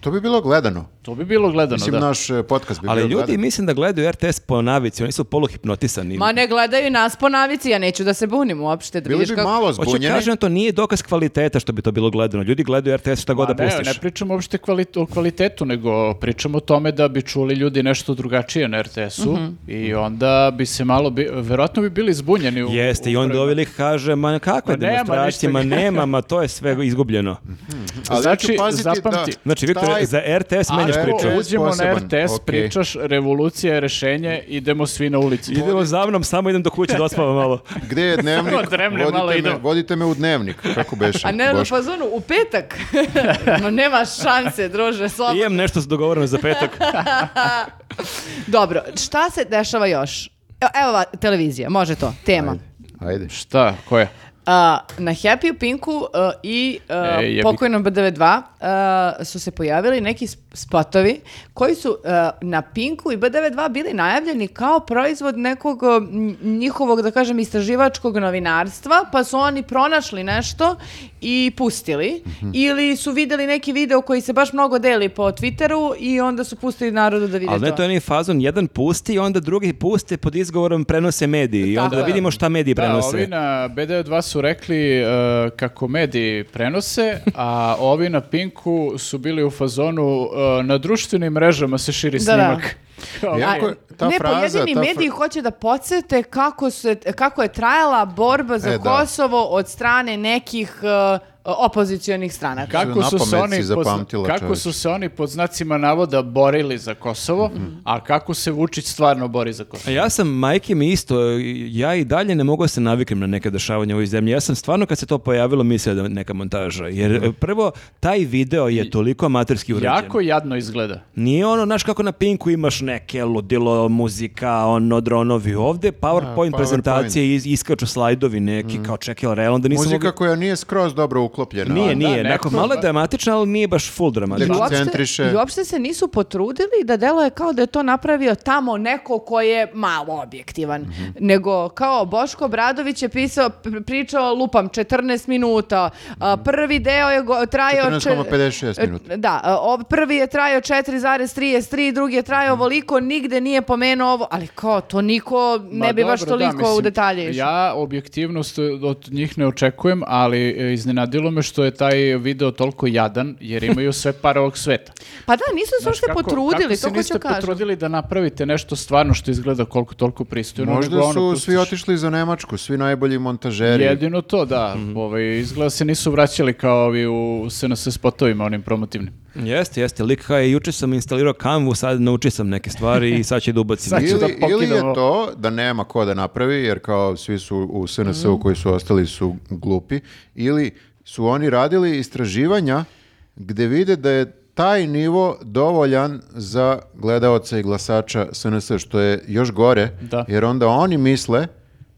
Speaker 2: To bi bilo gledano.
Speaker 4: To bi bilo gledano,
Speaker 2: Mislim,
Speaker 4: da.
Speaker 2: naš e, podcast bi
Speaker 3: Ali
Speaker 2: bio
Speaker 3: ljudi
Speaker 2: gledan.
Speaker 3: mislim da gledaju RTS po navici, oni su poluhipnotisani.
Speaker 1: Ma ne gledaju nas po navici, ja neću da se bunim uopšte. Da
Speaker 2: Bili
Speaker 1: vidiš
Speaker 2: bi
Speaker 1: kako-
Speaker 2: malo
Speaker 3: Hoću
Speaker 2: zbunjeni.
Speaker 3: kažem, to nije dokaz kvaliteta što bi to bilo gledano. Ljudi gledaju RTS šta god da
Speaker 4: Pa ne,
Speaker 3: pustiš.
Speaker 4: ne pričamo uopšte kvalit- o kvalitetu, nego pričamo o tome da bi čuli ljudi nešto drugačije na RTS-u
Speaker 1: Mhm.
Speaker 4: i onda bi se malo, bi, verovatno bi bili zbunjeni. U,
Speaker 3: Jeste,
Speaker 4: u
Speaker 3: i onda
Speaker 4: prema-
Speaker 3: ovaj lik kaže, ma kakve
Speaker 4: Ma nema
Speaker 3: demonstracije, ma
Speaker 4: ničega."
Speaker 3: nema, ma to je sve izgubljeno.
Speaker 2: Ali
Speaker 4: Znači,
Speaker 2: ću paziti
Speaker 4: zapamti.
Speaker 2: da-
Speaker 3: Znači, Viktor,
Speaker 2: taj-
Speaker 3: za RTS menjaš
Speaker 4: Ako
Speaker 3: priču.
Speaker 2: priča.
Speaker 4: uđemo na
Speaker 2: Poseban,
Speaker 4: RTS,
Speaker 2: okej.
Speaker 4: pričaš revolucija je rešenje, idemo svi na ulicu.
Speaker 3: Idemo za mnom, samo idem do kuće da ospavam malo.
Speaker 2: Gde je dnevnik?
Speaker 4: Dremne, malo
Speaker 2: vodite, me,
Speaker 4: idem.
Speaker 2: vodite me u dnevnik. Kako beše?
Speaker 1: A ne na
Speaker 2: Boško?
Speaker 1: fazonu, u petak. Ma nema šanse, druže,
Speaker 4: Pa-
Speaker 1: slobodno.
Speaker 3: Imam nešto dogovoreno za petak.
Speaker 1: Dobro, šta se dešava još? Evo, evo va- televizija, može to, tema.
Speaker 2: Ajde.
Speaker 4: Šta, koja?
Speaker 1: A, na Happy Pinku a, i a,
Speaker 4: E, jebi-
Speaker 1: pokojnom BDV2 a, uh, su se pojavili neki sp- spotovi koji su a, na Pinku i BDV2 bili najavljeni kao proizvod nekog a, n- njihovog, da kažem, istraživačkog novinarstva, pa su oni pronašli nešto i pustili.
Speaker 4: Mhm.
Speaker 1: Ili su videli neki video koji se baš mnogo deli po Twitteru i onda su pustili narodu da vide
Speaker 3: Ali ne,
Speaker 1: to.
Speaker 3: to je onaj fazon, jedan pusti, onda drugi pusti pod izgovorom prenose mediji. I onda
Speaker 1: Tako
Speaker 3: da
Speaker 1: je.
Speaker 3: vidimo šta mediji
Speaker 4: Da,
Speaker 3: prenose.
Speaker 4: ovi na BD2 su rekli e, kako mediji prenose, a ovi na Pinku su bili u fazonu e, na društvenim mrežama se širi
Speaker 1: Da, da.
Speaker 4: snimak. Kao,
Speaker 2: Ja-
Speaker 1: A,
Speaker 2: Jako je- ta
Speaker 1: ne,
Speaker 2: fraza,
Speaker 1: pojedini
Speaker 2: ta fra-
Speaker 1: mediji hoće da podsete kako, se, kako je trajala borba za
Speaker 2: E, da.
Speaker 1: Kosovo od strane nekih uh, opozicionih stranaka.
Speaker 4: Kako su, se
Speaker 2: Napamet si
Speaker 4: oni pod,
Speaker 2: zapamtila,
Speaker 4: kako
Speaker 2: čoveče.
Speaker 4: su se oni pod znacima navoda borili za Kosovo,
Speaker 2: Mhm.
Speaker 4: a kako se Vučić stvarno bori za
Speaker 3: A
Speaker 4: Kosovo.
Speaker 3: Ja sam majke mi isto, ja i dalje ne mogu da se naviknem na neke dešavanja u ovoj zemlji. Ja sam stvarno kad se to pojavilo mislio da je neka montaža. Jer e, prvo, taj video je toliko amaterski urađen.
Speaker 4: Jako jadno izgleda.
Speaker 3: Nije ono, znaš kako na Pinku imaš neke ludilo, muzika, ono, dronovi ovde, PowerPoint,
Speaker 2: PowerPoint.
Speaker 3: prezentacije, is, iskaču slajdovi neki,
Speaker 4: Mm.
Speaker 3: kao čekaj, ali realno da nisam...
Speaker 2: Muzika
Speaker 3: mogao-
Speaker 2: koja nije skroz dobro uklopljena.
Speaker 3: Nije,
Speaker 2: ali-
Speaker 3: nije.
Speaker 4: neko-
Speaker 3: Onako, malo je dramatična, ali nije baš full
Speaker 1: I
Speaker 3: dramatična.
Speaker 2: Leko-
Speaker 1: uopšte,
Speaker 2: koncentriše.
Speaker 1: I uopšte se nisu potrudili da deluje kao da je to napravio tamo neko ko je malo objektivan.
Speaker 2: Mhm.
Speaker 1: Nego kao Boško Bradović je pisao, pr- pričao, lupam, 14 minuta. A, prvi deo je go- trajao... čet-
Speaker 2: 14,56
Speaker 1: e,
Speaker 2: minuta.
Speaker 1: Da, a, o- prvi je trajao 4,33, drugi je trajao
Speaker 4: Mhm.
Speaker 1: ovoliko, nigde nije pomenuo ovo, ali kao to niko ne
Speaker 4: Ma
Speaker 1: bi baš
Speaker 4: dobro, da,
Speaker 1: toliko u
Speaker 4: mislim,
Speaker 1: detalje išao.
Speaker 4: Ja objektivnost od njih ne očekujem, ali e, iznenadilo me što je taj video toliko jadan, jer imaju sve par ovog sveta.
Speaker 1: Pa da, nisu se
Speaker 4: Znaš,
Speaker 1: uopšte
Speaker 4: kako-
Speaker 1: potrudili, to
Speaker 4: Kako
Speaker 1: hoću
Speaker 4: se niste
Speaker 1: kažem.
Speaker 4: potrudili da napravite nešto stvarno što izgleda koliko toliko pristojno?
Speaker 2: Možda
Speaker 4: nego ono,
Speaker 2: su
Speaker 4: pustiš-
Speaker 2: svi otišli za Nemačku, svi najbolji montažeri.
Speaker 4: Jedino to, da. Ovaj, izgleda se nisu vraćali kao ovi u SNS spotovima, onim promotivnim.
Speaker 3: Jeste, jeste. Lik kao je, juče sam instalirao Canvu, sad naučio sam neke stvari i sad će da ubacim.
Speaker 4: Sad će
Speaker 2: Ili,
Speaker 4: da
Speaker 2: ili je
Speaker 4: pokidamo.
Speaker 2: to da nema ko da napravi, jer kao svi su u SNS-u koji su ostali su glupi, ili su oni radili istraživanja gde vide da je taj nivo dovoljan za gledaoca i glasača SNS, što je još gore,
Speaker 4: Da.
Speaker 2: jer onda oni misle,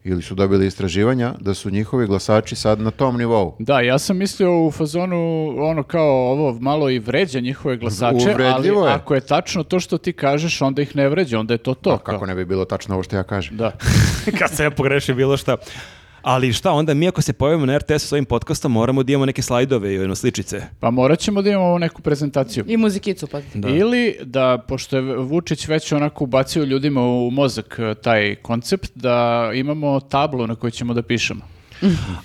Speaker 2: ili su dobili istraživanja, da su njihovi glasači sad na tom nivou.
Speaker 4: Da, ja sam mislio u fazonu ono kao ovo malo i vređa njihove glasače, ali
Speaker 2: Uvredljivo je.
Speaker 4: ako je tačno to što ti kažeš, onda ih ne vređa, onda je to to. kao.
Speaker 2: Kako ne bi bilo tačno ovo što ja kažem.
Speaker 4: Da.
Speaker 3: Kad se ja pogrešio bilo šta. Ali šta, onda mi ako se pojavimo na RTS s ovim podcastom moramo da imamo neke slajdove i ono sličice.
Speaker 4: Pa morat ćemo da imamo neku prezentaciju.
Speaker 1: I muzikicu pa.
Speaker 3: Da.
Speaker 4: Ili da, pošto je Vučić već onako ubacio ljudima u mozak eh, taj koncept, da imamo tablu na kojoj ćemo da pišemo.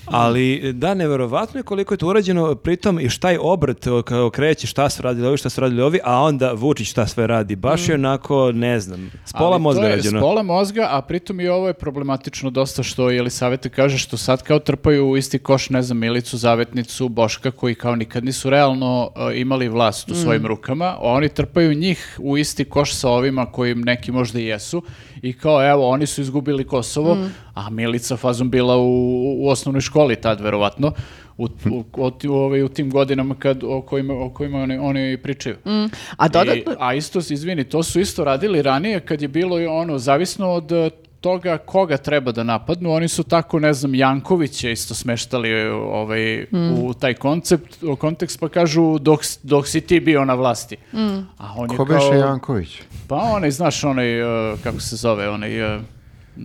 Speaker 3: Ali da, neverovatno je koliko je to urađeno pritom i šta je obrt o- kao kreće, šta su radili ovi, šta su radili ovi, a onda Vučić šta sve radi. Baš je onako, ne znam, s pola
Speaker 4: Ali
Speaker 3: mozga
Speaker 4: to je
Speaker 3: rađeno.
Speaker 4: S pola mozga, a pritom i ovo je problematično dosta što Jelisaveta kaže što sad kao trpaju u isti koš, ne znam, Milicu, Zavetnicu, Boška, koji kao nikad nisu realno e, imali vlast u svojim rukama, a oni trpaju njih u isti koš sa ovima kojim neki možda i jesu i kao evo, oni su izgubili Kosovo, a Milica fazom bila u, u osnovnoj školi tad, verovatno, u, u, u- u- ovaj, u tim godinama kad, o kojima, o kojima oni, oni pričaju.
Speaker 1: A
Speaker 4: I-
Speaker 1: dodatno,
Speaker 4: E, a isto, izvini, to su isto radili ranije kad je bilo i ono, zavisno od e, toga koga treba da napadnu, oni su tako, ne znam, Jankovića isto smeštali e, ovaj,
Speaker 1: Mm.
Speaker 4: u taj koncept, u kontekst, pa kažu dok, s- dok si ti bio na vlasti.
Speaker 1: Mm.
Speaker 4: A on je
Speaker 2: Ko
Speaker 4: kao,
Speaker 2: beše Janković?
Speaker 4: pa onaj, znaš, onaj, e, kako se zove, onaj, e,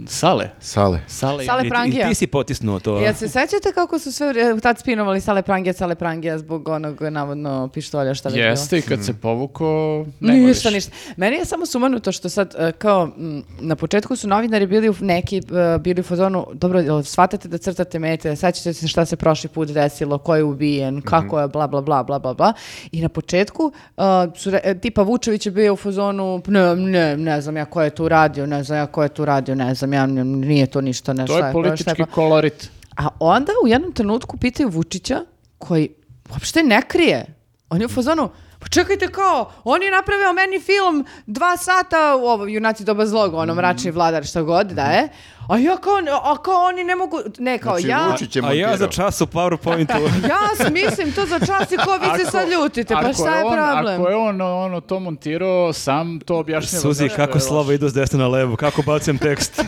Speaker 4: Sale.
Speaker 2: Sale.
Speaker 4: Sale.
Speaker 1: Sale
Speaker 3: I ti-
Speaker 1: Prangija.
Speaker 3: I ti si potisnuo to.
Speaker 1: Jel se sećate kako su sve vrijeme- tad spinovali sale prangija, sale prangija zbog onog navodno pištolja šta već bilo?
Speaker 4: Jeste i kad se
Speaker 2: Mm.
Speaker 4: povuko, nema
Speaker 1: Ništa,
Speaker 4: više.
Speaker 1: ništa. Meni je samo sumanuto što sad, e, kao, m, na početku su novinari bili u neki, e, bili u fazonu, dobro, jel shvatate da crtate mete, sećate se šta se prošli put desilo, ko je ubijen,
Speaker 4: Mhm.
Speaker 1: kako je, bla, bla, bla, bla, bla, bla. I na početku, e, su, re- e, tipa Vučević je bio u fazonu, ne, ne, ne znam ja ko je tu radio, ne znam ja ko je tu radio, ne znam ja, n- nije to ništa, ne,
Speaker 4: To
Speaker 1: šta
Speaker 4: je
Speaker 1: je, pa, šta je,
Speaker 4: politički
Speaker 1: pa.
Speaker 4: kolorit.
Speaker 1: A onda u jednom trenutku pitaju Vučića, koji uopšte ne krije. On je u fazonu, pa čekajte kao, on je napravio meni film dva sata u ovo, junaci doba zlog, ono mračni vladar, šta god da je. A ja kao, a kao oni ne mogu, ne kao
Speaker 2: Znači,
Speaker 1: ja,
Speaker 2: Vučić je
Speaker 3: A ja
Speaker 2: montirao.
Speaker 3: za čas u PowerPointu.
Speaker 1: ja smislim to za čas i ko vi se sad ljutite, pa
Speaker 4: Ako
Speaker 1: šta je
Speaker 4: on-
Speaker 1: problem?
Speaker 4: Ako je on ono, to montirao, sam to objašnjava.
Speaker 3: Suzi,
Speaker 4: zašto je
Speaker 3: kako
Speaker 4: loš.
Speaker 3: slova idu s desne na levo, kako bacim tekst.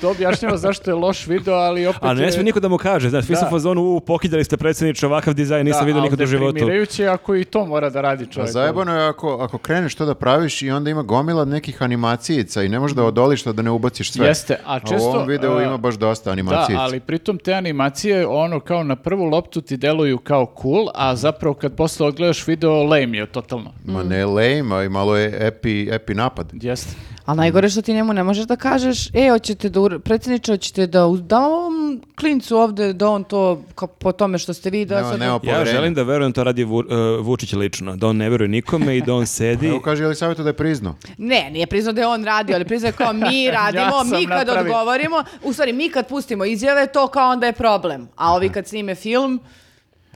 Speaker 4: To objašnjava zašto je loš video, ali opet
Speaker 3: A ne
Speaker 4: je-
Speaker 3: smije niko da mu kaže, znaš, vi
Speaker 4: Znači, Da.
Speaker 3: su u fazonu, u, pokidali ste predsjedniče, ovakav dizajn nisam
Speaker 4: Da,
Speaker 3: vidio
Speaker 4: ali
Speaker 3: nikad u životu.
Speaker 4: deprimirajuće je ako i to mora da radi
Speaker 2: A
Speaker 4: čovjek.
Speaker 2: zajebano je ako, ako kreneš to da praviš i onda ima gomila nekih animacijica i ne možeš da odoliš da ne ubaciš sve.
Speaker 4: Jeste, a često,
Speaker 2: u ovom videu
Speaker 4: a,
Speaker 2: ima baš dosta
Speaker 4: Da,
Speaker 2: animacijica.
Speaker 4: ali pritom te animacije, ono, kao na prvu loptu ti deluju kao cool, a zapravo kad posle odgledaš video, lame je totalno.
Speaker 2: Ma ne lame, a i malo je epi, epi napad.
Speaker 4: Jeste.
Speaker 1: Ali najgore što ti njemu ne možeš da kažeš, e, hoćete da, ur- predsjedniče, hoćete da, uz- da ovom klincu ovde, da on to, kao po tome što ste vi, da
Speaker 2: Nema-
Speaker 1: sad-
Speaker 2: nema
Speaker 3: Ja
Speaker 2: poverenja.
Speaker 3: želim da verujem to radi Vu, e, Vučić lično, da on ne veruje nikome i da on sedi.
Speaker 4: Pa
Speaker 2: Evo kaže Elisaveta da je priznao.
Speaker 1: Ne, nije priznao da je on radio, ali priznao je kao mi radimo,
Speaker 4: Ja sam
Speaker 1: mi kad
Speaker 4: napravio.
Speaker 1: odgovorimo, u stvari mi kad pustimo izjave, to kao onda je problem. A ovi kad snime film,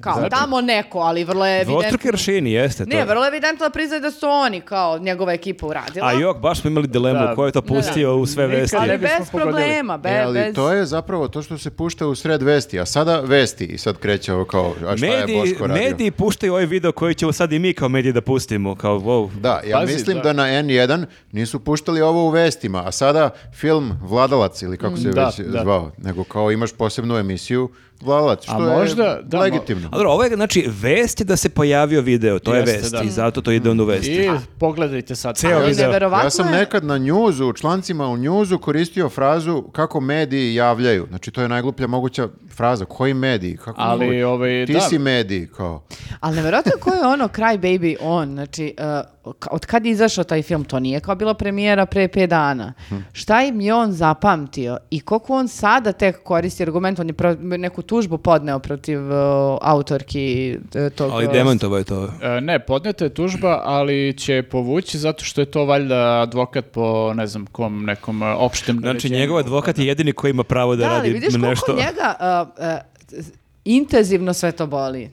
Speaker 1: kao tamo neko, ali vrlo je
Speaker 3: Dvostruki
Speaker 1: evidentno.
Speaker 3: aršini, jeste to.
Speaker 1: Ne, vrlo je evidentno da priznaju da su oni kao njegova ekipa uradila.
Speaker 3: A jok, baš smo imali dilemu
Speaker 4: Da.
Speaker 3: ko je to pustio u sve
Speaker 4: Nikad
Speaker 3: vesti.
Speaker 4: ne
Speaker 1: ali
Speaker 4: bismo
Speaker 1: bez
Speaker 4: pogodili.
Speaker 1: problema, be,
Speaker 2: E, ali
Speaker 1: bez...
Speaker 2: to je zapravo to što se pušta u sred vesti, a sada vesti i sad kreće ovo kao,
Speaker 4: Pa
Speaker 2: a šta je
Speaker 3: Mediji,
Speaker 2: Boško radio?
Speaker 3: mediji puštaju ovaj video koji ćemo sad i mi kao mediji da pustimo, kao wow.
Speaker 2: Da, ja
Speaker 4: Pazi,
Speaker 2: mislim
Speaker 4: da.
Speaker 2: da. na N1 nisu puštali ovo u vestima, a sada film Vladalac ili kako se
Speaker 4: Da,
Speaker 2: već
Speaker 4: da.
Speaker 2: zvao, nego kao imaš posebnu emisiju Vladalac, što
Speaker 4: A možda,
Speaker 2: je
Speaker 4: da, mo-
Speaker 2: legitimno.
Speaker 3: A dobro, ovo je, znači, vest je da se pojavio video, to
Speaker 4: Jeste,
Speaker 3: je vest
Speaker 4: da.
Speaker 3: i zato to ide onda u vesti.
Speaker 4: I pogledajte sad.
Speaker 3: Ceo
Speaker 1: Ali
Speaker 3: video.
Speaker 1: neverovatno
Speaker 2: Ja sam
Speaker 1: je-
Speaker 2: nekad na njuzu, u člancima u njuzu koristio frazu kako mediji javljaju. Znači to je najgluplja moguća fraza. Koji mediji? Kako
Speaker 4: Ali,
Speaker 2: mogu-
Speaker 4: ovaj,
Speaker 2: Ti
Speaker 4: da.
Speaker 2: si mediji, kao.
Speaker 1: Ali nevjerojatno ko je ono Cry Baby on, znači uh, ka- od kad je izašao taj film, to nije kao bila premijera pre 5 dana.
Speaker 3: Mhm.
Speaker 1: Šta im je on zapamtio i koliko on sada tek koristi argument, on je pro- neku tužbu podneo protiv uh, autorki uh, tog...
Speaker 3: Ali
Speaker 1: uh,
Speaker 3: demantovo je to.
Speaker 4: E, Ne, podneta je tužba, ali će povući zato što je to valjda advokat po, ne znam, kom nekom e, opštem...
Speaker 3: Znači,
Speaker 4: naređenju.
Speaker 3: njegov advokat je jedini koji ima pravo da,
Speaker 1: Da, ali
Speaker 3: radi
Speaker 1: vidiš koliko
Speaker 3: nešto.
Speaker 1: njega uh, uh, intenzivno sve to boli.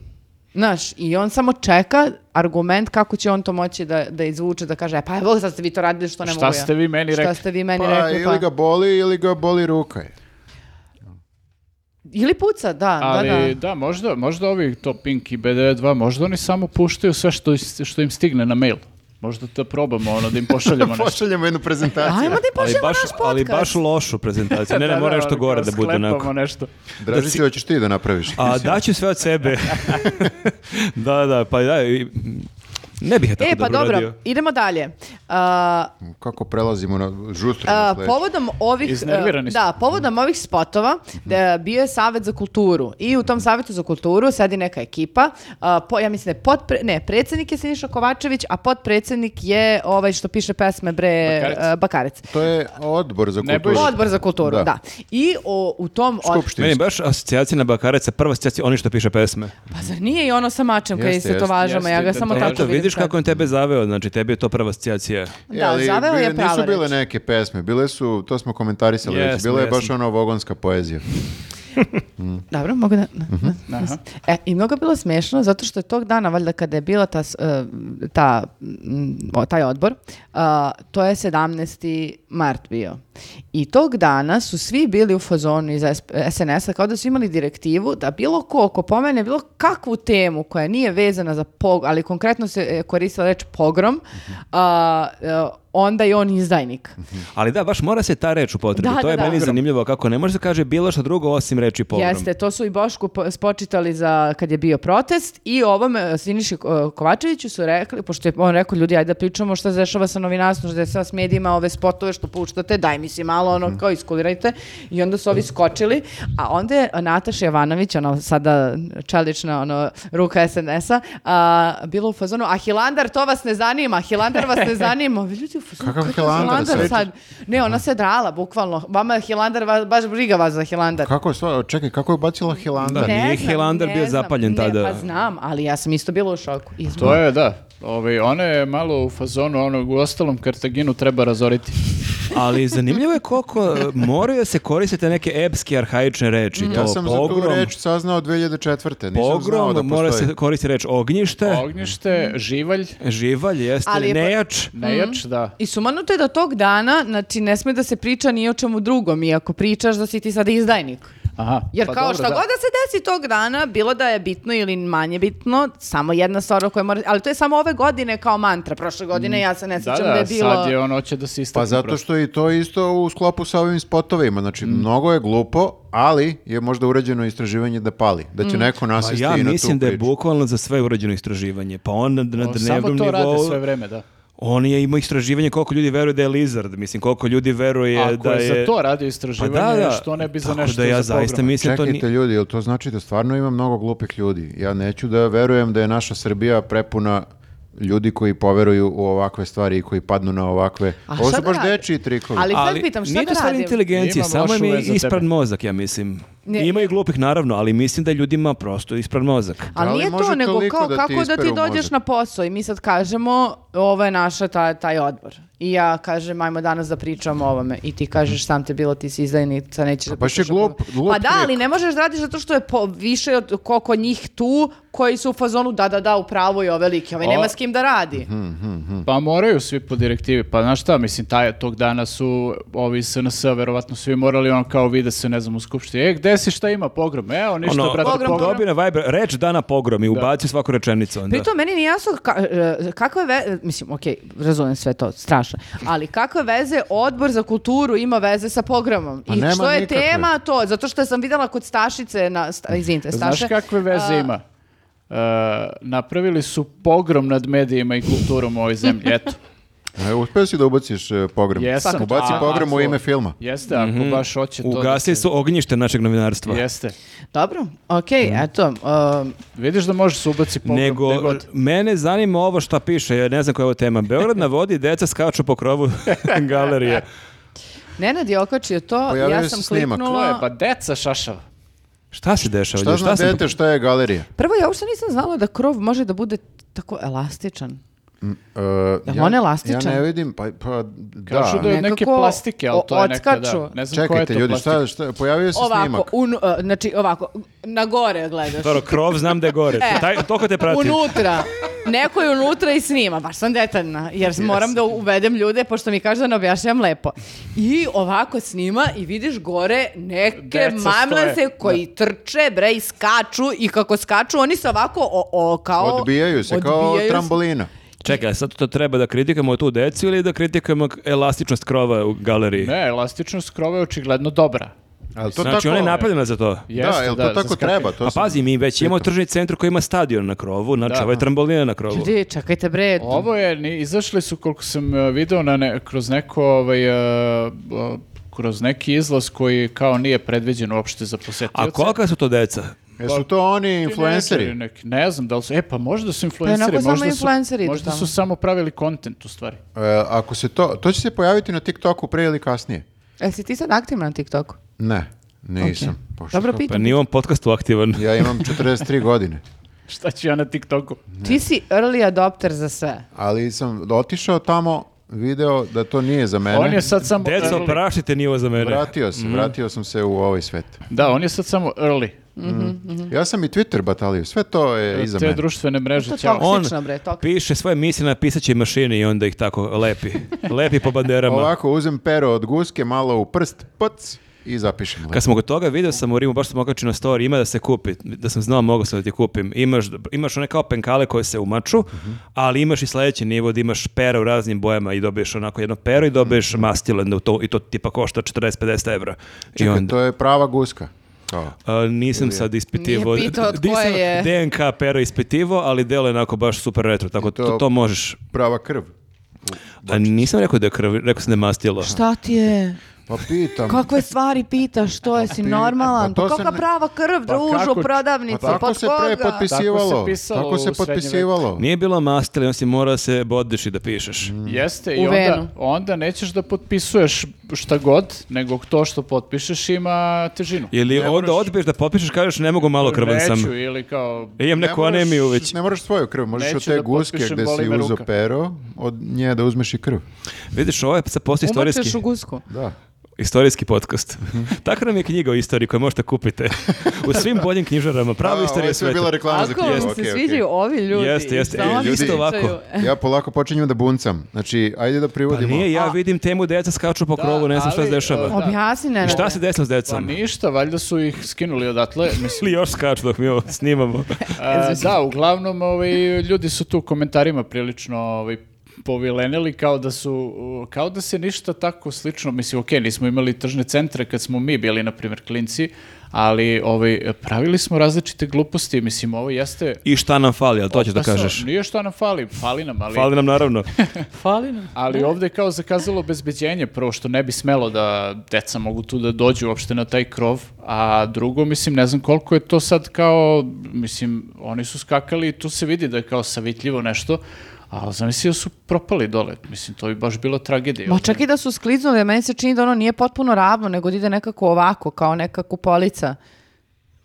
Speaker 1: Znaš, i on samo čeka argument kako će on to moći da, da izvuče, da kaže, "E, pa evo sad ste vi to radili što ne
Speaker 4: Šta
Speaker 1: mogu ja.
Speaker 4: ste vi meni
Speaker 1: Šta
Speaker 4: rekli?
Speaker 1: ste vi meni
Speaker 2: Pa,
Speaker 1: rekli,
Speaker 2: ili
Speaker 1: pa.
Speaker 2: ga boli ili ga boli ruka. je.
Speaker 1: Ili puca, da,
Speaker 4: Ali
Speaker 1: da, da.
Speaker 4: da, možda, možda ovi to Pink i BD2, možda oni samo puštaju sve što, is- što im stigne na mail. Možda to probamo, ono, da im pošaljemo nešto.
Speaker 2: Pošaljemo jednu prezentaciju.
Speaker 1: Ajmo da im
Speaker 3: Ali
Speaker 1: pošaljemo
Speaker 3: baš,
Speaker 1: naš podcast.
Speaker 3: ali baš lošu prezentaciju. Ne, ne,
Speaker 4: Da,
Speaker 3: mora
Speaker 4: da,
Speaker 3: nešto
Speaker 4: ono,
Speaker 3: gore
Speaker 4: kao
Speaker 3: da bude
Speaker 4: sklepamo
Speaker 3: onako.
Speaker 4: nešto.
Speaker 2: Dražiću, hoćeš ti da napraviš.
Speaker 3: A daću sve od sebe. da, da, pa da. i- Ne bih je tako
Speaker 1: E, pa dobro,
Speaker 3: radio.
Speaker 1: idemo dalje. Uh, A,
Speaker 2: Kako prelazimo na žustru?
Speaker 1: a,
Speaker 2: na sledeću?
Speaker 1: povodom ovih
Speaker 4: Iznervirani
Speaker 1: a,
Speaker 4: smo.
Speaker 1: da, povodom ovih spotova
Speaker 2: Mhm.
Speaker 1: da, bio je savet za kulturu i u tom savetu za kulturu sedi neka ekipa. a, po, ja mislim da je potpre- ne, predsjednik je Siniša Kovačević, a potpredsjednik je ovaj što piše pesme bre
Speaker 4: Bakarec.
Speaker 1: a, Bakarec.
Speaker 2: To je odbor za
Speaker 4: Ne
Speaker 2: kulturu.
Speaker 4: bojiš-
Speaker 1: Odbor za kulturu, da.
Speaker 2: Da.
Speaker 1: I o, u tom od-
Speaker 2: Skupštinski.
Speaker 3: Meni je baš asocijacija na Bakareca, prva asocijacija, oni što piše pesme.
Speaker 1: pa zar nije i ono sa mačem kad je
Speaker 2: Jeste,
Speaker 1: se to važama,
Speaker 4: jeste,
Speaker 1: ja ga
Speaker 4: jeste,
Speaker 1: samo
Speaker 4: da,
Speaker 1: tako
Speaker 3: Eto,
Speaker 1: Pa vidim
Speaker 3: vidiš
Speaker 1: sad.
Speaker 3: kako je tebe zaveo, znači tebi je to prva asocijacija.
Speaker 2: E,
Speaker 1: Da,
Speaker 2: ali
Speaker 1: zaveo je
Speaker 2: bile-
Speaker 1: prava
Speaker 2: Nisu bile
Speaker 1: reč.
Speaker 2: neke pesme, bile su, to smo komentarisali već,
Speaker 3: Jesmo,
Speaker 2: bila je baš
Speaker 3: jesmo.
Speaker 2: ono vogonska poezija.
Speaker 1: Dobro, mogu da... da. E, I mnogo je bilo smešno zato što je tog dana, valjda kada je bila ta, s- e, ta, mm, o, taj odbor, a, to je 17. mart bio. I tog dana su svi bili u fazonu iz SP- SNS-a kao da su imali direktivu da bilo ko ko pomene bilo kakvu temu koja nije vezana za pog, ali konkretno se e, koristila reč pogrom, a, e, onda je on izdajnik.
Speaker 3: Ali da, baš mora se ta reč upotrebiti.
Speaker 1: Hmm. Da,
Speaker 3: to
Speaker 1: da,
Speaker 3: je
Speaker 1: da.
Speaker 3: meni
Speaker 1: Pogrom.
Speaker 3: zanimljivo kako ne može se kaže bilo što drugo osim reči pogrom.
Speaker 1: Jeste, to su i Bošku po- spočitali za kad je bio protest i ovom e, Siniši e, Kovačeviću su rekli, pošto je on rekao ljudi, ajde da pričamo šta se dešava sa novinarstvom, šta se dešava s medijima, ove spotove što puštate, daj mi si malo
Speaker 2: Mhm.
Speaker 1: ono kao iskulirajte i onda su ovi skočili, a onda je Nataša Jovanović, ona sada čelična ono, ruka SNS-a, a, bila u fazonu, a Hilandar to vas ne zanima, Hilandar vas ne zanima. Ovi ljudi u fazonu,
Speaker 2: Kakav
Speaker 1: kakav
Speaker 2: Hilandar? Sve-
Speaker 1: sad? Ne, ona se drala, bukvalno. Vama je Hilandar, va- baš briga vas za Hilandar.
Speaker 2: Kako je stvar, čekaj, kako je bacila Hilandar?
Speaker 3: Da. nije Hilandar bio zapaljen
Speaker 1: ne,
Speaker 3: tada.
Speaker 1: Pa znam, ali ja sam isto bila u šoku. I znam.
Speaker 4: To je, da. Ovaj, ona je malo u fazonu onog, u ostalom Kartaginu treba razoriti.
Speaker 3: Ali zanimljivo je koliko e, moraju da se koristiti neke epske, arhaične reči. to,
Speaker 2: Mm. Ja sam za tu
Speaker 3: pogrom,
Speaker 2: reč saznao 2004. Nisam znao
Speaker 3: Pogrom,
Speaker 2: da
Speaker 3: mora
Speaker 2: postoji.
Speaker 3: se koristiti reč ognjište,
Speaker 4: Ognjište, živalj,
Speaker 3: živalj, jeste,
Speaker 1: Ali
Speaker 4: pa-
Speaker 1: je po-
Speaker 3: nejač.
Speaker 1: Mhm.
Speaker 4: nejač, da.
Speaker 1: I sumanuto je da tog dana, znači, ne sme da se priča ni o čemu drugom, i ako pričaš da si ti sada izdajnik.
Speaker 4: Aha.
Speaker 1: Jer
Speaker 4: pa
Speaker 1: kao
Speaker 4: dobro,
Speaker 1: šta
Speaker 4: da.
Speaker 1: god da se desi tog dana, bilo da je bitno ili manje bitno, samo jedna stvar o kojoj mora... Ali to je samo ove godine kao mantra. Prošle godine ja se ne
Speaker 4: Da,
Speaker 1: sjećam da,
Speaker 4: da,
Speaker 1: je bilo...
Speaker 4: sad je on hoće da se istakne.
Speaker 2: Pa zato što i to isto u sklopu sa ovim spotovima. Znači,
Speaker 3: Mm.
Speaker 2: mnogo je glupo, ali je možda urađeno istraživanje da pali. Da
Speaker 1: Mm.
Speaker 2: će neko
Speaker 3: Pa
Speaker 2: nasisti
Speaker 3: ja
Speaker 2: i na tu
Speaker 3: mislim da je
Speaker 2: priču.
Speaker 3: bukvalno za sve urađeno istraživanje. Pa on na, na
Speaker 4: prosto. Samo to
Speaker 3: dnevnom
Speaker 4: rade sve
Speaker 3: nivou,
Speaker 4: vreme, da.
Speaker 3: on je imao istraživanje koliko ljudi veruje da je lizard, mislim koliko ljudi veruje
Speaker 4: Ako
Speaker 3: da
Speaker 4: je,
Speaker 3: je...
Speaker 4: za to radio
Speaker 3: Pa
Speaker 4: istraživanje,
Speaker 3: da, da.
Speaker 4: što ne bi za
Speaker 3: Tako
Speaker 4: nešto
Speaker 3: da ja
Speaker 4: za
Speaker 3: zaista
Speaker 4: pogrom?
Speaker 3: mislim to ni...
Speaker 2: Čekajte ljudi, jel to znači da stvarno ima mnogo glupih ljudi? Ja neću da verujem da je naša Srbija prepuna ljudi koji poveruju u ovakve stvari i koji padnu na ovakve.
Speaker 1: A
Speaker 2: Ovo
Speaker 1: šta
Speaker 2: su
Speaker 1: da
Speaker 2: baš
Speaker 1: rade?
Speaker 2: dečiji trikovi.
Speaker 1: Ali- sad
Speaker 3: Ali
Speaker 1: pitam, šta
Speaker 3: nije
Speaker 1: da
Speaker 3: to stvar
Speaker 1: radim?
Speaker 3: inteligencije,
Speaker 4: Imam
Speaker 3: samo
Speaker 4: loš
Speaker 3: im je
Speaker 4: uvez za
Speaker 3: ispran
Speaker 4: tebe.
Speaker 3: mozak, ja mislim.
Speaker 1: Ne.
Speaker 3: Ima i glupih, naravno, ali mislim da je ljudima prosto ispran mozak.
Speaker 2: Da
Speaker 1: Ali
Speaker 2: li
Speaker 1: nije
Speaker 2: može
Speaker 1: to, nego
Speaker 2: toliko
Speaker 1: kao
Speaker 2: da ti
Speaker 1: kako da ti
Speaker 2: isperu
Speaker 1: dođeš
Speaker 2: mozak?
Speaker 1: na posao i mi sad kažemo ovo je naša ta, taj odbor. I ja kažem ajmo danas da pričamo o ovome i ti kažeš sam te bilo ti si izdajnica, nećeš da
Speaker 2: Mhm. baš je
Speaker 1: pričaš o
Speaker 2: glup-
Speaker 1: tome.
Speaker 2: glup
Speaker 1: Pa da, ali
Speaker 2: trik.
Speaker 1: ne možeš da radiš zato što je po, više od koliko njih tu koji su u fazonu da, da, da, u pravu i ove like, ovaj
Speaker 4: O.
Speaker 1: nema s kim da radi.
Speaker 2: mhm.
Speaker 4: Pa moraju svi po direktivi. Pa znaš šta, mislim, taj, tog dana su ovi iz SNS-a verovatno svi morali on kao vide se, ne znam, u skupštini. E, gde si, šta ima pogrom? Evo, ništa,
Speaker 3: Ono,
Speaker 4: brate,
Speaker 1: Pogrom,
Speaker 4: pogrom.
Speaker 1: pogrom.
Speaker 3: dobio na Viber reč dana pogrom i ubacio svaku rečenicu onda.
Speaker 1: Pritom, meni nije jasno ka, e, kakve veze, mislim, okej, razumijem sve to, strašno, ali kakve veze odbor za kulturu ima veze sa pogromom?
Speaker 2: Pa
Speaker 1: I
Speaker 2: nema
Speaker 1: što je
Speaker 2: nikakve.
Speaker 1: tema to? Zato što sam videla kod Stašice, na, sta, izvinite, Staše.
Speaker 4: Znaš kakve veze
Speaker 1: a,
Speaker 4: ima? E, napravili su pogrom nad medijima i kulturom u ovoj zemlji, eto.
Speaker 2: E, uspeo si da ubaciš e, pogrom.
Speaker 4: Jesam.
Speaker 2: Ubaci
Speaker 4: A,
Speaker 2: pogrom u
Speaker 4: ako-
Speaker 2: ime filma.
Speaker 4: Jeste, ako
Speaker 3: Mhm.
Speaker 4: baš hoće to... da
Speaker 3: Ugasili
Speaker 4: se-
Speaker 3: su ognjište našeg novinarstva.
Speaker 4: Jeste.
Speaker 1: Dobro, okej,
Speaker 2: Mhm.
Speaker 1: eto. um,
Speaker 4: Vidiš da možeš se ubaci pogrom.
Speaker 3: Nego,
Speaker 4: gde god.
Speaker 3: mene zanima ovo šta piše, ja ne znam koja je ovo tema. Beograd na vodi, deca skaču po krovu galerije.
Speaker 1: Nenad je okačio to,
Speaker 2: Pojavio
Speaker 1: ja
Speaker 2: se
Speaker 1: sam
Speaker 2: snimak.
Speaker 4: To je,
Speaker 1: kliknula.
Speaker 4: pa deca šašava.
Speaker 3: Šta se dešava?
Speaker 2: Šta
Speaker 3: ljudi?
Speaker 2: zna
Speaker 3: sam-
Speaker 2: dete, šta je galerija?
Speaker 1: Prvo, ja uopšte nisam znala da krov može da bude tako elastičan.
Speaker 2: E,
Speaker 1: Jel on elastičan?
Speaker 2: Ja ne vidim, pa, pa da.
Speaker 4: Kažu da je od neke
Speaker 1: Nekako
Speaker 4: plastike, ali to je neka, da.
Speaker 1: odskaču.
Speaker 4: Ne znam koja je to
Speaker 2: Čekajte ljudi,
Speaker 4: plastika.
Speaker 2: šta, šta, pojavio se snimak.
Speaker 1: Ovako, un, e, znači ovako, na gore gledaš.
Speaker 3: Dobro, krov znam da je gore.
Speaker 1: E.
Speaker 3: Taj, toliko te pratim.
Speaker 1: Unutra. Neko je unutra i snima. Baš sam detaljna. Jer moram da uvedem ljude, pošto mi kaže da ne objašnjam lepo. I ovako snima i vidiš gore neke
Speaker 4: Deca
Speaker 1: mamlase
Speaker 4: stoje.
Speaker 1: koji trče, bre, i skaču. I kako skaču, oni se ovako o, o, kao...
Speaker 2: Odbijaju se kao
Speaker 1: odbijaju se.
Speaker 2: trambolina.
Speaker 3: Čekaj, a sad to treba da kritikamo tu decu ili da kritikamo elastičnost krova u galeriji?
Speaker 4: Ne, elastičnost krova je očigledno dobra.
Speaker 2: Ali to
Speaker 3: Znači,
Speaker 2: tako,
Speaker 3: ona je napravljena za to.
Speaker 4: Jeste,
Speaker 2: da, jel to
Speaker 4: da,
Speaker 2: tako
Speaker 4: zaskakuje.
Speaker 2: treba? To
Speaker 3: Pa
Speaker 2: sam-
Speaker 3: pazi, mi već imamo tržni centar koji ima stadion na krovu, znači
Speaker 4: Da.
Speaker 3: ovo je trambolina na krovu.
Speaker 1: Ljudi, čekajte, bre.
Speaker 4: Ovo je, ni, izašli su, koliko sam e, video, na ne- kroz neko, ovaj, e, o, kroz neki izlaz koji kao nije predviđen uopšte za posetioce.
Speaker 3: A kolika su to deca?
Speaker 2: Jesu to oni
Speaker 4: pa-
Speaker 2: influenceri?
Speaker 4: Neki, ne znam da li su, e pa možda su influenceri,
Speaker 1: onako samo
Speaker 4: možda, su,
Speaker 1: influenceri idu
Speaker 4: možda
Speaker 1: tamo.
Speaker 4: su samo pravili kontent u stvari.
Speaker 2: E, ako se to, to će se pojaviti na TikToku pre ili kasnije?
Speaker 1: Jel si ti sad aktivna na TikToku?
Speaker 2: Ne, nisam. Pošto
Speaker 1: Dobro
Speaker 2: to-
Speaker 3: Pa
Speaker 1: pitam.
Speaker 3: nije u ovom podcastu aktivan.
Speaker 2: Ja imam 43 godine,
Speaker 4: Šta ću ja na TikToku?
Speaker 1: Ti si early adopter za sve.
Speaker 2: ali sam otišao tamo, video da to nije za mene.
Speaker 4: On je Mhm. sad samo
Speaker 3: Deco,
Speaker 4: early.
Speaker 3: prašite nivo za mene.
Speaker 2: Vratio se, vratio sam se u ovaj svet.
Speaker 4: Da, on je sad samo early.
Speaker 2: Ja sam i Twitter batalio, sve to je iza
Speaker 4: Mhm. Te
Speaker 2: mene.
Speaker 4: društvene
Speaker 1: To
Speaker 4: mreže,
Speaker 1: je
Speaker 4: ćao.
Speaker 1: toks-
Speaker 3: On
Speaker 1: Slično, bre, toks.
Speaker 3: piše svoje misli na pisaćoj mašini i onda ih tako lepi. Lepi po banderama.
Speaker 2: Ovako, uzem pero od guske, malo u prst, pac, i zapišem.
Speaker 3: Kad smo kod toga, video sam u Rimu, baš sam okačio na story, ima da se kupi, da sam znao mogao sam da ti kupim. Imaš, imaš one kao penkale koje se umaču, ali imaš i sledeći nivo da imaš pero u raznim bojama i dobiješ onako jedno pero i
Speaker 2: Mhm.
Speaker 3: dobiješ mastilo jedno to, i to tipa košta 40-50 evra. I
Speaker 2: Čekaj,
Speaker 3: onda-
Speaker 2: to je prava guska. Kao.
Speaker 3: A, nisam sad ispitivo.
Speaker 1: Nije pitao tko
Speaker 3: Nisam
Speaker 1: je.
Speaker 3: DNK pero ispitivo, ali delo je onako baš super retro, tako
Speaker 2: to-
Speaker 3: to, to, možeš.
Speaker 2: Prava krv.
Speaker 3: A nisam rekao da je krv, rekao sam da je mastilo.
Speaker 1: Šta ti je?
Speaker 2: Pa pitam.
Speaker 1: Kakve stvari pitaš, to je si normalan.
Speaker 2: pa to
Speaker 1: Pa
Speaker 2: se
Speaker 1: kakva
Speaker 2: ne-
Speaker 1: prava krv, družu,
Speaker 4: kako-
Speaker 1: u prodavnici,
Speaker 2: Pa tako
Speaker 1: pod
Speaker 2: se pre
Speaker 1: koga?
Speaker 2: potpisivalo.
Speaker 4: Tako se pisalo
Speaker 2: Tako se
Speaker 4: u srednjem
Speaker 2: potpisivalo.
Speaker 3: Nije bilo mastilo, on si morao da se bodiš i da pišeš.
Speaker 4: Jeste,
Speaker 1: U
Speaker 4: i
Speaker 1: venu.
Speaker 4: onda, onda nećeš da potpisuješ šta god, nego to što potpišeš ima težinu.
Speaker 3: Ili onda odbiješ da potpišeš, kažeš ne mogu, malo krvan sam. E,
Speaker 4: Neću, ili kao...
Speaker 3: Imam
Speaker 2: Ne
Speaker 3: neku
Speaker 2: moraš-
Speaker 3: anemiju već.
Speaker 2: Ne moraš svoju krv, možeš
Speaker 4: Neću
Speaker 2: od te
Speaker 4: da
Speaker 2: guske
Speaker 4: potpišem,
Speaker 2: gde
Speaker 4: boli
Speaker 2: si
Speaker 4: me
Speaker 2: uzeo
Speaker 4: ruka.
Speaker 2: pero, od nje da uzmeš i krv.
Speaker 3: Vidiš, ovo je sad postoji istorijski,
Speaker 1: Umačeš u gusku.
Speaker 2: Da.
Speaker 3: istorijski podcast. Tako nam je knjiga o istoriji koju možete kupite u svim boljim knjižarama. Prava
Speaker 2: A, ovo
Speaker 3: istorija
Speaker 2: je sve
Speaker 3: sveta.
Speaker 2: bila reklama za
Speaker 1: Ako
Speaker 2: knjigu.
Speaker 1: vam se
Speaker 2: okej, okej.
Speaker 1: sviđaju ovi ljudi.
Speaker 3: Jeste, jeste.
Speaker 1: samo
Speaker 3: E,
Speaker 1: mi
Speaker 3: ljudi-
Speaker 1: pričaju.
Speaker 3: Isto ovako.
Speaker 2: Ja polako počinjem da buncam. Znači, ajde da
Speaker 3: Pa
Speaker 2: privodimo.
Speaker 3: nije, ja
Speaker 1: A- ono-
Speaker 3: vidim temu deca skaču po krovu, ne znam šta se
Speaker 4: ali,
Speaker 3: dešava.
Speaker 4: e, da.
Speaker 1: Objasni,
Speaker 3: I
Speaker 1: Nenade.
Speaker 3: šta se desilo s
Speaker 4: Pa
Speaker 3: decom?
Speaker 4: ništa, valjda su ih skinuli odatle. Mislim,
Speaker 3: Ili još skaču dok mi ovo snimamo.
Speaker 4: A, da, uglavnom ovaj, ljudi su tu u komentarima prilično ovaj, povilenili kao da su, uh, kao da se ništa tako slično, mislim, ok, nismo imali tržne centre kad smo mi bili, na primjer, klinci, ali ovaj, pravili smo različite gluposti, mislim, ovo jeste...
Speaker 3: I šta nam fali, ali to ćeš da
Speaker 4: Pa sa-
Speaker 3: kažeš.
Speaker 4: Nije što nam fali, fali nam, ali...
Speaker 3: Fali nam naravno.
Speaker 1: Fali nam.
Speaker 4: Ali ovdje je kao zakazalo obezbeđenje, prvo što ne bi smelo da deca mogu tu da dođu uopšte na taj krov, a drugo, mislim, ne znam koliko je to sad kao, mislim, oni su skakali i tu se vidi da je kao savitljivo nešto, ali zamisli da su propali dole, mislim, to bi baš bila tragedija.
Speaker 1: Ma čak i da su skliznuli, meni se čini da ono nije potpuno ravno, nego da ide nekako ovako, kao neka kupolica.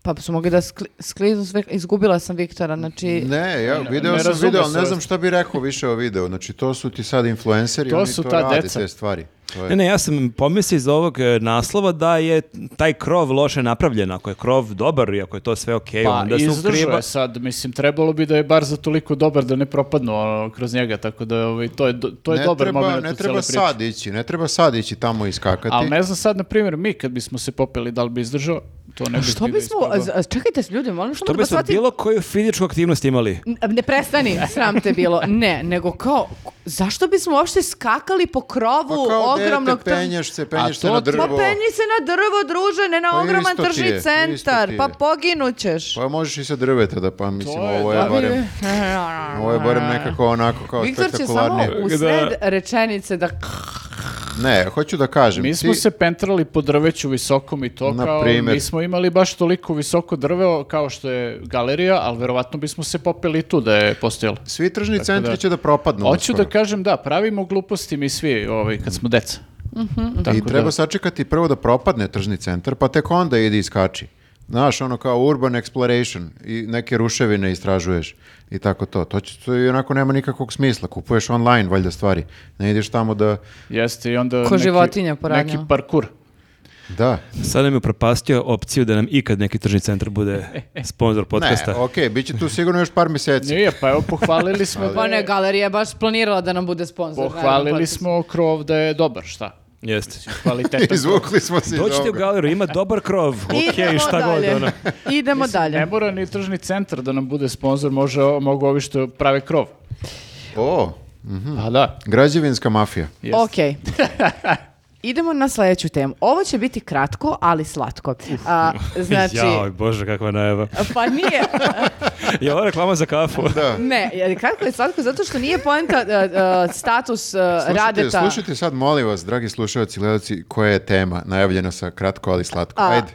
Speaker 1: Pa su mogli da skli- skliznu sve, izgubila sam Viktora, znači...
Speaker 2: Ne, ja video
Speaker 4: ne
Speaker 2: sam
Speaker 4: razume
Speaker 2: video,
Speaker 4: se
Speaker 2: ali ne
Speaker 4: ovo.
Speaker 2: znam šta bi rekao više o videu. Znači, to su ti sad influenceri,
Speaker 4: To
Speaker 2: oni
Speaker 4: su
Speaker 2: to
Speaker 4: ta
Speaker 2: rade
Speaker 4: deca.
Speaker 2: te stvari. To je-
Speaker 3: Ne, ne, ja sam pomislio iz ovog e, naslova da je taj krov loše napravljen. Ako je krov dobar i ako je to sve okej,
Speaker 4: Pa
Speaker 3: E, onda su
Speaker 4: izdržao
Speaker 3: kriva.
Speaker 4: je sad, mislim, trebalo bi da je bar za toliko dobar da ne propadnu ono, kroz njega, tako da ovaj, to je, do- to je
Speaker 2: ne
Speaker 4: dobar
Speaker 2: treba,
Speaker 4: moment
Speaker 2: ne
Speaker 4: u
Speaker 2: treba
Speaker 4: cijeloj priči.
Speaker 2: sad ići, ne treba sad ići tamo iskakati.
Speaker 4: Ali ne znam sad, na primjer, mi kad bismo se popeli, da li bi izdržao, to ne bi
Speaker 1: Što
Speaker 4: bilo
Speaker 1: bismo,
Speaker 4: isprobao.
Speaker 1: a- a- čekajte s ljudi, molim
Speaker 3: To
Speaker 1: što
Speaker 3: bi smo bilo koju fizičku aktivnost imali.
Speaker 1: Ne prestani, sram te bilo. Ne, nego kao, zašto bismo uopšte skakali po
Speaker 2: Pa
Speaker 1: krovu
Speaker 2: kao dete,
Speaker 1: ogromnog... tr-
Speaker 2: penješ se, penješ se
Speaker 4: to
Speaker 2: na
Speaker 4: ti-
Speaker 1: Pa
Speaker 2: drvo.
Speaker 1: penji se na drvo, druže, ne na
Speaker 2: Pa
Speaker 1: ogroman
Speaker 2: isto ti je,
Speaker 1: tržni
Speaker 2: isto ti
Speaker 1: centar,
Speaker 2: je.
Speaker 1: pa poginućeš.
Speaker 2: Pa možeš i sa drveta da pa mislim,
Speaker 4: To je-
Speaker 2: ovo je
Speaker 4: da,
Speaker 2: barem, ovo je barem nekako onako kao
Speaker 1: Viktor će samo
Speaker 2: spektakularnije.
Speaker 1: u
Speaker 3: Da.
Speaker 1: sred rečenice da...
Speaker 2: Ne, hoću da kažem.
Speaker 4: Mi smo
Speaker 2: ti-
Speaker 4: se pentrali po drveću visokom i to
Speaker 2: Znači, Na
Speaker 4: kao,
Speaker 2: primer.
Speaker 4: mi smo imali baš toliko visoko drveo kao što je galerija, ali verovatno bismo se popeli i tu da je postojalo.
Speaker 2: Svi tržni centri će da propadnu.
Speaker 4: Hoću da
Speaker 2: uskoro.
Speaker 4: kažem da, pravimo gluposti mi svi ovaj, kad smo deca.
Speaker 1: Mhm.
Speaker 4: Tako
Speaker 2: I treba
Speaker 4: da-
Speaker 2: sačekati prvo da propadne tržni centar, pa tek onda idi i skači. Znaš, ono kao urban exploration i neke ruševine istražuješ i tako to. To, će, to i onako nema nikakvog smisla. Kupuješ online, valjda, stvari. Ne ideš tamo da...
Speaker 4: Jeste i onda
Speaker 1: Ko životinja poranjena.
Speaker 4: neki parkur.
Speaker 2: Da.
Speaker 3: Sada nam je propastio opciju da nam ikad neki tržni centar bude sponsor podcasta.
Speaker 2: Ne, okej, bit će tu sigurno još par mjeseci.
Speaker 4: Nije, pa evo pohvalili smo da
Speaker 1: Pa ne,
Speaker 4: je,
Speaker 1: galerija je baš planirala da nam bude sponsor.
Speaker 4: pohvalili smo krov da je dobar, šta?
Speaker 3: Jeste.
Speaker 4: Kvalitetan
Speaker 2: Izvukli smo se iz
Speaker 3: Dođite u
Speaker 2: ovoga.
Speaker 3: galeriju, ima dobar krov. Okej,
Speaker 1: pa- Idemo
Speaker 3: šta god.
Speaker 1: dalje.
Speaker 3: ono.
Speaker 1: Idemo
Speaker 4: Ne
Speaker 1: dalje.
Speaker 4: mora ni tržni centar da nam bude sponsor, može, mogu ovi što prave krov.
Speaker 2: O,
Speaker 4: Pa da.
Speaker 2: građevinska mafija.
Speaker 4: Jeste.
Speaker 1: Ok. Idemo na sljedeću temu. Ovo će biti kratko, ali slatko. A, znači,
Speaker 3: Jao, bože, kakva najava.
Speaker 1: pa nije,
Speaker 3: Je ovo reklama za kafu?
Speaker 2: Da.
Speaker 1: ne, jer kratko je slatko zato što nije poenta e, e, status e,
Speaker 2: Slušajte,
Speaker 1: radeta.
Speaker 2: slušajte sad, molim vas, dragi slušalci, gledalci, koja je tema najavljena sa kratko, ali slatko.
Speaker 1: A,
Speaker 2: Ajde.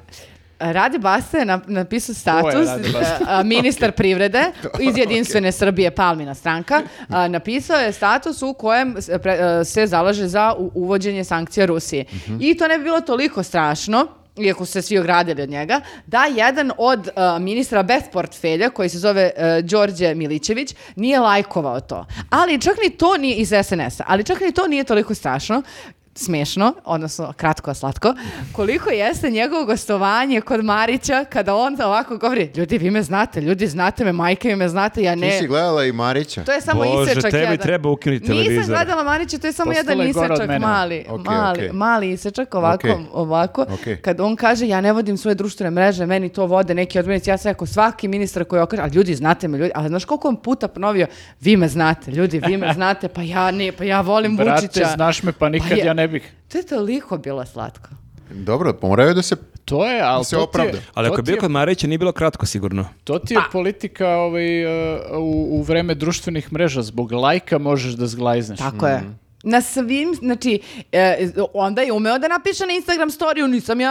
Speaker 1: Rade Basta je nap- napisao status, e,
Speaker 4: Rade Basta?
Speaker 1: a, a, ministar privrede iz Jedinstvene Srbije, Palmina stranka, a, napisao je status u kojem s- pre- e, se zalaže za u- uvođenje sankcija Rusije. I to ne bi bilo toliko strašno, iako su se svi ogradili od njega, da jedan od a, ministra bez portfelja, koji se zove e, Đorđe Milićević, nije lajkovao to. Ali čak ni to nije iz SNS-a, ali čak ni to nije toliko strašno smiješno, odnosno kratko, a slatko, koliko jeste njegovo gostovanje kod Marića kada on ovako govori, ljudi vi me znate, ljudi znate me, majke vi me znate, ja ne...
Speaker 2: Ti si gledala i Marića.
Speaker 1: To je samo
Speaker 3: Bože,
Speaker 1: isečak
Speaker 3: tebi
Speaker 1: jedan.
Speaker 3: treba ukinuti
Speaker 1: Nisam
Speaker 3: televizor.
Speaker 1: gledala Marića, to je samo
Speaker 4: Postala
Speaker 1: jedan
Speaker 4: je gora Pa od
Speaker 1: isečak,
Speaker 4: mene.
Speaker 1: mali,
Speaker 2: Okej,
Speaker 1: mali,
Speaker 2: okej.
Speaker 1: mali isečak, ovako,
Speaker 2: Okej.
Speaker 1: ovako.
Speaker 2: Okej.
Speaker 1: Kad on kaže, ja ne vodim svoje društvene mreže, meni to vode neki odmenici, ja sam jako svaki ministar koji okaže, ali ljudi, znate me, ljudi, ali znaš koliko on puta ponovio, vi me znate, ljudi, vi me znate, pa ja ne, pa ja volim
Speaker 4: Brate,
Speaker 1: Vučića.
Speaker 4: znaš me, pa nikad
Speaker 1: je-
Speaker 4: ja ne bih.
Speaker 1: To je toliko bilo slatko.
Speaker 2: Dobro, moraju da se...
Speaker 4: To je, ali
Speaker 2: Se
Speaker 4: to ti
Speaker 2: opravda.
Speaker 4: je,
Speaker 3: Ali ako
Speaker 4: to
Speaker 3: je
Speaker 4: ti
Speaker 3: bio
Speaker 4: je,
Speaker 3: kod Marića, nije bilo kratko sigurno.
Speaker 4: to ti je
Speaker 1: Pa-
Speaker 4: politika ovaj, uh, u, u vreme društvenih mreža. Zbog lajka možeš da zglajzneš.
Speaker 1: Tako je. Na svim, znači, e, onda je umeo da napiše na Instagram storiju, nisam ja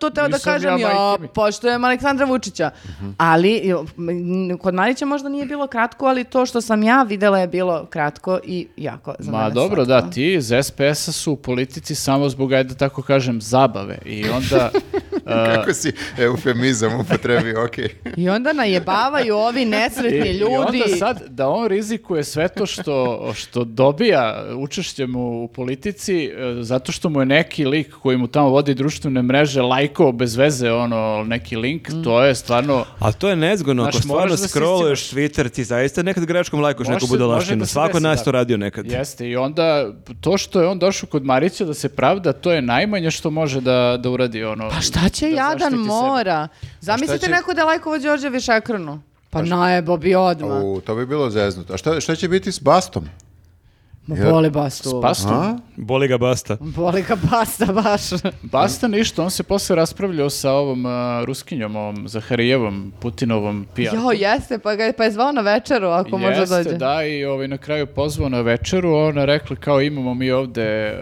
Speaker 1: to teo da
Speaker 4: Nisam ja,
Speaker 1: kažem, ja,
Speaker 4: majke mi. Mhm.
Speaker 1: poštujem Aleksandra Vučića. Ali, jo, m, kod Marića možda nije bilo kratko, ali to što sam ja videla je bilo kratko i jako za
Speaker 4: Ma
Speaker 1: mene
Speaker 4: dobro,
Speaker 1: slatko.
Speaker 4: da, ti iz SPS-a su u politici samo zbog, ajde da tako kažem, zabave. I onda... uh,
Speaker 2: Kako si eufemizam upotrebio, okej.
Speaker 1: I onda najebavaju ovi nesretni ljudi.
Speaker 4: I onda sad da on rizikuje sve to što, što dobija učešćem u, u politici e, zato što mu je neki lik koji mu tamo vodi društvene mreže lajkao bez veze ono neki link,
Speaker 1: Mm.
Speaker 4: to je stvarno
Speaker 3: A to je nezgodno,
Speaker 4: Znaš,
Speaker 3: ako stvarno
Speaker 4: moraš da
Speaker 3: da
Speaker 4: se
Speaker 3: scrolluješ Twitter, ti zaista nekad greškom lajkoš
Speaker 4: Može
Speaker 3: neku
Speaker 4: se- može
Speaker 3: budalaštinu.
Speaker 4: da se
Speaker 3: Svako
Speaker 4: desi,
Speaker 3: nas to
Speaker 4: da.
Speaker 3: radio nekad.
Speaker 4: jeste i onda to što je on došao kod Marića da se pravda, to je najmanje što može da, da uradi ono.
Speaker 1: Pa šta će
Speaker 4: da
Speaker 1: jadan
Speaker 4: zaštiti sebe. Pa
Speaker 1: mora? Zamislite
Speaker 2: će-
Speaker 1: neko da je lajkovo Đorđe Višekronu. Pa najebo bi odmah.
Speaker 2: U, to bi bilo zeznuto. A šta, šta će biti s Bastom?
Speaker 1: Ma
Speaker 2: Ja-
Speaker 1: boli bastu.
Speaker 4: Pastom.
Speaker 2: A?
Speaker 3: Boli ga basta.
Speaker 1: Boli ga basta baš.
Speaker 4: Basta ništa, on se posle raspravljao sa ovom uh, Ruskinjom, ovom Zaharijevom, Putinovom PR.
Speaker 1: Jo, jeste, pa, ga, pa je zvao na večeru, ako može
Speaker 4: Jeste,
Speaker 1: dođe.
Speaker 4: da, i ovaj, na kraju pozvao na večeru, ona rekla kao imamo mi ovde e,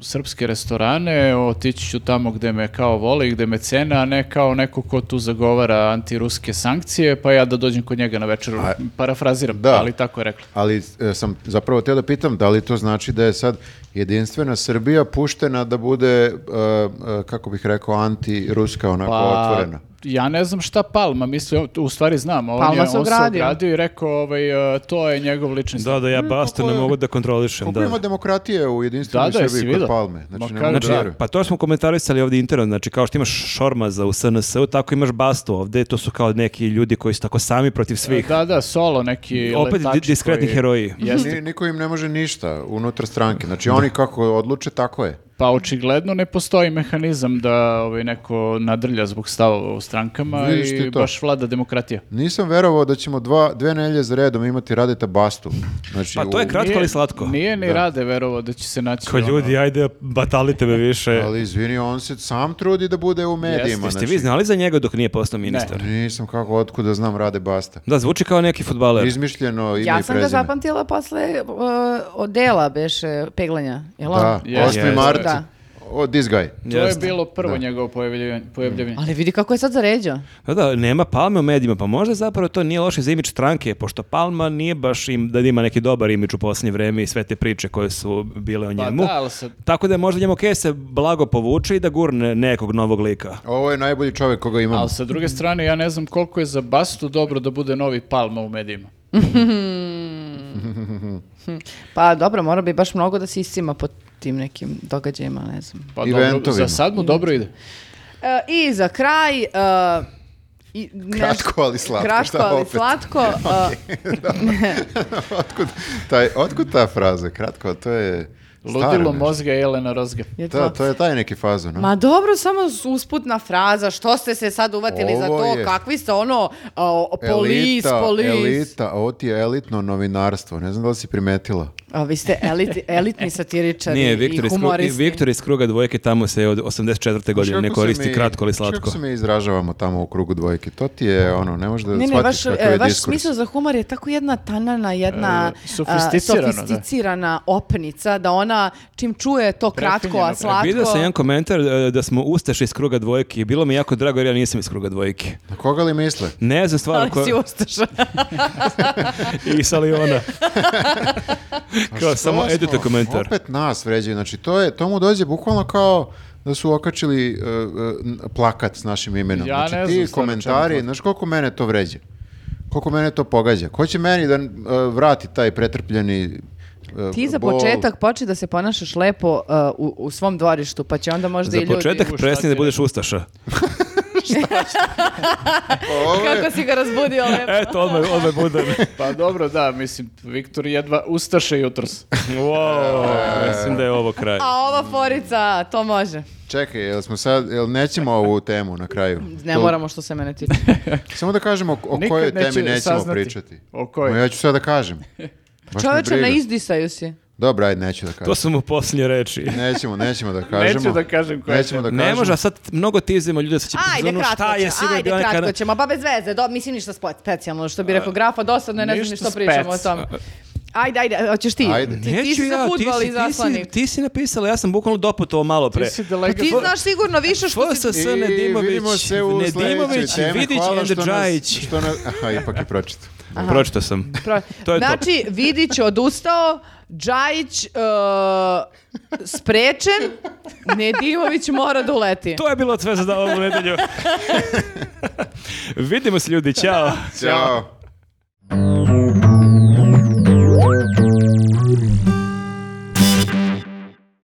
Speaker 4: srpske restorane, otići ću tamo gde me kao voli, i gde me cena, a ne kao neko ko tu zagovara antiruske sankcije, pa ja da dođem kod njega na večeru, parafraziram,
Speaker 2: da.
Speaker 4: ali tako je rekla.
Speaker 2: Ali e, sam zapravo teo da pitam da li to znači da je sad jedinstvena Srbija puštena da bude, e, e, kako bih rekao, anti-ruska onako otvorena.
Speaker 4: Pa, Ja ne znam šta Palma misli, on- u stvari znam, on,
Speaker 1: Palma
Speaker 4: je,
Speaker 1: se
Speaker 4: on se
Speaker 1: ogradio.
Speaker 4: ogradio i rekao ovaj, e, to je njegov lični stav.
Speaker 3: Da, da, ja bastu ne
Speaker 2: kako je-
Speaker 3: mogu da kontrolišem.
Speaker 2: Koliko
Speaker 3: Da.
Speaker 2: ima demokratije u jedinstvenoj
Speaker 4: Da, da, jesi
Speaker 2: Srbiji kod
Speaker 4: vidio?
Speaker 2: Palme?
Speaker 4: Ma
Speaker 2: Znači, ne mogu
Speaker 4: kako
Speaker 3: Znači,
Speaker 2: da verujem.
Speaker 3: pa to smo komentarisali ovdje interno, znači kao što imaš Šormaza u SNS, -u, tako imaš Bastu ovdje, to su kao neki ljudi koji su tako sami protiv svih.
Speaker 4: Da, da, solo neki
Speaker 3: Opet
Speaker 4: letači
Speaker 3: di- diskretni
Speaker 4: koji-
Speaker 3: heroji. Mhm.
Speaker 2: Ni- niko im ne može ništa unutar stranke. Znači, oni kako odluče, tako je.
Speaker 4: Pa očigledno ne postoji mehanizam da ovaj, neko nadrlja zbog stavova u strankama
Speaker 2: Vidiš ti
Speaker 4: i
Speaker 2: to.
Speaker 4: baš vlada demokratija.
Speaker 2: Nisam verovao da ćemo dva, dve nelje za redom imati Radeta Bastu. Znači,
Speaker 3: Pa to je
Speaker 2: u-
Speaker 3: kratko,
Speaker 4: Nije-
Speaker 3: ali slatko.
Speaker 4: Nije ni Rade verovao da će se naći.
Speaker 3: Ko
Speaker 4: ono-
Speaker 3: ljudi, ajde, batalite me više.
Speaker 2: Ali izvini, on se sam trudi da bude u medijima.
Speaker 3: Jeste
Speaker 2: znači,
Speaker 3: vi znali za njega dok nije postao ministar?
Speaker 2: Nisam kako, otkud da znam Rade Basta.
Speaker 3: Da, zvuči kao neki futbaler.
Speaker 2: Izmišljeno ime
Speaker 1: Ja
Speaker 2: i
Speaker 1: sam ga
Speaker 2: prezime.
Speaker 1: zapamtila posle uh, odela, beše, peglanja. Jel ono? on?
Speaker 2: Da,
Speaker 4: Jeste,
Speaker 2: 8. mart.
Speaker 1: Da.
Speaker 2: O, this guy.
Speaker 4: To je
Speaker 3: Jeste.
Speaker 4: bilo prvo njegovo pojavljivanje. pojavljivanje.
Speaker 1: Ali vidi kako je sad zaređao.
Speaker 3: Da, Pa da, nema Palme u medijima, pa možda zapravo to nije loše za imidž stranke, pošto Palma nije baš im, da ima neki dobar imidž u posljednje vreme i sve te priče koje su bile o
Speaker 4: Pa
Speaker 3: njemu.
Speaker 4: da, ali sad-
Speaker 3: Tako da je možda njemu okej se blago povuče i da gurne nekog novog lika.
Speaker 2: Ovo je najbolji čovjek koga imamo.
Speaker 4: Ali sa druge strane, ja ne znam koliko je za Bastu dobro da bude novi Palma u medijima.
Speaker 1: Pa dobro, mora bi baš mnogo da se iscima po tim nekim događajima, ne znam.
Speaker 4: Pa dobro,
Speaker 2: Eventovima.
Speaker 4: za sad mu dobro ide.
Speaker 1: E, I za kraj... e, i neš-
Speaker 2: Kratko, ali slatko,
Speaker 1: Kratko,
Speaker 2: šta
Speaker 1: ali
Speaker 2: opet?
Speaker 1: slatko. e,
Speaker 2: otkud, taj, otkud ta fraza? Kratko, to je... staro nešto.
Speaker 4: Ludilo mozga i Jelena Rozga.
Speaker 1: je to?
Speaker 2: Da, to je taj neki fazon. no?
Speaker 1: Ma dobro, samo usputna fraza, što ste se sad uvatili za
Speaker 2: Ovo
Speaker 1: to,
Speaker 2: je-
Speaker 1: kakvi ste ono, o, polis, polis.
Speaker 2: elita, ovo ti je elitno novinarstvo. Ne znam da li si primetila.
Speaker 1: A, vi ste eliti- elitni satiričari
Speaker 3: Nije, Viktor
Speaker 1: i
Speaker 3: iz, Kru-
Speaker 1: humoristi.
Speaker 3: Viktor iz kruga dvojke tamo se od 84. godine
Speaker 2: Znaš
Speaker 3: ne
Speaker 2: kako se
Speaker 3: koristi
Speaker 2: mi-
Speaker 3: kratko ali
Speaker 2: znaš
Speaker 3: slatko.
Speaker 2: Kako se mi izražavamo tamo u krugu dvojke? To ti je ono, ne možeš da
Speaker 1: Ne, ne,
Speaker 2: shvatiš
Speaker 1: vaš,
Speaker 2: kakav je
Speaker 1: e, vaš
Speaker 2: diskurs.
Speaker 1: smisao za humor je tako jedna tanana, jedna
Speaker 4: E, sofisticirano, da.
Speaker 1: a, sofisticirana opnica, da ona čim čuje to kratko, a
Speaker 4: Prefinjeno.
Speaker 1: slatko...
Speaker 3: E, Vidio sam jedan komentar e, da smo ustaše iz kruga dvojke i bilo mi jako drago jer ja nisam iz kruga dvojke.
Speaker 2: Na koga li misle?
Speaker 3: Ne znam stvarno
Speaker 1: Ali
Speaker 3: ko...
Speaker 1: si ustaša.
Speaker 3: I Saliona. Kao, samo
Speaker 2: Što
Speaker 3: edite
Speaker 2: smo-
Speaker 3: komentar.
Speaker 2: Opet nas vređaju, znači to, je, to mu dođe bukvalno kao da su okačili e, e, n- plakat s našim imenom.
Speaker 4: Ja
Speaker 2: znači
Speaker 4: ne
Speaker 2: ti
Speaker 4: znam stvarno čemu
Speaker 2: komentari,
Speaker 4: to.
Speaker 2: znaš koliko mene to vređa? Koliko mene to pogađa? Ko će meni da e, vrati taj pretrpljeni e,
Speaker 1: Ti za
Speaker 2: bol.
Speaker 1: početak počne da se ponašaš lepo uh, u, u svom dvorištu, pa će onda možda
Speaker 3: Za
Speaker 1: i ljudi...
Speaker 3: početak
Speaker 4: U, šta
Speaker 3: presni da
Speaker 4: ti
Speaker 3: budeš ustaša.
Speaker 2: Ovo je-
Speaker 1: Kako si ga razbudio lepo.
Speaker 3: Eto, odmah, odmah budan.
Speaker 4: Pa dobro, da, mislim, Viktor jedva ustaše jutros.
Speaker 3: Wow, mislim da je ovo kraj.
Speaker 1: A ova forica, to može.
Speaker 2: Čekaj, jel smo sad, jel nećemo ovu temu na kraju?
Speaker 1: Ne
Speaker 2: To-
Speaker 1: moramo što se mene tiče.
Speaker 2: Samo da kažemo o
Speaker 4: Nikad
Speaker 2: kojoj
Speaker 4: neće
Speaker 2: temi nećemo
Speaker 4: saznati.
Speaker 2: pričati.
Speaker 4: O kojoj?
Speaker 2: Ma ja ću sad da kažem. Baš me
Speaker 1: Čoveče,
Speaker 2: briga.
Speaker 1: ne izdisaju si.
Speaker 2: Dobro, ajde, neću da kažem.
Speaker 3: To su mu posljednje reči.
Speaker 2: Nećemo, nećemo da kažemo.
Speaker 4: Neću da kažem koja
Speaker 2: Nećemo
Speaker 4: tema.
Speaker 2: da kažemo.
Speaker 3: Ne može, a sad mnogo tizimo ljude, sad će biti
Speaker 1: Ajde,
Speaker 3: ono,
Speaker 1: kratko
Speaker 3: šta je,
Speaker 1: ćemo,
Speaker 3: sigurno
Speaker 1: ajde,
Speaker 3: bila neka-
Speaker 1: kratko ćemo, ba bez veze, do, mislim ništa spo- specijalno, što bi rekao grafa, dosadno je, ne znam ni
Speaker 4: Ništa
Speaker 1: što pričamo o
Speaker 4: spec.
Speaker 1: tome. Ajde, ajde, hoćeš ti,
Speaker 2: Ajde.
Speaker 1: ti, ti
Speaker 3: Neću
Speaker 1: si za
Speaker 3: ja, ti
Speaker 1: futbol
Speaker 3: si-
Speaker 1: i zaslanik.
Speaker 3: Ti si, ti si napisala, ja sam bukvalno doputovao malo pre.
Speaker 4: Ti si
Speaker 1: Pa
Speaker 4: delegat.
Speaker 1: ti znaš sigurno više što si...
Speaker 3: FSS
Speaker 2: I
Speaker 3: Nedimović,
Speaker 2: vidimo se u
Speaker 3: Nedimović,
Speaker 2: sljedećoj temi.
Speaker 3: Vidić
Speaker 2: Hvala
Speaker 3: and
Speaker 2: što nas-
Speaker 3: Džajić.
Speaker 2: Što nas, aha, ipak je pročito.
Speaker 3: Pročito sam.
Speaker 1: Pro-
Speaker 3: To je to.
Speaker 1: znači, Vidić je odustao, Džajić e, sprečen, Nedimović mora da uleti.
Speaker 3: To je bilo sve za ovu nedelju. Vidimo se ljudi, čao.
Speaker 2: Ćao.